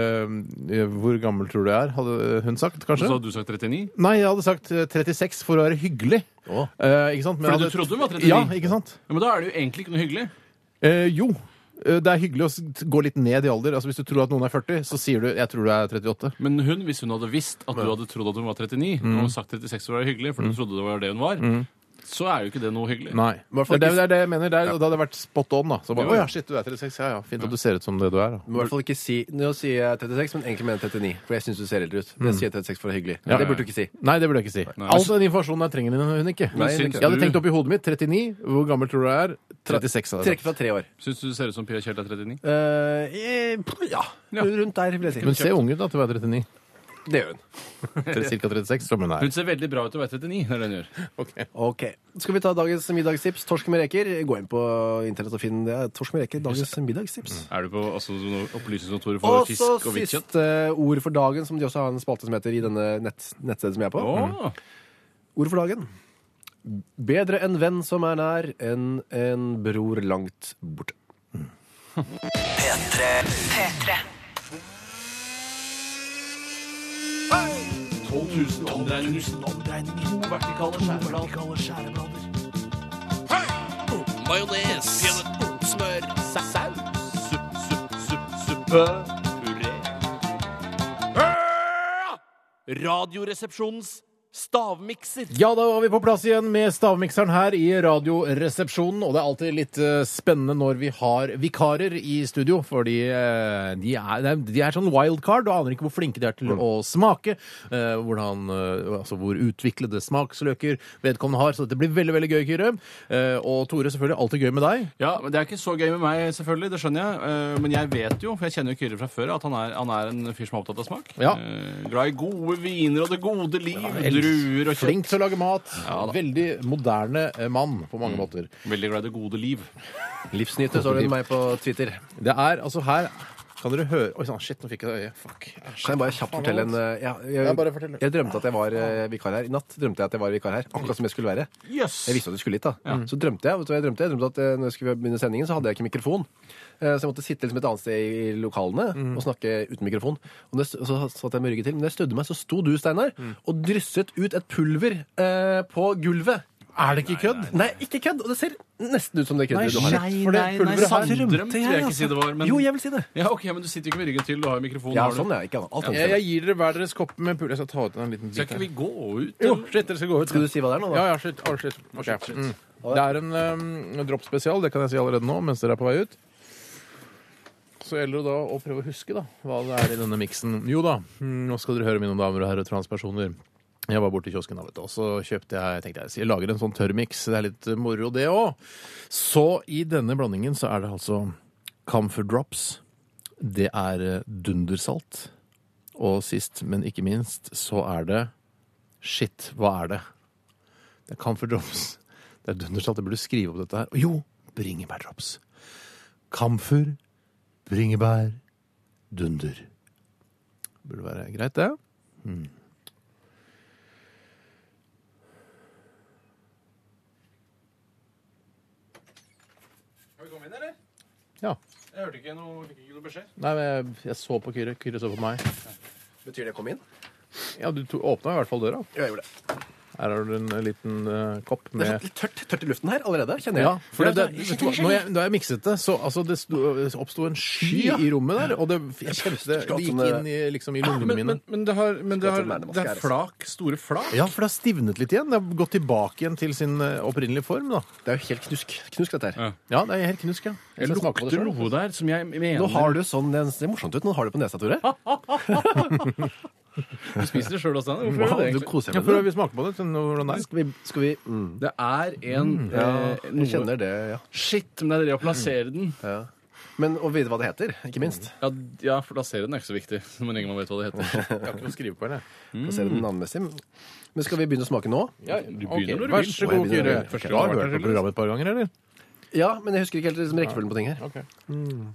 C: Eh, hvor gammel tror du jeg er? Hadde hun sagt,
D: Så
C: kanskje?
D: hadde du sagt 39?
C: Nei, jeg hadde sagt eh, 36 for å være hyggelig.
B: Å.
C: Eh, ikke sant? Men
D: Fordi
C: jeg
D: du
C: hadde-
D: trodde hun var 39?
C: Ja, ikke sant?
D: Ja, men da er det jo egentlig ikke noe hyggelig.
C: Eh, jo. Eh, Det er hyggelig å s- gå litt ned i alder. Altså, hvis du tror at noen er 40, så sier du 'jeg tror du er 38'.
D: Men hun, hvis hun hadde visst at du hadde trodd at hun var 39, og
C: Mm.
D: hun sagt 36 for å være hyggelig, for hun trodde det var det hun var, så er jo ikke det noe hyggelig.
C: Nei.
B: Men
C: Det
B: for
C: er, det,
B: ikke-
C: det er det jeg mener. Det, er, det hadde vært spot on. da så bare,
D: Jo, jo.
C: Å ja, shit, du er 36. Ja, ja, Fint at du ser ut som det du er. da
B: Du må i hvert fall ikke si Nå sier jeg 36, men egentlig mener jeg 39. For jeg syns du ser eldre ut. Men jeg sier 36 for å være hyggelig.
C: Mm. Ja.
B: Det burde du ikke si.
C: Nei, det burde jeg ikke si.
D: Nei.
C: All den informasjonen der trenger hun hun ikke.
B: Nei,
D: syns
C: jeg hadde
D: du-
C: tenkt oppi hodet mitt 39. Hvor gammel tror du jeg er? altså. 36. hadde jeg
B: Trekk fra tre år.
D: Syns du du ser ut som Pia Kjell er 39?
B: Eh, eh, ja.
D: Ja.
B: Rundt der, vil jeg si.
C: sagt. Men se ung ut da, til å være 39.
B: Det gjør hun.
C: Cirka 36, som hun er.
D: Hun ser veldig bra ut til å være 39. Det er det hun gjør.
C: Ok.
B: Ok. Skal vi ta dagens middagstips? Torsk med reker. Gå inn på internett og finn det. Torsk med reker, dagens middagstips.
D: Er du på altså, noe opplysningskontoret for
B: Og så
D: fisk og hvitt kjøtt?
B: siste ord for dagen, som de også har en spalte som heter i denne nett, nettstedet som jeg er på. Mm.
D: Å,
B: Ord for dagen. Bedre en venn som er nær, enn en bror langt borte.
E: P3
A: P3.
D: 12 000 omdreininger. To vertikale skjæreblader. Majones. Smør. Saus. Supp, supp, supp, suppe. Puré. Radioresepsjonens stavmikser.
C: Ja, da var vi på plass igjen med stavmikseren her i Radioresepsjonen. Og det er alltid litt eh, spennende når vi har vikarer i studio, fordi eh, de er, det er- de er sånn wildcard. Du aner ikke hvor flinke de er
B: Mm.
C: til å smake, eh, hvordan, eh, altså hvor utviklede smaksløker vedkommende har. Så dette blir veldig, veldig gøy, Kyrre. Eh, og Tore, selvfølgelig alltid gøy med deg.
D: Ja, men Det er ikke så gøy med meg, selvfølgelig. det skjønner jeg. Eh, Men jeg vet jo, for jeg kjenner jo Kyrre fra før, at han er, han er en fyr som er opptatt av smak.
C: Ja.
D: Eh, Glad i gode viner og det gode liv.
C: elsker-
D: druer og kjøtt.
C: Flink til å lage mat.
D: Ja, da.
C: veldig moderne eh, mann på mange måter.
D: Veldig glad i det gode liv.
B: Livsnyter, står det med meg på Twitter.
C: Det er altså her Kan dere høre Oi sann, shit, nå fikk jeg det øyet. Fuck.
B: Kan jeg bare kjapt
C: Faen,
B: fortelle en
C: Alex.
B: eh, ja,
C: Ja, bare fortell.
B: jeg, jeg drømte at jeg var eh, vikar her. I natt drømte jeg at jeg var vikar her. Akkurat som jeg skulle være.
D: Yes.
B: Jeg visste at jeg skulle hit, da. Så drømte jeg vet du hva jeg drømte? Jeg drømte at eh, når jeg skulle begynne sendingen, så hadde jeg ikke mikrofon. Eh, Så jeg måtte sitte liksom et annet sted i lokalene og snakke uten mikrofon. Og når jeg st- så satt jeg med ryggen til, men da jeg stødde meg, så sto du, Steinar, og drysset ut et pulver eh, på gulvet.
C: Er det ikke kødd?
B: Nei, ikke kødd! Og det ser nesten ut som det kødderet du har. her.
C: For det pulveret her
D: Drømt vil jeg ikke si det var, men
B: Jo, jeg vil si det.
D: Ja, ok, men du sitter jo ikke med ryggen til, du har jo mikrofonen.
B: Ja,
D: har du.
B: sånn, ja. Ikke annet. Alt
C: jeg,
B: annet.
C: jeg gir dere hver deres kopp med pulver. Jeg skal ta ut en liten
D: Skal
C: bit.
D: ikke
C: her.
D: vi gå ut?
C: Jo,
D: eller?
C: shit, dere skal gå ut.
B: Skal du si hva det er nå, da?
C: Ja, ja, shit. Å, shit. Ok. Mm. Det er en um, droppspesial, det kan jeg si allerede nå, mens dere er på vei ut. Så gjelder det da å prøve å huske da, hva det er i denne miksen. Jo da, mm, nå skal dere høre mine damer og herrer transpersoner. Jeg var borte i kiosken da, vet du, og så kjøpte jeg, tenkte jeg, jeg lager en sånn tørrmiks, det er litt eh, moro det også. Så i denne blandingen så er det altså Camphor Drops, det er eh, dundersalt, og sist, men ikke minst, så er det, shit, hva er det? Det er Camphor Drops. Det er dundersatt. Jeg burde skrive opp dette her. Og jo, bringebærdrops. Camphor, bringebær, dunder. Burde være greit, det. Mm. Ja.
D: Jeg hørte ikke noe, fikk ikke noe beskjed.
C: Nei, men jeg, jeg så på Kyrre. Kyrre så på meg.
B: Betyr det jeg kom inn?
C: Ja, Du to- åpna i hvert fall døra.
B: Ja, jeg gjorde det.
C: Her har du en liten eh, kopp
B: Det er
C: med
B: sånn litt tørt, tørt i luften her allerede, kjenner jeg.
C: Ja, for det, det,
B: sånn-
C: vet du hva, når jeg, da jeg mikset det, så altså, det sto, oppsto en sky i rommet der, og det, jeg kjente, det gikk inn i, liksom, i lungene
D: Men,
C: mine.
D: men, men det, har, men det,
B: Skal jeg ta
D: har,
B: med meg
D: det
B: maske
D: er
B: her,
D: flak, store flak.
C: Ja, for det har stivnet litt igjen. Det har gått tilbake igjen til sin eh, opprinnelige form, da.
B: Det er jo helt knusk, knusk dette
D: Ja.
B: her.
C: Ja, det er helt knusk, ja. Jeg
D: Jeg
C: skal smake på det
D: lukter
C: selv.
D: noe der som jeg mener
B: Nå har du sånn, det ser morsomt ut, nå har du på nesa, Tore.
D: Du spiser det sjøl også, Steinar. Hvorfor
B: Wow,
D: gjør du det
B: du
D: egentlig?
B: koser
C: Ja,
B: deg
C: for
B: med det.
C: vi smaker på det. sånn, Hvordan det er.
B: Skal vi, skal vi mm,
D: Det er en
B: ja,
D: eh,
B: Jeg
D: noe
B: kjenner det, ja.
D: Shit, men det er det å plassere den.
B: ja. Men å vite hva det heter, ikke minst.
D: Ja, d- ja, plassere den er ikke så viktig, med en gang man vet hva det heter.
B: [LAUGHS]
C: Jeg har ikke noe å skrive på, eller?
B: Plassere
C: Mm.
B: den navnmessig. Men skal vi begynne å smake nå?
C: Ja,
D: Du begynner når du
C: Vær
D: vil.
C: så
B: Jeg
C: god,
B: begynner
C: Kyrre.
B: når jeg vil.
C: Ok, Da sånn har du hørt på programmet et par ganger, eller?
B: Ja, men jeg husker ikke helt liksom, rekkefølgen på ting her.
C: Ok.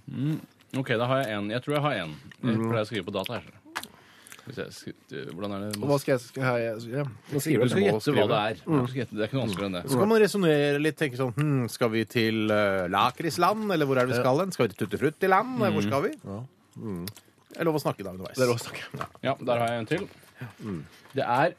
D: OK, da har jeg en. Jeg tror jeg har en. Jeg
B: Mm.
D: pleier å skrive på data her. Hvis jeg skri- Hvordan er det
B: Og hva skal jeg, skal jeg ja. Nå
D: Du
B: skriver
D: skal
B: jeg Mm.
D: gjette hva det er. Du skal gjette, det er ikke noe vanskeligere
C: Så
D: enn det.
C: kan man resonnere litt, tenke sånn hm, Skal vi til uh, Lakrisland, eller hvor er det vi skal hen? Skal vi til Tuttefruttiland? Hvor skal vi? Det Mm. er lov å snakke da underveis.
B: Det er lov å snakke.
D: Ja, der har jeg en til.
B: Mm.
D: Det er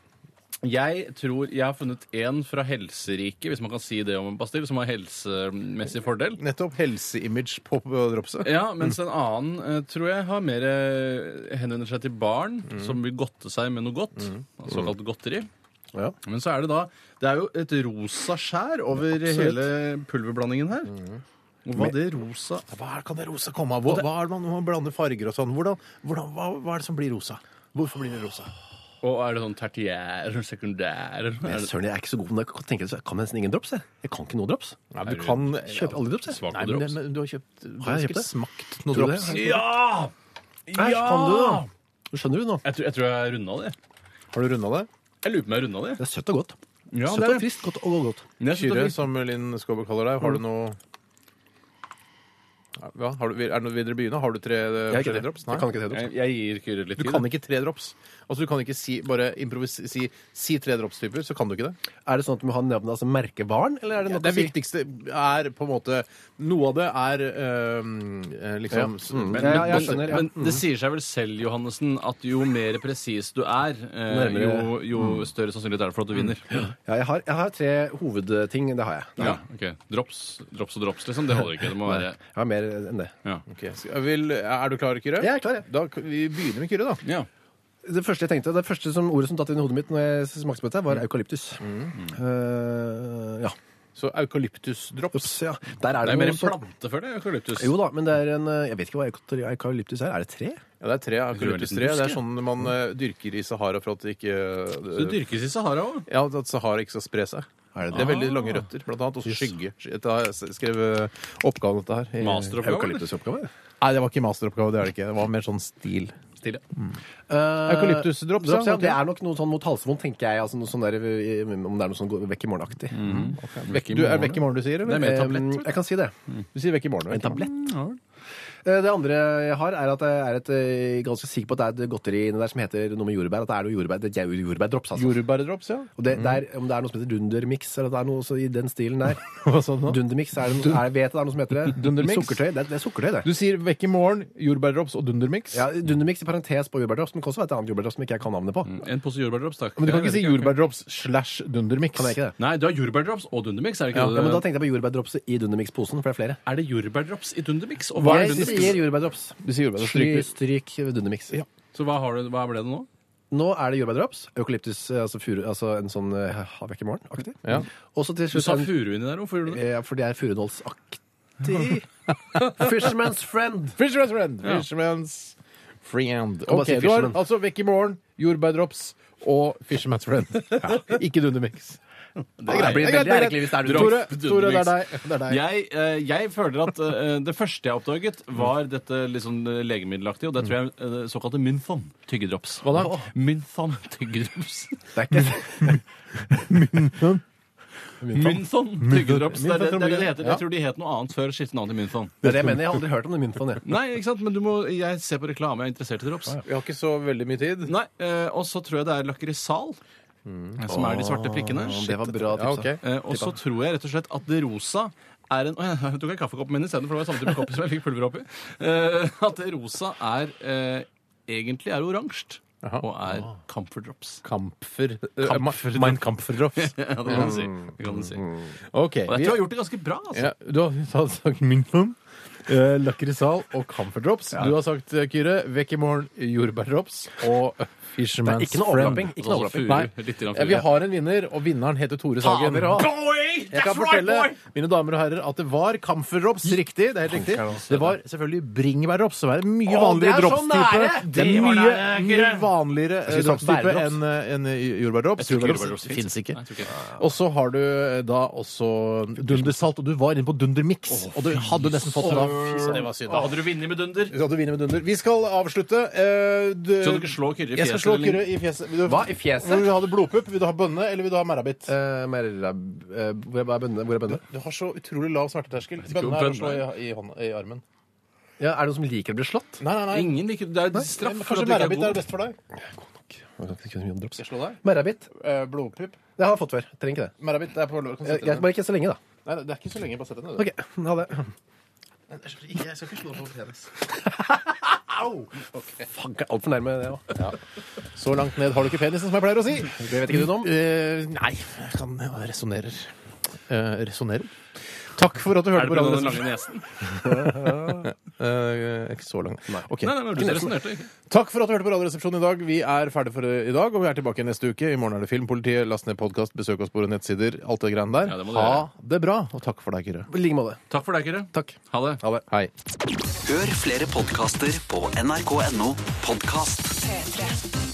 D: jeg tror jeg har funnet en fra helseriket, hvis man kan si det om en pastill, som har helsemessig fordel.
C: Nettopp helseimage på på dropset.
D: Ja, mens en annen eh, tror jeg har mer eh, henvender seg til barn som vil godte seg med noe godt. altså Såkalt godteri.
B: Ja.
D: Men så er det da Det er jo et rosa skjær over hele pulverblandingen her. Og hva det rosa
C: Hva er, kan det rosa komme av? Hva, hva er det man, når man blander farger og sånn? Hvordan, hvordan, hva, hva er det som blir rosa? Hvorfor blir det rosa?
D: Og er det sånn tertiær eller sekundær? eller
B: Men
D: Er det
B: søren, jeg er ikke så god på det. Jeg tenker, så jeg kan nesten ingen drops, jeg. Jeg kan ikke noe drops.
C: Nei, du kan
B: Kjøper aldri drops, jeg.
D: svak
C: Nei, men,
D: på
C: det,
D: drops?
C: men du har kjøpt Du
B: Har
C: har
B: jeg kjøpt
C: sikkert
B: det?
C: smakt noen
B: Tror du
C: drops.
B: det?
D: Ja!
B: Æsj, kan du det,
D: Ja!
B: da? Du skjønner du nå?
D: Jeg tror jeg, tror jeg runda det.
C: Har du runda det?
D: Jeg lurer på om jeg runda det.
B: Det er søtt og godt.
D: Ja,
B: søtt og friskt, godt og godt.
D: Men jeg synes det
C: Kyrre,
D: er fint.
C: som Linn Skåber kaller deg,
B: Mm.
C: har du noe ja, har du, er det noe videre i byen? Har du tre eh,
B: Jeg,
C: forskjellige
B: er
C: drops?
B: ikke, jeg kan ikke det drops.
D: Jeg, jeg gir Kyrre litt
C: Du
D: tid.
C: kan ikke tre drops. Altså, du kan ikke si, bare improvis- si, si tre drops-typer, så kan du ikke det.
B: Er det sånn at du må ha navnet, altså merkevaren, eller er det
C: Ja,
B: noe
C: det
B: å si?
C: viktigste er på en måte Noe av det er eh, liksom
D: Men,
B: Ja, jeg
D: men-
B: skjønner, ja.
D: men det sier seg vel selv, Johannessen, at jo mer presis du er, eh, jo,
B: Nærmere.
D: jo større sannsynlighet er det for at du vinner.
B: Ja, jeg har, jeg har tre hovedting, det har jeg. Det har
D: Ja, ok. Drops, drops og drops, liksom. Det holder ikke. Det må
B: jeg.
D: være
B: Jeg har mer enn det.
D: ja.
C: Ok, skal- jeg vil, er du klar, Kyrre?
B: Jeg er klar, jeg.
C: Da, kan vi begynner med Kyrre, da.
D: ja.
B: Det første jeg tenkte, det første som, ordet som datt inn i hodet mitt når jeg smakte på dette,
D: Mm.
B: var eukalyptus. Eh, ja.
C: Så eukalyptusdrops.
B: Ups, ja. Der er
D: Det er
B: det,
D: mer
B: noe
D: en
B: sånn-
D: plante før det, eukalyptus.
B: Jo da, men det er en eh, Jeg vet ikke hva eukaly- eukalyptus er. Er det tre?
C: Ja, det er tre eukalyptustre.
D: Rødliten
C: Det er
D: busk, ja.
C: sånn man
B: Mm.
C: eh, dyrker i Sahara for at det ikke eh,
D: Så det dyrkes i Sahara òg.
C: Ja, at Sahara ikke skal spre seg.
B: Er det
C: Det er
B: det?
C: veldig lange røtter, blant annet. Og så skygge. Dette har jeg skrev eh, oppgaven dette her. i-
D: Masteroppgave. eller?
B: Eukalyptusoppgave?
C: Nei, det var ikke masteroppgave, det er det ikke. Det var mer sånn stil.
D: Stille.
B: Uh,
C: Eh,
D: Eh,
C: Eukalyptusdrops,
B: ja.
C: ja.
B: Det er nok noe sånn mot halsvondt, tenker jeg. Altså, noe sånn der, eh, om det er noe sånn gå- vekk i morgen-aktig.
C: Du er Mm. vekk i morgen, du sier?
D: Det er
C: Eller?
D: mer tablett.
B: Eh, jeg kan si det.
C: Du sier vekk i morgen.
B: En tablett. Eh, Det andre jeg har, er at jeg er et, eh, ganske sikker på at det er et godteri inni der som heter noe med jordbær. At det er noe jordbær, det er jo jordbærdrops, altså.
C: Jordbærdrops, ja.
B: Og det, det er, om det er noe som heter dundermix, eller at det er noe så i den stilen der.
C: Hva sa du nå?
B: Dundermix, er det noe, er, vet jeg det er noe som heter det?
C: Dundermix?
B: Sukkertøy, det er, det er sukkertøy, det.
C: Du sier vekk i morgen, jordbærdrops og dundermix.
B: Ja, Dundermix i parentes på jordbærdrops, men det kan også være et annet jordbærdrops som ikke jeg kan navnet på.
D: En pose jordbærdrops, takk.
C: Men du kan
D: Jeg
C: ikke si
D: vet
C: jordbærdrops slash dundermix.
B: Kan jeg ikke det?
D: Nei, du har jordbærdrops og dundermix, er det ikke
B: Ja,
D: det?
B: men Da tenkte jeg på jordbærdropset i dundermix-posen, for det er flere.
D: Er det jordbærdrops i dundermix? Og hva er
B: Jeg
D: dundermix?
B: sier jordbærdrops.
C: Du sier jordbærdrops.
B: Stryk,
C: stryker.
B: stryk dundermix.
D: Så hva, har du, hva ble det nå?
B: Nå er det jordbærdrops, eukalyptus, eh, altså, furu, altså en sånn eh, havvekk i morgen-aktig.
C: Ja.
B: Og så til
D: Du
B: slutt
D: sa
B: en-
D: furu inni der, hvorfor gjorde du det?
B: Ja, for det er furunålsaktig. [LAUGHS] Fisherman's friend.
C: Fisherman's friend. Fisherman's friend.
B: bare
C: Ok,
B: si
C: du har
B: fisherman.
C: altså vekk i morgen, jordbærdrops og Fisherman's friend. [LAUGHS] Ikke dundermix.
B: Det er greit, det
C: Det er
B: blir veldig
C: greit, det er
B: ergerlig hvis det er
D: greit.
C: Tore,
B: Tore.
D: Drops,
C: Tore, det er
D: dundermix.
C: deg. Det er deg.
D: Jeg, eh, jeg føler at eh, det første jeg oppdaget, var dette litt sånn eh, legemiddelaktige, og det tror jeg eh, såkalte Mynthon tyggedrops.
C: Hva da?
D: Mynthon tyggedrops.
B: Det er ikke
D: Mynthon tyggedrops. Det er det, det, er det det heter.
C: Ja.
D: Jeg tror de het noe annet før skiftet navn til Mynthon.
B: Det er det jeg mener. Jeg har aldri hørt om det mynfond, jeg.
D: Nei, ikke sant? Men du må, jeg ser på reklame, jeg er interessert i drops.
C: Vi har ikke så veldig mye tid.
D: Nei, eh, Og så tror jeg det er lakrisal, som er de svarte prikkene.
B: Å, Det var bra
C: Ja,
B: tipsa.
C: ok.
D: Eh, og så tror jeg rett og slett at det rosa er en, Å, jeg tok en kaffekopp min isteden, for det var samtidig med koppen som jeg fikk pulver oppi. Eh, at det rosa er eh, egentlig er oransje.
C: Jaha.
D: Og er camphor drops. [LAUGHS]
C: Kampfer. Kampfer. Mein Kampferdrops.
D: Ja, det kan du si. Det kan du si. Og
C: Ok.
D: jeg
C: Mm. vi-
D: tror jeg har gjort det ganske bra. altså.
C: Ja, du har du har sagt Mynfum, eh, lakrisal og Camphordrops. Du har sagt, eh, Kyrre, vekk i morgen jordbærdrops og Fisherman's
B: Ikke noe
C: Friend.
B: overlapping. Ikke noe
D: Altså,
B: overlapping.
D: furu.
C: Nei.
D: Litt grann
C: Ja, vi
D: furu.
C: har en vinner, og vinneren heter Tore Sagen.
B: Fader, ja.
D: Boy,
C: Jeg kan
D: that's right,
C: fortelle
D: boy!
C: mine damer og herrer at det var Camphordrops. Riktig. Det er helt riktig. Det var selvfølgelig bringebærdrops, som er en mye
B: Å, det
C: vanligere
B: er så
C: dropstype.
B: nære!
C: Det
D: Det
C: er
D: var
C: mye,
D: nære,
C: mye
D: Kyrre.
C: vanligere eh,
B: Jeg synes det var
C: dropstype
B: bærdrops.
C: enn eh, enn jordbærdrops.
D: Jeg tror ikke
C: Jordbærdrops
D: jordbærdrops finnes.
C: fins ikke.
D: Nei, jeg tror ikke.
C: Og så har du eh, da også dundersalt, og du var inne på dundermix. Og du hadde nesten fått det da. Fy søren, Det var synd.
D: Å, Hadde du vunnet med dunder?
C: Vi skal vinne med dunder. Vi skal avslutte. eh, du-
D: Skal du ikke slå Kyrre i
C: Jeg skal
D: fjeset,
C: slå
D: eller?
C: Kyrre i fjeset. Vil du,
B: Hva? I fjeset?
C: Vil du ha det blodpupp? Vil du ha bønne, eller vil du ha merrabitt?
B: Eh, Merab- eh, Hvor er bønnene? Hvor er bønnene?
C: Du har så utrolig lav smerteterskel.
D: ikke
C: Bønne
D: om
C: er å
D: bønne
C: slå i, i, hånda- i armen.
B: Ja, er det noen som liker å bli slått?
C: Nei, nei, nei.
D: Ingen liker Det er straff for
C: Kanskje
D: at du ikke er
C: merrabitt er
D: god.
C: best for deg?
B: Skal
C: Skal jeg slå deg?
B: Merabit.
C: Eh, blodpupp?
B: Det har jeg fått før. Trenger ikke det.
C: Merrabitt det er på lov. Kan du
B: Eh,
C: sette
B: Greit,
C: den ned?
B: bare ikke så lenge, da.
C: Nei, det er ikke så lenge. Bare sett den ned.
B: Ok, ha det.
C: Jeg skal ikke- jeg skal ikke slå på penis.
B: Faen, jeg er altfor nærme det òg.
C: Så langt ned har du ikke penisen, som jeg pleier å si.
B: Det vet ikke du noe om.
C: Eh, nei, jeg kan jeg resonnerer. Eh, resonnerer? Takk for at du hørte
D: Er
C: på
D: det pga.
C: Radio
D: den
C: Resepsjon.
D: lange nesen?
C: Eh, ikke så lang. Ok.
D: Nei, nei, men du resonnerte ikke.
C: Takk for at du hørte på Radioresepsjonen i dag. Vi er ferdig for i dag, og vi er tilbake neste uke. I morgen er det Filmpolitiet. Last ned podkast, besøk oss på våre nettsider. Alt det greiene der.
D: Ja, det må du
C: ha det bra, og takk for deg, Kyrre.
B: I like måte.
D: Takk for deg, Kyrre.
B: Takk.
D: Ha det.
C: Hei.
E: Hør flere podkaster på nrk.no podkast.
A: P3.